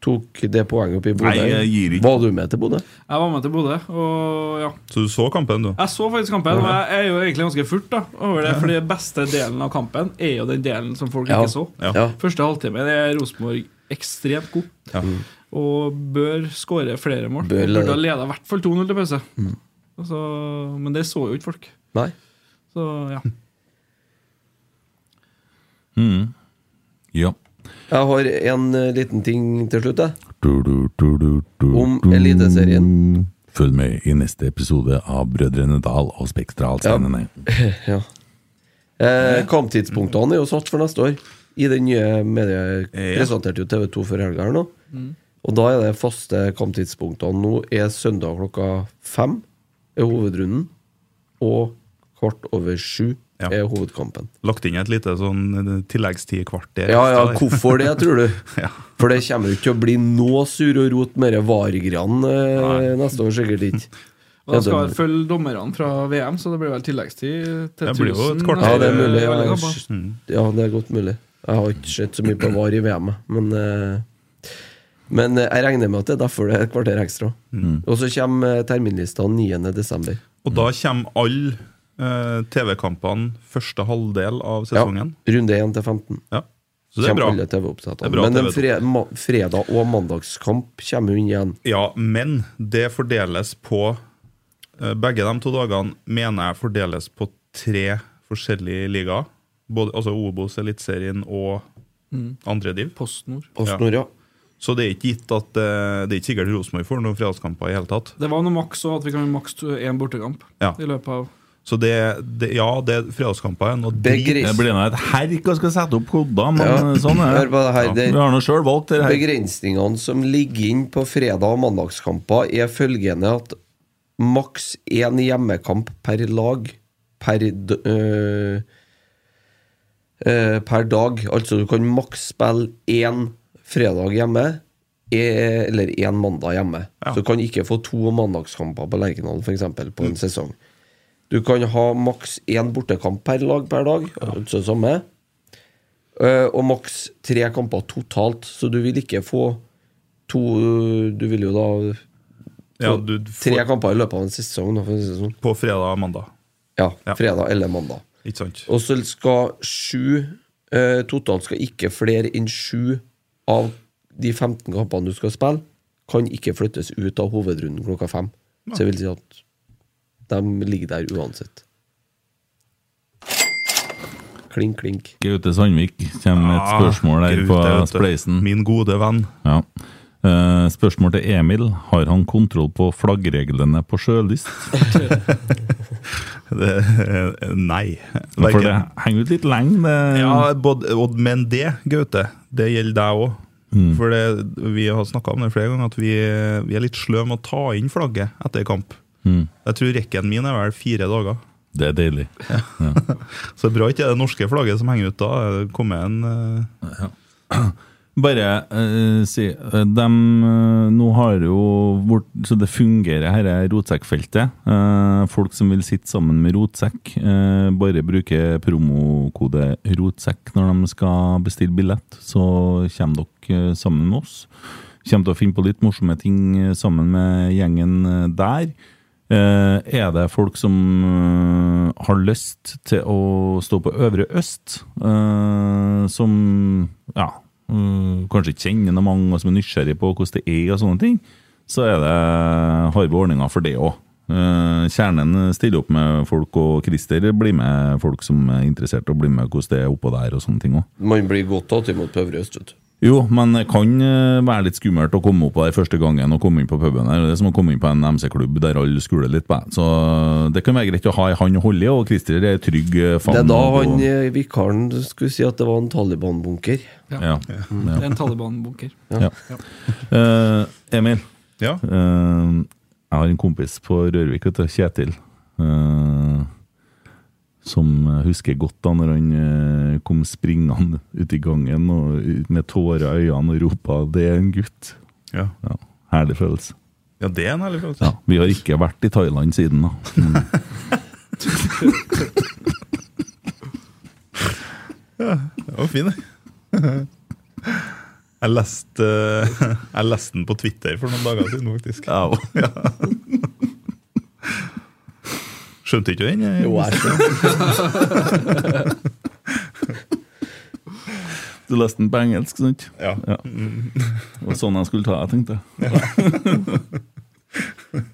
Tok det poenget opp i
Nei,
Bodø.
jeg gir ikke.
Var du med til Bodø?
Jeg var med til Bodø, og ja.
Så du så kampen, du?
Jeg så faktisk kampen, og jeg er jo egentlig ganske furt da over det. For den beste delen av kampen er jo den delen som folk
Ja.
ikke så.
Ja.
Første halvtime er Rosenborg ekstremt god. Og bør skåre flere mål.
Mm. Bør
Og Burde ha
lede. Mm.
leda i hvert fall 2-0 til pause. Og så- men det så jo ikke folk.
Nei.
Så ja.
Mm. Ja.
Jeg har en eh, liten ting til slutt, jeg.
Du, du, du, du, du,
Om
du.
Eliteserien.
Følg med i neste episode av Brødrene Dal og Spektralsteinene.
ja. Eh, kamptidspunktene er jo satt for neste år. I den nye media presenterte jo TV2 før helga her nå.
Mm.
Og da er det faste kamptidspunktene nå er søndag klokka fem er hovedrunden. Og kvart over sju er hovedkampen.
Lagt inn et lite sånn eh, tilleggstid kvarter.
Ja, ja,
ekstra der.
hvorfor det, tror du? For det kommer jo ikke til å bli noe sur og rot med det VAR-greiene eh, neste år, sikkert ikke.
Og da
Ja,
skal
det-
vi følge dommerne fra VM, så det blir vel tilleggstid til
Det blir jo
1000
et kvarter. Ja, det er mulig.
i alle
Jeg,
kamper.
ja, det er godt mulig. Jeg har ikke sett så mye på VAR i VM, jeg. men eh, men eh, jeg regner med at det er derfor det er et kvarter ekstra.
Mm.
Og så kommer eh, terminlistene 9.12.
Og da kommer alle eh, TV-kampene første halvdel av
Ja,
sesongen.
runde 1 til 15.
Ja. Så det er
Kommer
bra.
alle
Det
TV-oppsettene.
er bra
Men en
TV2.
fre ma fredag- og mandagskamp kommer jo inn igjen.
Ja, men det fordeles på eh, Begge de to dagene mener jeg fordeles på tre forskjellige ligaer. Både, altså Obos, Eliteserien og
Mm.
andre div.
PostNord.
PostNord, ja.
Så det er ikke gitt at eh, Det er ikke sikkert Rosenborg får noen fredagskamper i hele tatt.
Det var noe maks òg, at vi kan ha maks én bortekamp
Ja.
i løpet av
Så det, det Ja, det er fredagskamper igjen. Og
Det er gris.
drit-
Det blir
nå et herk å skal sette opp koder, men
Ja.
sånn er
Hør på det her.
Ja,
Det-
Vi har nå sjøl valgt det her.
Begrensningene som ligger inn på fredag- og mandagskamper, er følgende at maks én hjemmekamp per lag per, d- øh, øh, per dag. Altså du kan maks spille én fredag hjemme e- eller én mandag hjemme. Så du kan ikke få to mandagskamper på Lerkendal for eksempel, på
Mm.
en sesong. Du kan ha maks én bortekamp per lag per dag, altså samme. Eh, og maks tre kamper totalt, så du vil ikke få to Du vil jo da
Ja,
få
du
tre kamper i løpet av en sesong. Da, for å si det sånn.
På fredag og mandag.
Ja, fredag eller mandag.
Ikke sant.
Og så skal sju eh, Totalt skal ikke flere enn sju av de 15 kampene du skal spille, kan ikke flyttes ut av hovedrunden klokka fem. Så det vil si at de ligger der uansett. Klink, klink.
Gaute Sandvik kommer med et
Ah,
spørsmål der
Gaute,
på
vet du.
Spleisen.
Min gode venn.
Ja. Eh, spørsmål til Emil. Har han kontroll på flaggreglene på sjølyst?
nei.
For det henger ut litt lenge. det-
Ja, både, og, men det, Gaute, det gjelder deg òg.
Mm.
For det, vi har snakka om det flere ganger, at vi, vi er litt sløve med å ta inn flagget etter kamp.
Mm.
Jeg tror rekken min er vel fire dager.
Det er deilig. Ja.
Så det er bra ikke det norske flagget som henger ut da. er det kommet en
eh, Bare eh, si eh, dem, eh, Nå har jo vårt, Så det fungerer her er rotsekkfeltet. Eh, folk som vil sitte sammen med rotsekk, eh, bare bruker promokode 'rotsekk' når de skal bestille billett. Så kommer dere eh, sammen med oss. Kommer til å finne på litt morsomme ting eh, sammen med gjengen eh, der. Eh, Er det folk som eh, har lyst til å stå på Øvre Øst, eh, som ja, mm, kanskje ikke kjenner noen mange, og som er nysgjerrig på hvordan det er, og sånne ting, så er det, eh, har vi ordninger for det òg. Kjernen stiller opp med folk, og Christer blir med folk som er interessert, og blir med hvordan det er oppå der og sånne ting òg.
Man blir godt tatt imot på Øvre Øst, vet du.
Jo, men det kan eh, være litt skummelt å komme opp der første gangen og komme inn på puben. her. Det er som å komme inn på en MC-klubb der alle skuler litt. på en. Så eh, det kan være greit å ha ei hånd å holde i, og Christer er trygg eh,
Det
favn.
er da
og-
han eh, vikaren skulle si at det var en Taliban-bunker.
Ja.
Det er en Taliban-bunker.
Ja. Eh, Emil,
Ja.
Eh, jeg har en kompis på Rørvik, vet du, Kjetil, eh, som husker godt da når han eh, kom springende ut i gangen og ut med tårer i øynene og ropa 'det er en gutt'.
Ja.
herlig følelse.
Ja, det er en herlig følelse.
Ja, vi har ikke vært i Thailand siden, da. Mm.
Ja, det var fin, det. Jeg leste, eh, jeg leste den på Twitter for noen dager siden, faktisk. Ja. Skjønte ikke du den? eh,
Jo, jeg skjønte. Du leste den på engelsk, sant?
Ja.
Det var sånn jeg skulle ta det, tenkte jeg.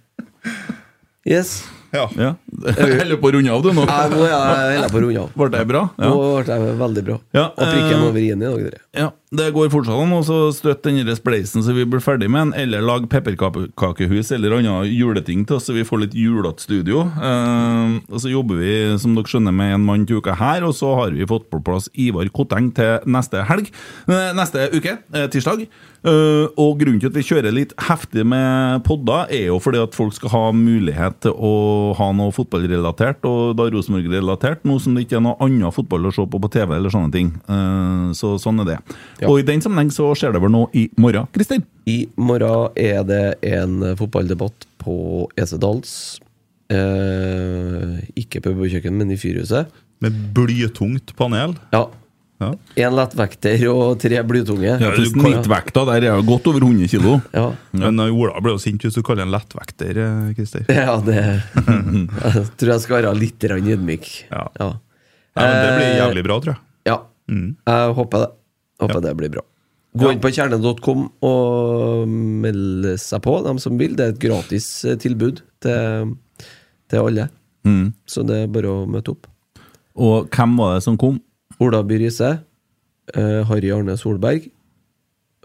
Yes.
Ja.
ja. Jeg holder på å runde av, du, nå.
Ja, nå er jeg- jeg holder på å runde av.
Ble det bra?
Nå ble det veldig bra.
Ja,
og prikken
eh,
over i-en i dag, dere.
Ja, det går fortsatt an å så støtte denne spleisen så vi blir ferdig med den, eller lag pepperkakehus eller andre juleting til oss så vi får litt julete studio. Eh, og så jobber vi, som dere skjønner, med en mann til uka her, og så har vi fått på plass Ivar Kotteng til neste helg. eh, Neste uke, eh, tirsdag. Eh, og grunnen til at vi kjører litt heftig med podder, er jo fordi at folk skal ha mulighet til å ha noe fotballrelatert, og da Rosenborg-relatert, nå som det ikke er noe annet fotball å se på på TV eller sånne ting. Eh, så sånn er det. Og i den sammenheng så skjer det vel noe i morgen, Kristin?
I morgen er det en fotballdebatt på Esedals. Eh, ikke på kjøkken, men i Fyrhuset.
Med blytungt panel?
Ja. Én lettvekter og tre blytunge.
Ja, til snittvekta der er jo godt over 100 kilo.
Ja.
Men uh, Ola ble jo sint hvis du kaller han lettvekter, eh, Christer.
Ja, det Jeg tror jeg skal være litt grann ydmyk. Ja. Eh,
Ja, men det blir jævlig bra, tror jeg. Mm.
Ja. Jeg håper det. Håper det blir bra. Gå inn på kjerne.com og meld seg på, dem som vil. Det er et gratis eh, tilbud til, til alle.
Mm.
Så det er bare å møte opp.
Og hvem var det som kom?
Ola By Riise. eh, Harry Arne Solberg.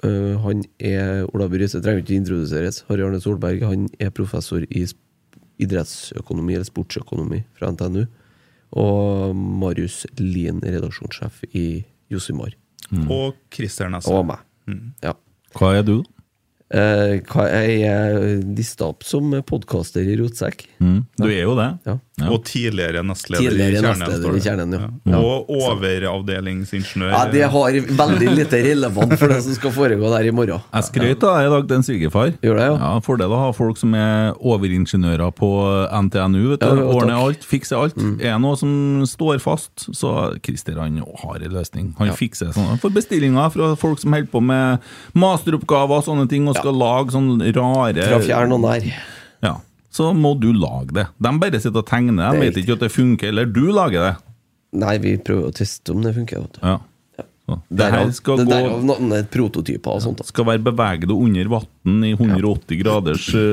Eh, han er Ola By Riise trenger ikke introduseres. Harry Arne Solberg han er professor i sp- idrettsøkonomi eller sportsøkonomi fra NTNU. Og Marius Lien, redaksjonssjef i Josimar.
Og Christer Mm. Nesse.
Og meg. Mm. Ja.
Hva er du?
Eh, hva- jeg er lista opp som podkaster i Rotsekk.
Mm. Du er jo det.
Ja.
Og tidligere nestleder
Tidligere
i Kjernen.
nestleder i
står det.
Kjernen, ja.
Ja.
Ja.
Og overavdelingsingeniør.
Ja, det har veldig lite relevant for det som skal foregå der i morgen.
Jeg skrøt av i dag til en svigerfar. Ja, Fordel å ha folk som er overingeniører på NTNU. vet du.
Ja, jo,
Ordner
takk.
alt, fikser alt.
Mm.
Er det noe som står fast, så Christer han har en løsning. Han fikser sånn. Han får bestillinger fra folk som holder på med masteroppgaver og sånne ting, og skal lage sånne rare
Fra fjern og nær.
Ja. Så må du lage det. De bare sitter og tegner, de vet ikke at det funker, eller du lager det.
Nei, vi prøver å teste om det funker. Vet du.
Ja. Så, Det her
Derav-
skal
det
gå
derav navnet prototyper og sånt.
Skal være beveget under vann i 180 graders ø,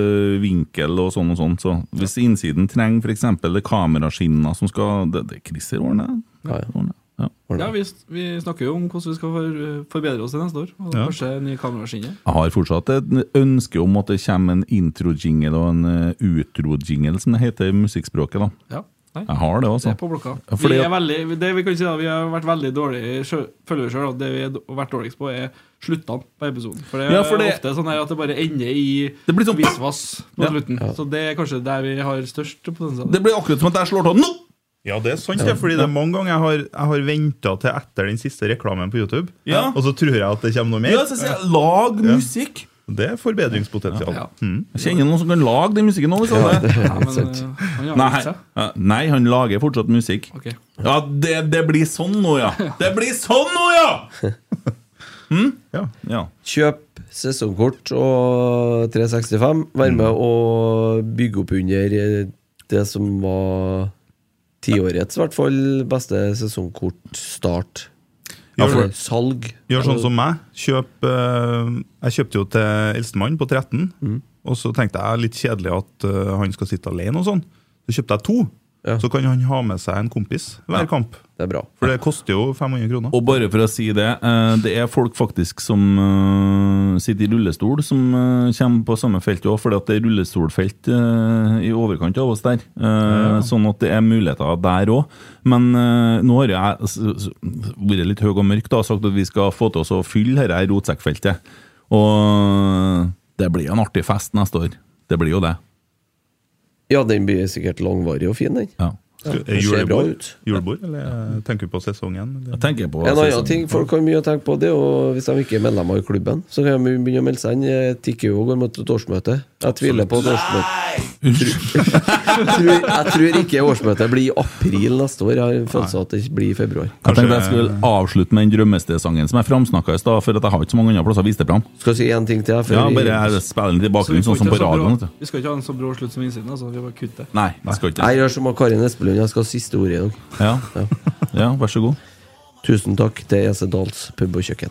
vinkel og sånn og sånn. Så hvis innsiden trenger f.eks. kameraskinner som skal Det, det Christer ordner. Ordner. Ja.
Ja, vi, vi snakker jo om hvordan vi skal for- forbedre oss til neste år. Og
Ja.
Kanskje nye kameraskinner.
Jeg har fortsatt et ønske om at det kommer en intro-jingle og en ø, utro-jingle, som det heter i musikkspråket. da.
Ja, nei.
Jeg har det, altså.
Det er på blokka.
Fordi
vi,
at-
er veldig, det vi, kan si da, vi har vært veldig dårlige sjø- føler vi selv, at det vi har d- vært dårligst på, er sluttene på episoden. For det er
Ja, for det-
ofte sånn her at det bare ender i
det blir sånn
visvas på
Ja.
slutten. Så det er kanskje der vi har størst potensial.
Det blir akkurat som at jeg slår til nå!
Ja, det er sant, det, fordi det er mange ganger jeg har, jeg har venta til etter den siste reklamen på YouTube,
Ja.
og så tror jeg at det kommer noe mer.
Ja, så sier jeg, lag musikk!
Det er forbedringspotensial. Mm.
Jeg kjenner noen som kan lage den musikken nå. Hvis
Ja,
han
det er
er.
helt sant.
eh, han
Nei, ja, nei, han lager fortsatt musikk.
Ok.
Ja, det, det blir sånn nå, ja! Det blir sånn nå, ja! Hm?
Ja.
Kjøp sesongkort og 365. Vær
Mm.
med og bygge opp under eh, det som var tiårets, i hvert fall, beste sesongkortstart.
Ja,
for
for-
Altså, salg.
Gjør sånn som meg. Kjøp, eh, jeg kjøpte jo til eldstemann på 13.
Mm.
Og så tenkte jeg litt kjedelig at eh, han skal sitte alene og sånn. Så kjøpte jeg to. Så kan han ha med seg en kompis hver kamp.
Det er bra.
For det koster jo 500 kroner.
Og bare for å si det, eh, det er folk faktisk som eh, sitter i rullestol, som eh, kommer på samme felt òg, fordi at det er rullestolfelt eh, i overkant av oss der. Eh, Sånn at det er muligheter der òg. Men eh, nå har jeg s- s- vært litt høy og mørk da, og sagt at vi skal få til oss å fylle dette rotsekkfeltet. Og eh, det blir jo en artig fest neste år. Det blir jo det.
Ja, den blir sikkert langvarig og fin, den.
Ja.
Det ser bra
Julebord,
ut.
julebord, eller tenker du på sesongen? Eller?
Jeg tenker på
En annen ting folk har mye å tenke på, det er jo hvis de ikke er medlemmer i klubben. Så kan de begynne å melde seg inn. Eh, Tikker jo og går mot et årsmøte. Jeg tviler på
Sånn.
at årsmøtet tror, Jeg tror ikke årsmøtet blir i april neste år. Jeg har en følelse av at det blir i februar.
Jeg tenkte jeg skulle avslutte med den drømmestedsangen som jeg framsnakka i stad, for at jeg har ikke så mange andre plasser å vise det fram.
Skal si en ting til jeg, før
Ja,
vi-
bare jeg spiller den til bakgrunnen,
Så
sånn som
vi får ikke
på
ha så
radioen.
brå-
vet du.
Vi skal ikke ha en så brå slutt som innsiden. Altså. Vi bare kutter.
Nei, jeg skal ikke
Jeg gjør som Karin Espelund, jeg skal ha siste ordet i dag.
Ja. ja, vær så god.
Tusen takk til EC Dahls pub og kjøkken.